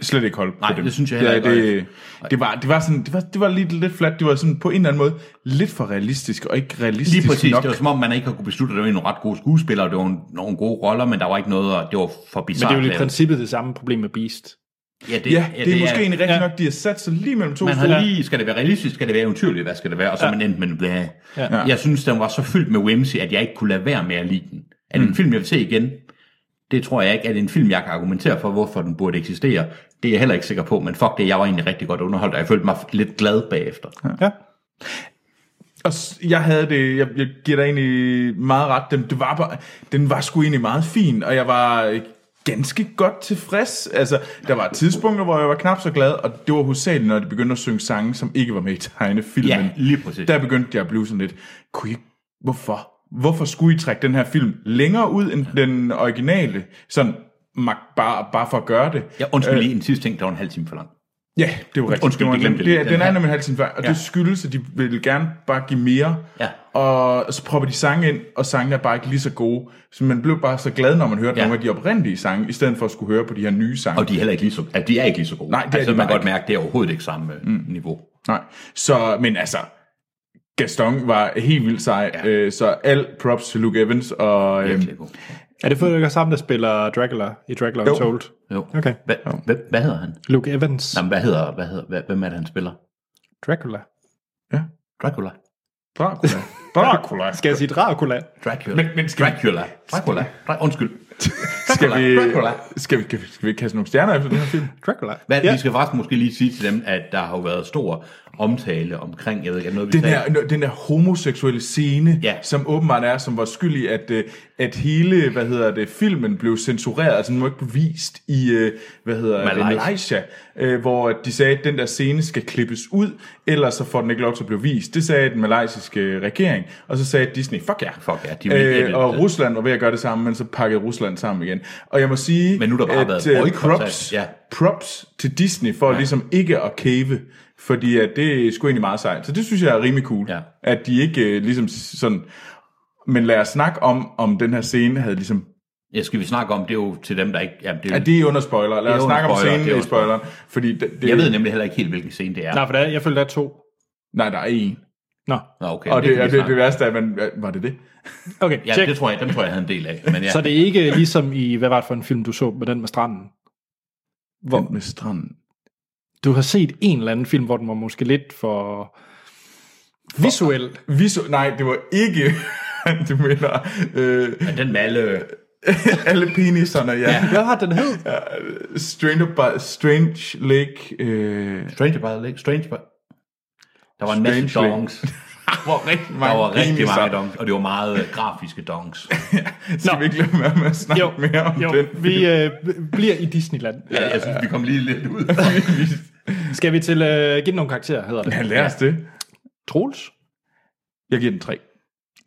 B: slet ikke holdt
C: Nej,
B: på dem.
C: det synes jeg heller
B: Ja,
C: ikke.
B: Det, det, var, det, var sådan, det, var, det var lidt, lidt flat. Det var sådan på en eller anden måde lidt for realistisk, og ikke realistisk
C: Lige præcis.
B: nok.
C: Det var som om, man ikke har kunne beslutte, at det var nogle ret gode skuespillere, og det var nogle, nogle gode roller, men der var ikke noget, og det var for
A: Men det
C: bizarrt.
A: er jo i
C: lavet.
A: princippet det samme problem med Beast.
C: Ja, det,
B: ja, det, er måske egentlig rigtigt
A: ja.
B: nok, de har sat sig lige mellem to
C: Man
B: stole.
C: har lige, skal det være realistisk, skal det være eventyrligt, hvad skal det være, og så ja. man endte med, blæh. Ja. Jeg synes, den var så fyldt med whimsy, at jeg ikke kunne lade være med at lide den. Er det en film, jeg vil se igen? Det tror jeg ikke. Er det en film, jeg kan argumentere for, hvorfor den burde eksistere? Det er jeg heller ikke sikker på, men fuck det, jeg var egentlig rigtig godt underholdt, og jeg følte mig lidt glad bagefter.
A: Ja.
B: Og s- jeg havde det, jeg, jeg giver dig egentlig meget ret, den, det var bare, den var sgu egentlig meget fin, og jeg var øh, ganske godt tilfreds. Altså, der var tidspunkter, hvor jeg var knap så glad, og det var hovedsageligt, når de begyndte at synge sange, som ikke var med i tegnefilmen.
C: Ja, lige præcis.
B: Der begyndte jeg at blive sådan lidt, kunne I, ikke- hvorfor? Hvorfor skulle I trække den her film længere ud end den originale? Sådan, mak- bare, bare for at gøre det.
C: Jeg undskyld lige en sidste ting, der var en halv time for lang.
B: Ja, det var rigtigt.
C: Undskyld,
B: det var
C: jeg glemte
B: det,
C: det lige.
B: det,
C: Den
B: den er
C: her-
B: nemlig halv time før, og ja. det skyldes, at de vil gerne bare give mere,
C: Ja.
B: og så propper de sange ind, og sangene er bare ikke lige så gode. Så man blev bare så glad, når man hørte
C: Ja.
B: ja. nogle af de oprindelige sange, i stedet for at skulle høre på de her nye sange.
C: Og de er heller ikke lige så, at de er ikke lige så gode.
B: Nej, det er
C: altså,
B: de
C: man kan
B: bare
C: godt mærke, at det er overhovedet ikke samme mm. niveau.
B: Nej. Så, men altså, Gaston var helt vildt sej, ja. øh, så al props til Luke Evans, og øh,
C: Virkelig god.
A: Er det Frederik og Sam, der spiller Dracula i Dracula
B: Jo.
A: Untold?
C: Jo.
A: Okay.
C: Hva, hva, hvad hedder han?
A: Luke Evans.
C: Jamen, hvad hedder, hvad hedder, hvad, hvem er det, han spiller?
A: Dracula.
C: Dracula.
B: Dracula. Dracula.
A: Skal jeg sige Dracula?
C: Dracula.
B: Men- men skal vi-
C: Dracula. Dracula. Dra- undskyld.
B: skal, vi,
C: Dracula.
B: skal, vi, skal, vi, skal vi kaste nogle stjerner efter den her film?
A: Dracula.
C: Hvad, ja. Vi skal faktisk måske lige sige til dem, at der har jo været stor omtale omkring, jeg ved ikke, er det noget vi
B: Den
C: sagde?
B: der, den der homoseksuelle scene,
C: Ja.
B: ja. som åbenbart er, som var skyld i, at, øh, at hele, hvad hedder det, filmen blev censureret, altså den var ikke vist i, øh, hvad hedder Malaysia, det,
C: Malaysia.
B: Malaysia øh, hvor at de sagde, at den der scene skal klippes ud, ellers så får den ikke lov til at blive vist. Det sagde den malaysiske regering, og så sagde Disney, fuck ja.
C: Fuck ja, de vil ikke-
B: øh, og Rusland var ved at gøre det samme, men så pakkede Rusland sammen igen. Og jeg må sige,
C: Men nu er der bare
B: at
C: været
B: øh,
C: boykot af-
B: props,
C: ja.
B: props til Disney for ja. ligesom ikke at kæve, fordi at det er sgu egentlig meget sejt. Så det synes jeg er rimelig cool,
C: Ja.
B: at de ikke øh, ligesom s- sådan... Men lad os snakke om, om den her scene havde ligesom...
C: Ja, skal vi snakke om, det er jo til dem, der ikke... Jamen, det er,
B: Ja,
C: jo,
B: det er under spoiler. Lad
C: er
B: os
C: under
B: snakke om
C: spoiler, det er
B: scenen i
C: under spoiler.
B: spoileren, fordi det, det,
C: jeg ved nemlig heller ikke helt, hvilken scene det er.
A: Nej, for der, er- jeg følte, der er to.
B: Nej, der er en.
A: Nå,
C: Nå, okay.
B: Og det,
C: kan
B: det,
C: vi
B: er det,
C: snakke
B: det
C: om.
B: værste er, at man... Var det det?
A: okay,
C: Ja,
A: check.
C: det tror jeg, dem tror jeg, jeg havde en del af. Men ja.
A: Så det er ikke ligesom i, hvad var det for en film, du så med den med stranden?
B: Hvor? Den med stranden.
A: Du har set en eller anden film, hvor den var måske lidt for visuel.
B: Vi så, nej, det var ikke... du mener... Øh,
C: Men den med alle...
B: alle penisserne, ja. ja.
A: Hvad har den hed?
B: Strange, by, strange Lake... Øh,
C: Strange by the Lake. Strange by... Der var en masse
B: Strange Lake.
C: dongs.
B: hvor rigtig
C: Der var rigtig
B: penisser.
C: mange dongs, og det var meget øh, grafiske dongs.
B: Skal
A: Nå.
B: vi ikke lade være med at snakke
A: Jo,
B: mere om
A: jo
B: den?
A: vi øh, bliver i Disneyland.
C: Ja, jeg synes, vi kom lige lidt ud.
A: Skal vi til øh, give den nogle karakterer, hedder det?
B: Ja, lad os det.
A: Troels?
B: Jeg giver den 3.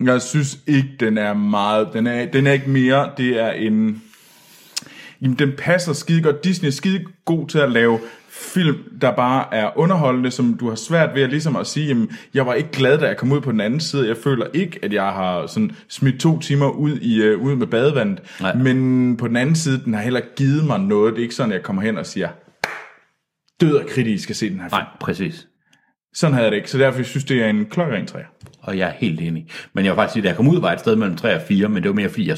B: Jeg synes ikke, den er meget... Den er, den er ikke mere. Det er en... jamen den passer skide godt. Disney er skide god til at lave film, der bare er underholdende, som du har svært ved at, ligesom at sige, jamen, jeg var ikke glad, da jeg kom ud på den anden side. Jeg føler ikke, at jeg har sådan smidt to timer ud, i, øh, ud med badevandet.
C: Nej.
B: Men på den anden side, den har heller ikke givet mig noget. Det er ikke sådan, at jeg kommer hen og siger, død og kritisk skal se den her film.
C: Nej, præcis.
B: Sådan havde jeg det ikke, så derfor synes jeg, det er en klokkeren træer.
C: Og jeg er helt enig. Men jeg vil faktisk sige, at jeg kom ud, var jeg et sted mellem 3 og 4, men det var mere fordi, jeg,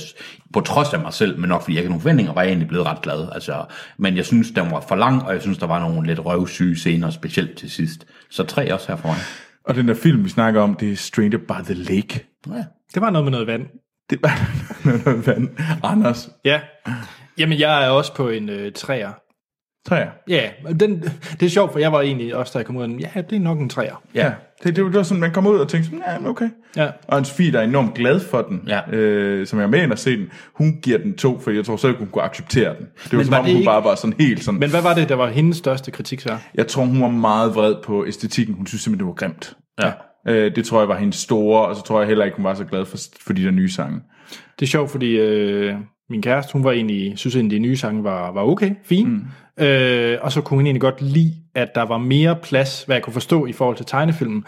C: på trods af mig selv, men nok fordi jeg ikke havde nogen forventninger, var jeg egentlig blevet ret glad. Altså, men jeg synes, den var for lang, og jeg synes, der var nogle lidt røvsyge scener, specielt til sidst. Så 3 også her foran.
B: Og den der film, vi snakker om, det er Stranger by the Lake.
C: Ja.
A: Det var noget med noget vand.
B: Det var noget vand. Anders,
A: Ja. Jamen, jeg er også på en øh, træer.
B: træer.
A: Ja, og den, det er sjovt, for jeg var egentlig også, da jeg kom ud af den, ja, det er nok en træer.
B: Ja. Det, det, det var sådan, man kom ud og tænkte sådan, ja, men okay.
A: Ja.
B: Og en Sofie, der er enormt glad for den,
C: Ja.
B: øh, som jeg er med ind og se den, hun giver den to, for jeg tror selv, hun kunne acceptere den. Det var
A: Men
B: som
A: var
B: om,
A: det
B: hun
A: ikke-
B: bare var sådan helt sådan.
A: Men hvad var det, der var hendes største kritik så?
B: Jeg tror, hun var meget vred på æstetikken. Hun synes simpelthen, det var grimt. Ja. Øh, det tror jeg var hendes store, og så tror jeg heller ikke, hun var så glad for, for de der nye sange.
A: Det er sjovt, fordi øh, min kæreste, hun var egentlig, synes egentlig, de nye sange var, var okay, fine. Mm. Øh, og så kunne hun egentlig godt lide, at der var mere plads, hvad jeg kunne forstå i forhold til tegnefilmen,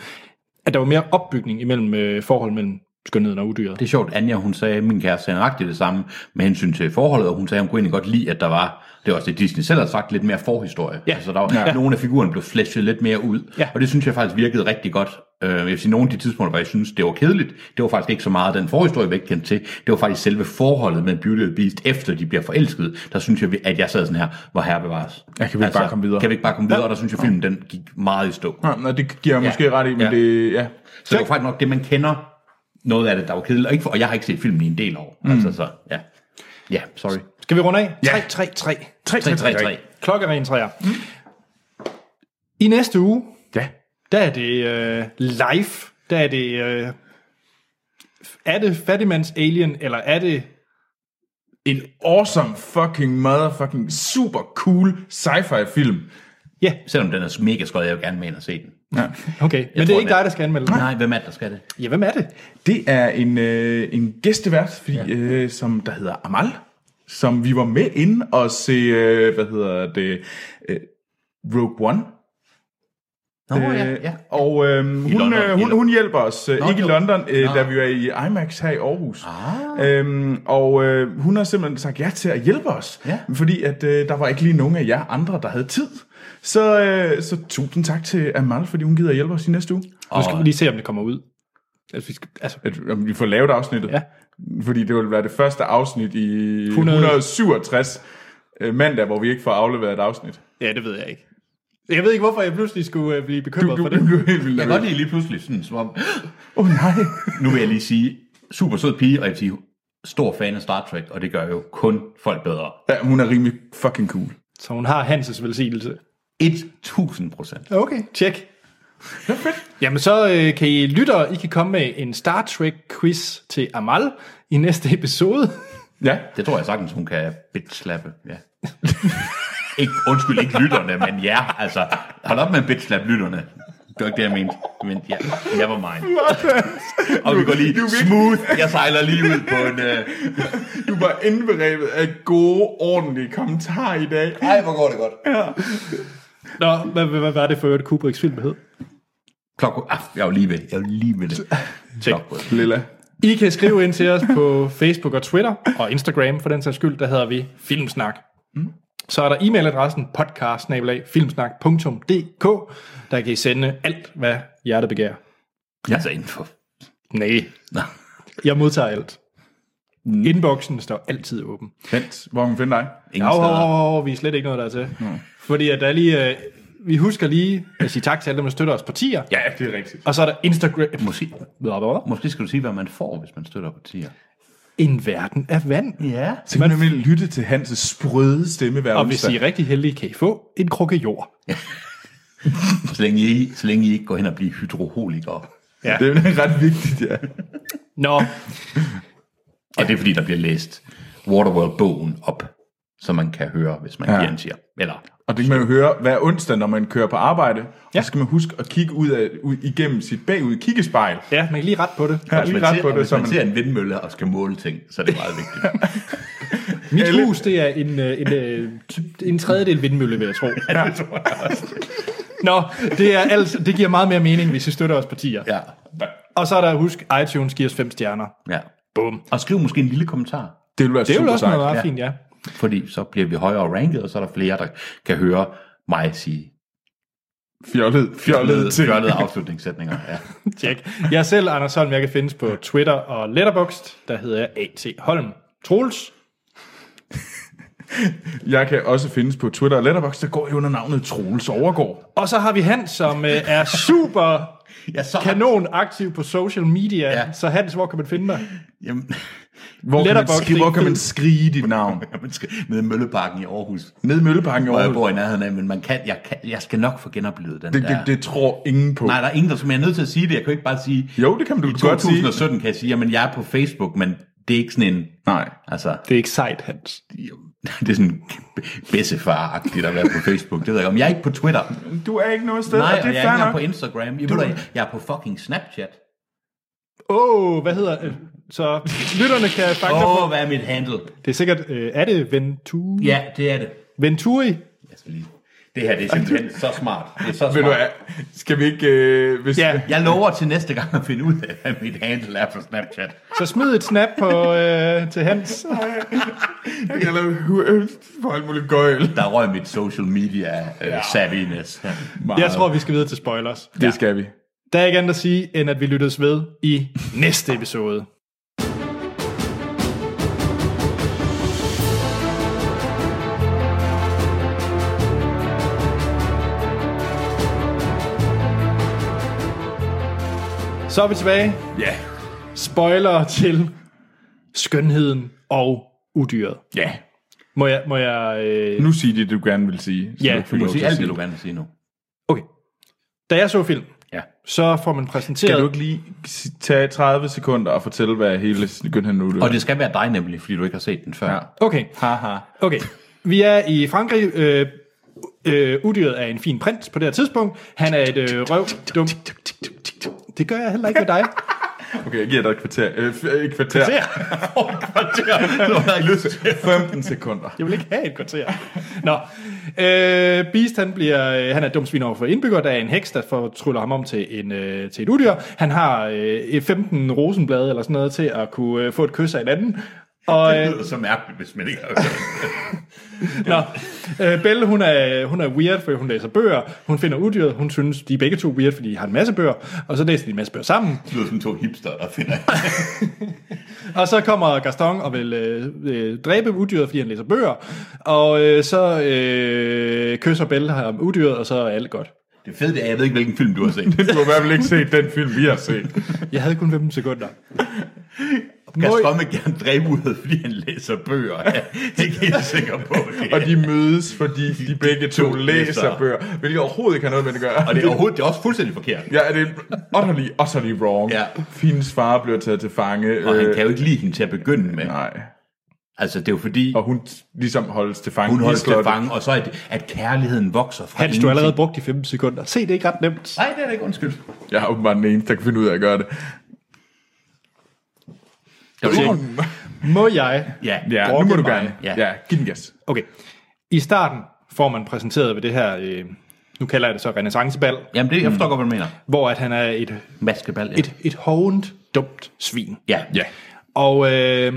A: at der var mere opbygning imellem øh, forhold mellem skønheden og udyret.
C: Det er sjovt, Anja, hun sagde, min kæreste sagde nøjagtigt det samme med hensyn til forholdet, og hun sagde, hun kunne egentlig godt lide, at der var, det var også det Disney selv har sagt, lidt mere forhistorie.
A: Ja.
C: Altså, der var, ja. nogle af figurerne blev flæsket lidt mere ud,
A: Ja.
C: og det synes jeg faktisk virkede rigtig godt. Øh, Jeg vil sige, nogle af de tidspunkter, hvor jeg synes, det var kedeligt, det var faktisk ikke så meget den forhistorie, vi ikke kendte til. Det var faktisk selve forholdet med Beauty and the Beast, efter de bliver forelsket. Der synes jeg, at jeg sad sådan her, hvor herre bevares. Altså,
B: Ja, kan vi ikke bare komme videre?
C: Kan vi ikke bare komme videre? Og der synes jeg, filmen den gik meget i stå.
B: Ja, nå, det giver jeg måske
C: Ja.
B: ret i, men
C: Ja.
B: det, ja.
C: Så det var faktisk nok det, man kender noget af det, der var kedeligt. Og, ikke for, og jeg har ikke set filmen i en del år. Mm. Altså, så, ja. Ja, sorry.
A: Skal vi runde af? Ja. 3, 3, 3.
B: 3,
C: 3, 3, 3.
A: Klokke ren træer. Mm. I næste uge,
B: Ja.
A: der er det øh, live. Der er det... Øh, er det Fattigmands Alien, eller er det...
B: En awesome fucking motherfucking super cool sci-fi film.
A: Ja,
C: Selvom den er mega skød, jeg vil gerne med ind og se den.
A: okay. Men det
C: tror,
A: er ikke
C: det-
A: dig, der skal anmelde den.
C: Nej, hvem er det, der skal det?
A: Ja, hvem er det?
B: Det er en, øh, en gæstevært, fordi, ja. øh, som der hedder Amal, som vi var med inde og se, øh, hvad hedder det, øh, Rogue One.
C: Nå, øh, ja, ja.
B: Og øh, hun,
C: London,
B: øh, hun,
C: eller-
B: hun hjælper os, øh,
C: Nå,
B: ikke i
C: jo.
B: London, øh,
C: Nå.
B: da vi var i IMAX her i Aarhus. Ah. Øhm, og øh, hun har simpelthen sagt ja til at hjælpe os,
C: Ja.
B: fordi at øh, der var ikke lige nogen af jer andre, der havde tid. Så, øh, så tusind tak til Amal, fordi hun gider at hjælpe os i næste uge.
A: Nu skal vi lige se, om det kommer ud. Altså, vi skal, altså,
B: At, om vi får lavet afsnittet.
A: Ja.
B: Fordi det vil være det første afsnit i
A: 100.
B: 167 øh, mandag, hvor vi ikke får afleveret et afsnit.
A: ja, det ved jeg ikke. Jeg ved ikke, hvorfor jeg pludselig skulle øh, blive
B: Du,
A: bekymret
B: du,
A: for
B: du,
A: det.
B: du er helt vildt.
C: Jeg kan godt lide lige pludselig sådan, som om...
B: Åh oh, nej.
C: Nu vil jeg lige sige, super sød pige, og jeg vil sige, stor fan af Star Trek, og det gør jo kun folk bedre.
B: Ja, hun er rimelig fucking cool.
A: Så hun har Hanses velsignelse.
C: 1000 procent.
A: Okay, tjek. Jamen så øh, kan I lytte, I kan komme med en Star Trek-quiz til Amal i næste episode.
B: Ja.
C: Det tror jeg sagtens, hun kan bitslappe, ja. ikke, undskyld, ikke lytterne, men ja, altså, hold op med at bitslappe lytterne. Det var ikke det, jeg mente, men ja, never mind. Og vi går lige smooth, jeg sejler lige ud på en... Øh,
B: Du var indberevet af gode, ordentlige kommentarer i dag.
C: Ej, hvor går det godt.
A: Nå, hvad, hvad, hvad var det for øvrigt Kubricks film hed?
C: Klok, ah, jeg er jo lige ved, jeg er jo lige ved det.
A: Tjek.
C: Clockwork.
B: Lilla.
A: I kan skrive ind til os på Facebook og Twitter og Instagram for den sags skyld, der hedder vi Filmsnak. Så er der e-mailadressen podcast Der kan I sende alt, hvad hjertet begærer.
C: Altså inden for...
A: Nej,
C: Nå.
A: jeg modtager alt. Inboxen står altid åben.
B: Vent, hvor kan man finde dig?
C: Ingen
A: Jo, jo,
C: steder.
A: jo, jo, vi er slet ikke noget der er til. Fordi at der er lige, øh, vi husker lige at sige tak til alle dem, der støtter os på tier.
B: Ja, det er rigtigt.
A: Og så er der Instagram.
C: Måske, måske skal du sige, hvad man får, hvis man støtter partier.
A: En verden af vand.
C: Ja.
B: Så kan man nemlig lytte til Hans' sprøde stemme hver
A: Og hvis
B: onsdag.
A: I er rigtig heldige, kan I få en krukke jord.
C: Så længe I, så længe I ikke går hen og bliver hydroholikere.
A: Ja.
B: Det er ret vigtigt, ja.
A: Nå,
C: Og det er fordi, der bliver læst Waterworld-bogen op, så man kan høre, hvis man
B: Ja.
C: ja. gensiger. Eller,
B: Og det kan man jo høre hver onsdag, når man kører på arbejde. Ja.
A: Ja.
B: Og så skal man huske at kigge ud, af, ud igennem sit bagud kiggespejl.
A: ja, man kan lige ret på det.
B: Ja,
C: hvis
B: lige
C: man,
B: ret
C: ser,
B: på
C: og
B: det,
C: hvis
B: så
C: man
B: man...
C: ser en vindmølle og skal måle ting, så er det meget vigtigt.
A: Mit Alle. hus, det er en, øh, en, øh, en tredjedel vindmølle, vil jeg tro. Ja. Nå, det, er altså, det giver meget mere mening, hvis I støtter os partier.
C: Ja.
A: Og så er der, husk, iTunes giver os fem stjerner.
C: ja.
A: Bum.
C: Og skriv måske en lille kommentar.
B: Det ville være
A: Det er
B: super
A: jo også noget
B: sejt.
A: meget
C: Ja.
A: fint, ja.
C: Fordi så bliver vi højere ranket, og så er der flere, der kan høre mig sige
B: Fjollet, fjollet, ting.
C: fjollede afslutningssætninger. Ja.
A: Tjek. Jeg er selv, Anders Holm, jeg kan findes på Twitter og Letterboxd. Der hedder jeg A.T. Holm. Troels,
B: Jeg kan også findes på Twitter og Letterboxd, der går jeg under navnet Troels Overgaard.
A: Og så har vi Hans, som øh, er super
C: Ja, så-
A: kanon aktiv på social media.
C: Ja.
A: Ja. Så Hans, hvor kan man finde dig?
C: Jamen,
B: Hvor kan, man,
A: Letterboxd, det
B: skri-
A: er
B: hvor
A: en
B: kan man
A: fed-
B: skrige dit navn?
C: man skal ned i Mølleparken i Aarhus.
B: Ned i Mølleparken i
C: Hvor jeg
B: Aarhus.
C: bor i nærheden af, men man kan, jeg, kan, jeg skal nok få genoplevet den
B: Det, det,
C: der.
B: det tror ingen på.
C: Nej, der er ingen, der som jeg er nødt til at sige det. Jeg kan jo ikke bare sige,
B: Jo, det kan du
C: i
B: godt sige.
C: 2017 kan jeg sige, jamen jeg er på Facebook, men det er ikke sådan en...
B: Nej.
C: Altså,
A: Det er ikke sejt, Hans.
C: det er sådan bedstefar-agtigt at være på Facebook. Det ved jeg ikke. om. Jeg er ikke på Twitter.
B: Du er ikke noget sted,
C: Nej,
B: og
C: og
B: det
C: jeg
B: er
C: er ikke
B: fair
C: engang
B: nok.
C: på Instagram. Jeg, du... jeg er på fucking Snapchat.
A: Åh, oh, hvad hedder... Øh, så lytterne kan faktisk...
C: Åh, oh,
A: Oh.
C: hvad er mit handle?
A: Det er sikkert... Øh, er det Venturi?
C: Ja, det er det.
A: Venturi?
C: Jeg skal lige... Det her, det er simpelthen så smart. Det er så smart.
B: Ved du hvad, skal vi ikke... Øh, hvis,
A: Ja.
C: Jeg lover til næste gang at finde ud af, hvad mit handle er på Snapchat.
A: Så smid et snap på, øh, til Hans.
B: Jeg kan lave hu- for alt muligt gøjl.
C: Der røg mit social media øh, ja. savviness.
A: Jeg tror, vi skal videre til spoilers.
B: Det skal vi.
A: Der er ikke andet at sige, end at vi lyttes ved i næste episode. Så er vi tilbage.
B: Ja.
A: Spoiler til skønheden og udyret.
B: Ja.
A: Må jeg... Må jeg øh...
B: Nu sig det, du gerne vil sige. så
A: Ja,
B: ikke får
C: Du må
B: lov
C: sige
B: til at
C: alt det, du gerne vil sige nu.
A: Okay. Da jeg så film,
C: Ja.
A: så får man præsenteret...
B: Kan du ikke lige si- tage 30 sekunder og fortælle, hvad hele Gønhan nu
C: Og det skal være dig nemlig, fordi du ikke har set den før.
B: Ja.
A: Okay.
B: Haha.
A: Okay, vi er i Frankrig. Øh, øh, udyret er en fin prins på det her tidspunkt. Han er et øh, røv... Dum. Det gør jeg heller ikke med dig.
B: Okay, jeg giver dig et kvarter. Øh, f- øh, et kvarter.
A: Kvarter?
C: Du har ikke lyst til.
B: 15 sekunder.
A: Jeg vil ikke have et kvarter. Nå. Øh, Beast, han, bliver, øh, han er et dumt svin over for indbygger. Der er en heks, der får tryller ham om til, en, øh, til et udyr. Han har øh, et 15 rosenblade eller sådan noget til at kunne øh, få et kys af en anden. Og, øh,
C: Det lyder så mærkeligt, hvis man ikke har hørt det.
A: Nå, øh, Belle, hun er, hun er weird, fordi hun læser bøger. Hun finder udyret. Hun synes, de er begge to weird, fordi de har en masse bøger. Og så læser de en masse bøger sammen.
C: Det lyder som to hipster, der finder
A: Og så kommer Gaston og vil øh, øh, dræbe udyret, fordi han læser bøger. Og øh, så øh, kysser Belle ham udyret, og så er alt godt.
C: Det fede det er, at jeg ved ikke, hvilken film du har set.
B: Du har i hvert fald ikke set den film, vi har set.
A: Jeg havde kun 15 sekunder.
C: Gaston vil gerne dræbe ud, fordi han læser bøger. Jeg er ikke helt sikker på det.
B: Og de mødes, fordi de begge to
C: To
B: læser
C: læser.
B: bøger, hvilket overhovedet ikke har noget med det at gøre.
C: Og det er overhovedet det er også fuldstændig forkert.
B: Ja, det er utterly, utterly wrong.
C: Ja.
B: Hendes far bliver taget til fange.
C: Og han
B: øh,
C: kan jo ikke lide hende til at begynde med.
B: Nej.
C: Altså, det er jo fordi,
B: Og hun t- ligesom holdes til fange.
C: hun
B: i
C: holder til
B: slottet.
C: fange, og så at, at kærligheden vokser fra
A: Hans, du har
C: ingenting.
A: allerede brugt de 15 sekunder. Se, det er ikke ret nemt.
C: Nej, det er det ikke, undskyld. Det
B: Jeg er åbenbart den eneste, der kan finde ud af at gøre det.
C: var det.
A: Må jeg?
C: Ja,
B: Ja,
A: Brokke
B: nu må du
A: mig.
B: gerne.
C: Ja.
B: ja giv den gas.
A: Okay. I starten får man præsenteret ved det her, øh, nu kalder jeg det så renaissancebal,
C: Jamen, det, jeg forstår godt, hvad du mener.
A: hvor at han er et
C: Maskebal, ja.
A: Mm. et, et hovent, dumt svin.
C: Ja.
B: Ja.
A: Og øh,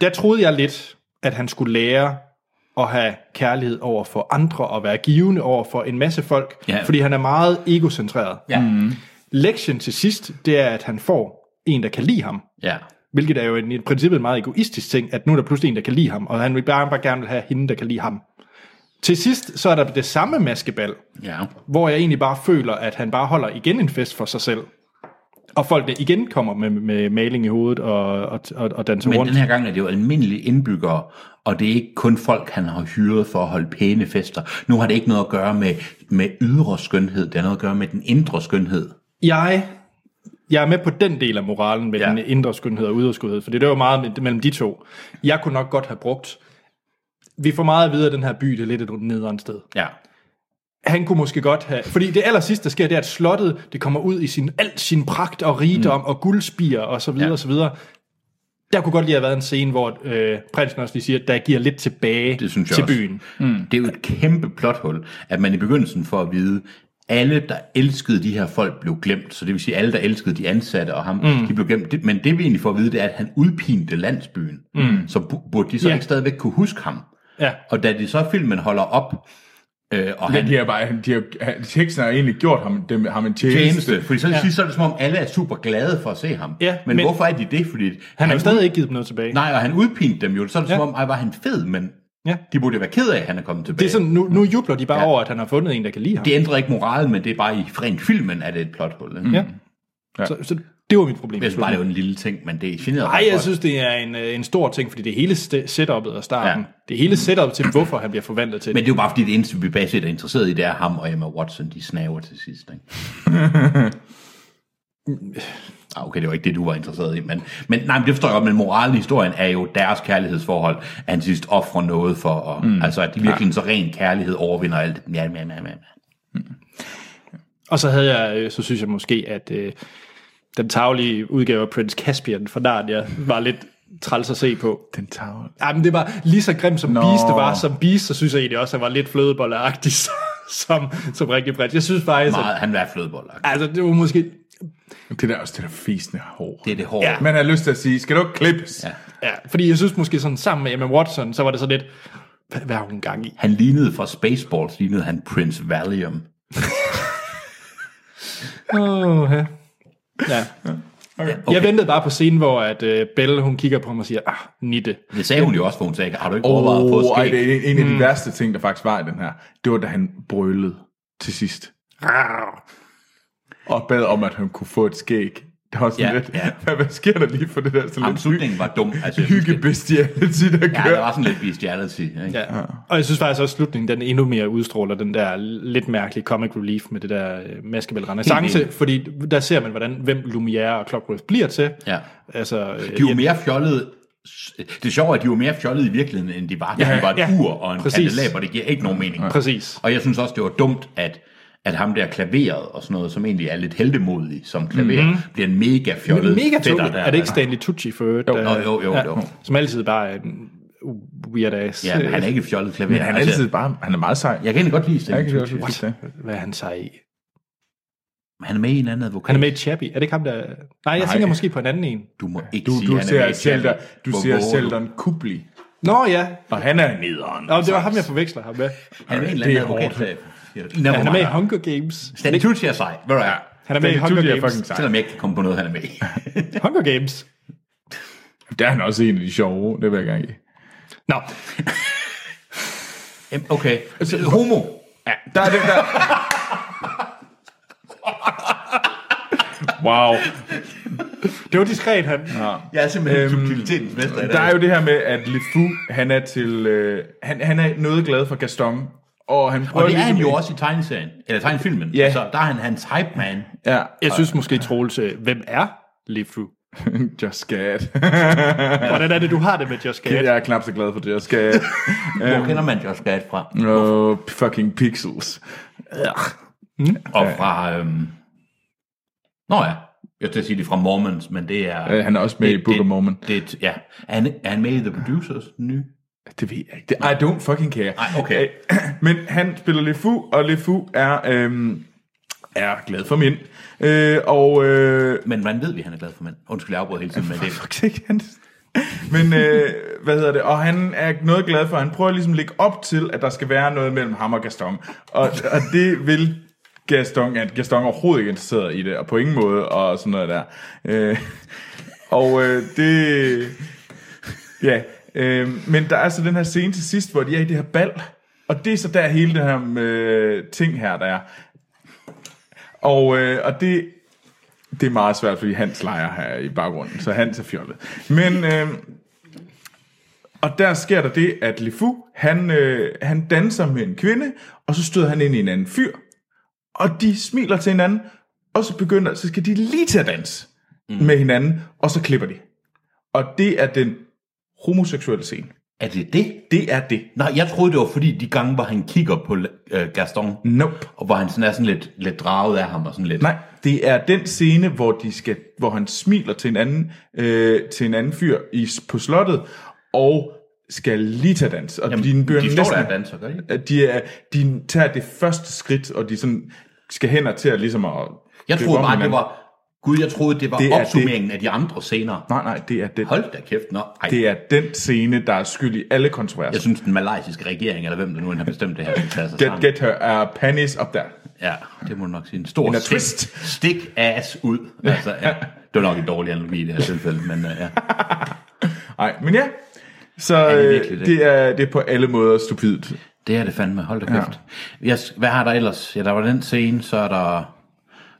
A: der troede jeg lidt, at han skulle lære at have kærlighed over for andre og være givende over for en masse folk,
C: Ja.
A: fordi han er meget egocentreret.
C: Ja. Mm.
A: Lektien til sidst, det er, at han får en, der kan lide ham,
C: ja.
A: hvilket er jo en, i princippet en meget egoistisk ting, at nu er der pludselig en, der kan lide ham, og han vil bare, bare gerne vil have hende, der kan lide ham. Til sidst, så er der det samme maskebal,
C: Ja.
A: hvor jeg egentlig bare føler, at han bare holder igen en fest for sig selv. Og folkene igen kommer med, med maling i hovedet og, og, og, og danser
C: Men
A: rundt.
C: den her gang er det jo almindelige indbyggere, og det er ikke kun folk, han har hyret for at holde pæne fester. Nu har det ikke noget at gøre med, med ydre skønhed, det har noget at gøre med den indre skønhed.
A: Jeg, jeg er med på den del af moralen med ja.
C: Ja.
A: den indre skønhed og ydre skønhed, for det er jo meget me- mellem de to. Jeg kunne nok godt have brugt... Vi får meget at vide, at den her by det er lidt et nederen sted.
C: Ja.
A: Han kunne måske godt have... Fordi det aller sidste, der sker, det er, at slottet det kommer ud i sin, alt sin pragt og rigdom mm. og guldspier og så videre ja. og så videre. Der kunne godt lige have været en scene, hvor øh, prinsen også lige siger, der giver lidt tilbage
C: Det synes jeg
A: til
C: også.
A: byen.
C: Mm. Det er jo et kæmpe plothul, at man i begyndelsen får at vide, alle, der elskede de her folk, blev glemt. Så det vil sige, alle, der elskede de ansatte og ham, mm. de blev glemt. Det- Men det vi egentlig får at vide, det er, at han udpinte landsbyen. Mm. Så bu- burde de så
A: Ja.
C: yeah. ikke stadigvæk kunne huske ham.
A: Ja.
C: Og da de så filmen holder op, øh, og han
B: Men de har bare, de har, han- heksen har egentlig gjort ham, dem, ham en tjeneste.
C: tjeneste. Fordi så, ja. så er det som om, alle er super glade for at se ham.
A: Ja,
C: men,
A: men-
C: men hvorfor er de det? Fordi
A: Han har jo stadig ikke givet dem noget tilbage.
C: Nej, og han udpinte dem jo. Så er det
A: Ja.
C: ja. som om, ej, var han fed, men
A: Ja.
C: de burde jo være ked af, at han er kommet tilbage.
A: Det er sådan, nu, nu jubler de bare ja.
C: Ja.
A: over, at han har fundet en, der kan lide ham.
C: det ændrer ikke moralen, men det er bare i rent filmen, at det er et plothul. ikke?
A: Ja. Ja. Så, så det var mit problem.
C: Jeg synes bare, det var en lille ting, men det generer mig
A: Nej, jeg
C: godt.
A: synes, det er en, øh, en stor ting, fordi det er hele st- setup'et og starten. Ja.
C: Ja. Mm.
A: Det er hele setup'et til, hvorfor han bliver forvandlet til
C: Men det er jo bare fordi, det eneste, vi baseret er interesseret i, det er ham og Emma Watson, de snaver til sidst. Ikke? Ah, okay, det var ikke det, du var interesseret i, men, men, nej, men det forstår jeg godt, men moralen i historien er jo deres kærlighedsforhold, at han til sidst offrer noget for, og, mm. altså at de virkelig ja. Altså- så ren kærlighed overvinder alt. Ja, ja, ja, ja.
A: Og så havde jeg, øh, så synes jeg måske, at øh, den taglige udgave af Prince Caspian fra Narnia var lidt træls at se på.
B: Den tavle.
A: Ja, men det var lige så grimt som Nå. Beast det var. Som Beast, så synes jeg egentlig også, at han var lidt flødebolleagtig som, som rigtig prins. Jeg synes faktisk, at,
C: Meget, han vil have flødeboller.
A: altså det var måske...
B: Det der er også det der fisende hår.
C: Det er det hårde. Ja.
B: Man har lyst til at sige, skal du ikke klippes? Ja.
A: Ja, fordi jeg synes måske sådan sammen med Emma Watson, så var det så lidt, hvad, hvad har hun gang i?
C: Han lignede fra Spaceballs, lignede han Prince Valium.
A: Åh, ja. ja. Okay. Jeg ventede bare på scenen, hvor at øh, Belle, hun kigger på ham og siger, ah, nitte.
C: Det sagde hun jo også, hvor hun sagde, har du ikke overvejet at få
B: Oh,
C: skæg?
B: ej, det er en, en af de mm. værste ting, der faktisk var i den her. Det var, da han brølede til sidst. Og bad om, at han kunne få et skæg. Det var sådan
C: Ja,
B: lidt,
C: ja.
B: Hvad, hvad sker der lige for det der? Så
C: Jamen,
B: lidt
C: slutningen var dum. Altså, jeg synes, det-
B: hyggebestiality, der
C: Ja, det
B: kører.
C: var sådan lidt bestiality. Ikke? Ja.
A: Ja. Og jeg synes faktisk også, at slutningen den endnu mere udstråler den der lidt mærkelige comic relief med det der øh, maskebæl renaissance,
C: enig.
A: fordi der ser man, hvordan hvem Lumière og Clockwork bliver til.
C: Ja.
A: Altså, øh,
C: De var mere fjollede. Det sjove er, at de var mere fjollede i virkeligheden, end de var. Ja,
A: Ja,
C: de var et
A: ja.
C: ur og en
A: Præcis.
C: kandelaber. Det giver ikke nogen mening.
A: Præcis.
C: Og jeg synes også, det var dumt, at at ham der klaveret og sådan noget, som egentlig er lidt heldemodig som klaver, mm-hmm. bliver en mega fjollet
A: mega
C: fætter
A: tåligt. Er det ikke Stanley Tucci for øvrigt? der-
C: Nå, jo, jo,
A: ja,
C: jo.
A: Som altid bare er en weird ass.
C: Ja, men han er
A: Øh,
C: ikke et fjollet klaver.
B: Men han er
C: Altså,
B: altid bare, han er meget sej.
C: Jeg kan egentlig godt lide
B: jeg
C: Stanley
B: kan
C: Tucci.
B: også lide det.
A: Hvad er han sig i?
C: Han er med i en eller anden advokat.
A: Han er med i Chappie. Er det ikke ham, der... Nej, jeg Nej. tænker måske på en anden en.
C: Du må ikke
B: Du,
C: sige,
B: du
C: han er med
B: ser
C: i Chappie.
B: Zelda, du
C: Hvor
B: ser
C: våger du?
B: Zeldon Kubli,
A: Nå ja,
B: og han er nederen.
A: Nå, det var ham, jeg forveksler ham med.
C: Han er med i en eller
B: Det er
C: anden advokat.
A: Ja, han er med i
C: Never mind.
A: Hunger Games.
C: Stanley Tucci er sej. Ved du hvad?
A: Han er med i
B: Stanley
A: Hunger
B: Tucci er
A: Games.
B: fucking sej.
C: Selvom jeg ikke kan komme på noget, han er med i.
A: Hunger Games.
B: Der er han også en af de sjove, det vil jeg gerne give.
A: Nå,
C: Jamen, Okay. Altså, Homo.
B: Ja, der er det der. wow.
A: det var diskret, han.
C: Jeg er simpelthen
B: Øhm,
C: subtilitetens mester i dag.
B: Der er jo det her med, at LeFou, han er til, øh, han, han er noget glad for Gaston, og han prøver
C: og det er han
B: ligesom-
C: jo også i tegneserien, eller tegnefilmen.
B: Ja.
C: Altså, der er han hans hype man.
B: Ja,
A: Jeg synes måske, Troels, øh, hvem er Lefru?
B: just skat.
A: Hvordan er det, du har det med Just Gat?
B: jeg er knap så glad for det, jeg skal...
C: Hvor kender man Josh Gad fra?
B: Oh, fucking pixels.
C: Og fra... Øhm... Nå ja, jeg skal sige det er fra Mormons, men det er...
B: Øh, han er også med i Book of Mormon.
C: Det, er et- ja. Er han, er han med i The Producers den nye?
B: Det ved jeg ikke. Det, I don't fucking care.
C: Ej, okay.
B: Øh, Men han spiller LeFou, og LeFou er, øhm, er glad for mænd. Øh, og... Øh,
C: Men hvordan ved vi, at han er glad for mænd? Undskyld, jeg afbryder hele tiden med det.
B: fuck, det er ikke hans. Men øh, hvad hedder det? Og han er noget glad for, han prøver ligesom at lægge op til, at der skal være noget mellem ham og Gaston. Og, og det vil Gaston, at Gaston er overhovedet ikke interesseret i det, og på ingen måde, og sådan noget der. Øh, og øh, det... Ja, øh, men der er så den her scene til sidst, hvor de er i det her bal, og det er så der hele det her øh, ting her, der er. Og, øh, og det, det er meget svært, fordi Hans leger her i baggrunden, så Hans er fjollet. Men, øh, og der sker der det, at Lefu, han, øh, han danser med en kvinde, og så støder han ind i en anden fyr, og de smiler til hinanden, og så begynder, så skal de lige til at danse mm. med hinanden, og så klipper de. Og det er den homoseksuelle scene.
C: Er det det?
B: Det er det.
C: Nej, jeg troede, det var fordi de gange, hvor han kigger på øh, Gaston,
B: Nope.
C: og hvor han sådan er sådan lidt, lidt draget af ham og sådan lidt.
B: Nej, det er den scene, hvor, de skal, hvor han smiler til en anden, øh, til en anden fyr i, på slottet, og skal lige tage dans. Og
C: Jamen,
B: de, begynder
C: de står
B: næsten-
C: der og danser, gør de ikke?
B: at de, er, de tager det første skridt, og de sådan skal hen og til at ligesom at...
C: Jeg
B: løbe
C: troede
B: om
C: bare, det
B: hinanden.
C: var... Gud, jeg troede, det var
B: Det
C: det
B: er
C: opsummeringen det. af de andre scener.
B: Nej, nej, det er den,
C: Hold da kæft, nå. Ej, det.
B: det er den scene, der er skyld i alle kontroverser.
C: Jeg synes, den malaysiske regering, eller hvem der nu end har bestemt det her, skal tage sig
B: Get,
C: sammen.
B: get her uh, panties up there.
C: Ja, det må du nok sige. En stor
B: In a
C: stik,
B: twist.
C: stik ass ud. Altså, ja. Det var nok en dårlig analogi i det her tilfælde, men uh, ja.
B: Nej, men ja. Så
C: det
B: øh,
C: virkelig det?
B: det, er, det er på alle måder stupidt.
C: Det er det fandme, hold da kæft. Ja. Jeg, hvad har der ellers? Ja, der var den scene, så er der...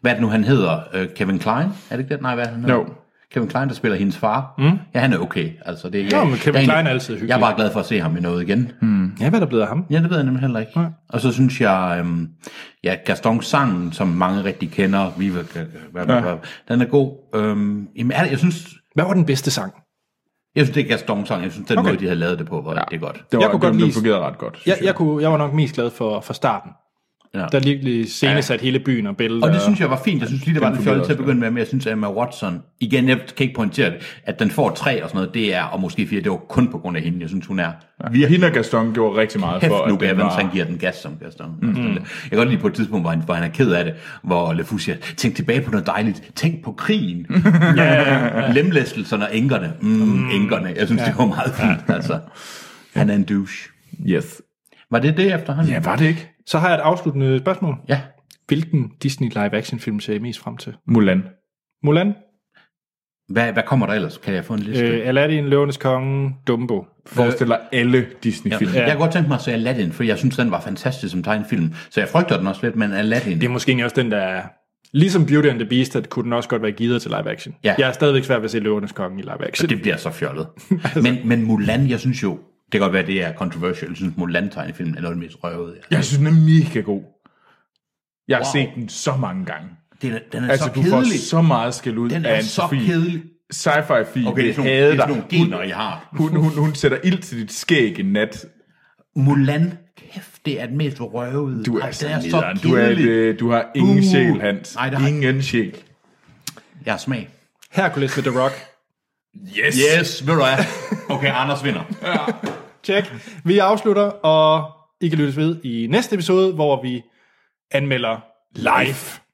C: Hvad er det nu, han hedder? Øh, Kevin Klein? Er det ikke det? Nej, hvad er han hedder?
B: Jo.
C: Kevin Klein, der spiller hendes far. Mm. Ja, han er okay. Altså, det, jeg,
A: men Kevin
C: jeg,
A: Kline
C: egentlig-
A: er altid hyggelig.
C: Jeg er bare glad for at se ham i noget igen.
A: Ja, hvad er der blevet af ham?
C: Ja, det ved jeg nemlig heller ikke. Og så synes jeg, øhm, ja, Gaston sangen, som mange rigtig kender, Viva, øh, hvad, hvad, hvad, den er god. Øhm, jamen, er det- jeg synes,
A: Hvad var den bedste sang?
C: jeg synes, det er Gaston sang. Jeg synes, den
A: Okay.
C: måde, de havde lavet det på, var ja. rigtig godt.
B: Det var,
A: Jeg kunne godt
B: det,
A: lide-
B: det fungerede ret godt.
A: Jeg, jeg, kunne, jeg var nok mest glad for, for starten.
C: Ja.
A: Der virkelig scenesat hele byen og bælter.
C: Og det synes jeg var fint. Jeg synes lige, det var
B: Den
C: lidt fjollet til
B: fungerede
C: at begynde med, men jeg synes, at Emma Watson, igen, jeg kan ikke pointere det, at den får tre og sådan noget, det er, og måske fire, det var kun på grund af hende. Jeg synes, hun er
B: Ja. Hende og Gaston gjorde rigtig meget
C: kæft
B: for,
C: nu,
B: den
C: Evans,
B: var-
C: han giver den gas som Gaston. Mm. Jeg kan godt lide på et tidspunkt, hvor han, hvor han er ked af det, hvor LeFou siger, tænk tilbage på noget dejligt, tænk på krigen, lemlæstelserne og enkerne. Mm, enkerne, jeg synes, ja. det var meget fint. Altså. Han er en douche.
B: Yes.
C: Var det det efter han?
B: Ja, var det ikke?
A: Så har jeg et afsluttende spørgsmål.
C: ja.
A: Hvilken Disney live-action-film ser I mest frem til?
B: Mulan.
A: Mulan?
C: Hvad, hvad kommer der ellers? Kan jeg få en liste?
A: Øh, Aladdin, Løvenes Konge, Dumbo.
B: Forestiller alle Disney-film.
C: Ja. Jeg kunne godt tænke mig at se Aladdin, for jeg synes, den var fantastisk som tegnefilm. Så jeg frygter den også lidt, men Aladdin...
A: Det er måske egentlig også den, der er... Ligesom Beauty and the Beast, at kunne den også godt være givet til live-action.
C: Ja.
A: Jeg er stadigvæk svær ved at se Løvenes Konge i live-action.
C: Det bliver så fjollet.
B: Altså.
C: men, men Mulan, jeg synes jo, det kan godt være, det er controversial. Jeg synes, Mulan-tegnefilmen er noget af det mest røvede. Ja.
B: Jeg synes, den er mega god. Jeg har
C: Wow.
B: wow. set den så mange gange.
C: Den er, den er
B: Altså,
C: så
B: du får
C: kedelig.
B: så meget skæld ud
C: Den
B: af
C: er
B: en
C: så
B: Sofie.
C: kedelig.
B: Sci-fi film.
C: Okay, det er sådan nogle,
B: hader
C: det er sådan nogle
B: dig.
C: gener, jeg har.
B: hun, hun, hun, hun, sætter ild til dit skæg en nat.
C: Mulan, kæft, det er den mest røvede.
B: Du er,
C: Ej,
B: så
C: den er så
B: nederen. du, er et,
C: kedelig.
B: øh, du har ingen
C: Uh.
B: sjæl, Hans.
C: Nej, det har-
B: ingen sjæl.
C: Jeg har smag.
A: Hercules ved The Rock.
B: Yes.
C: Yes, ved du hvad? Okay, Anders vinder.
A: Check. Vi afslutter, og I kan lyttes ved i næste episode, hvor vi anmelder live.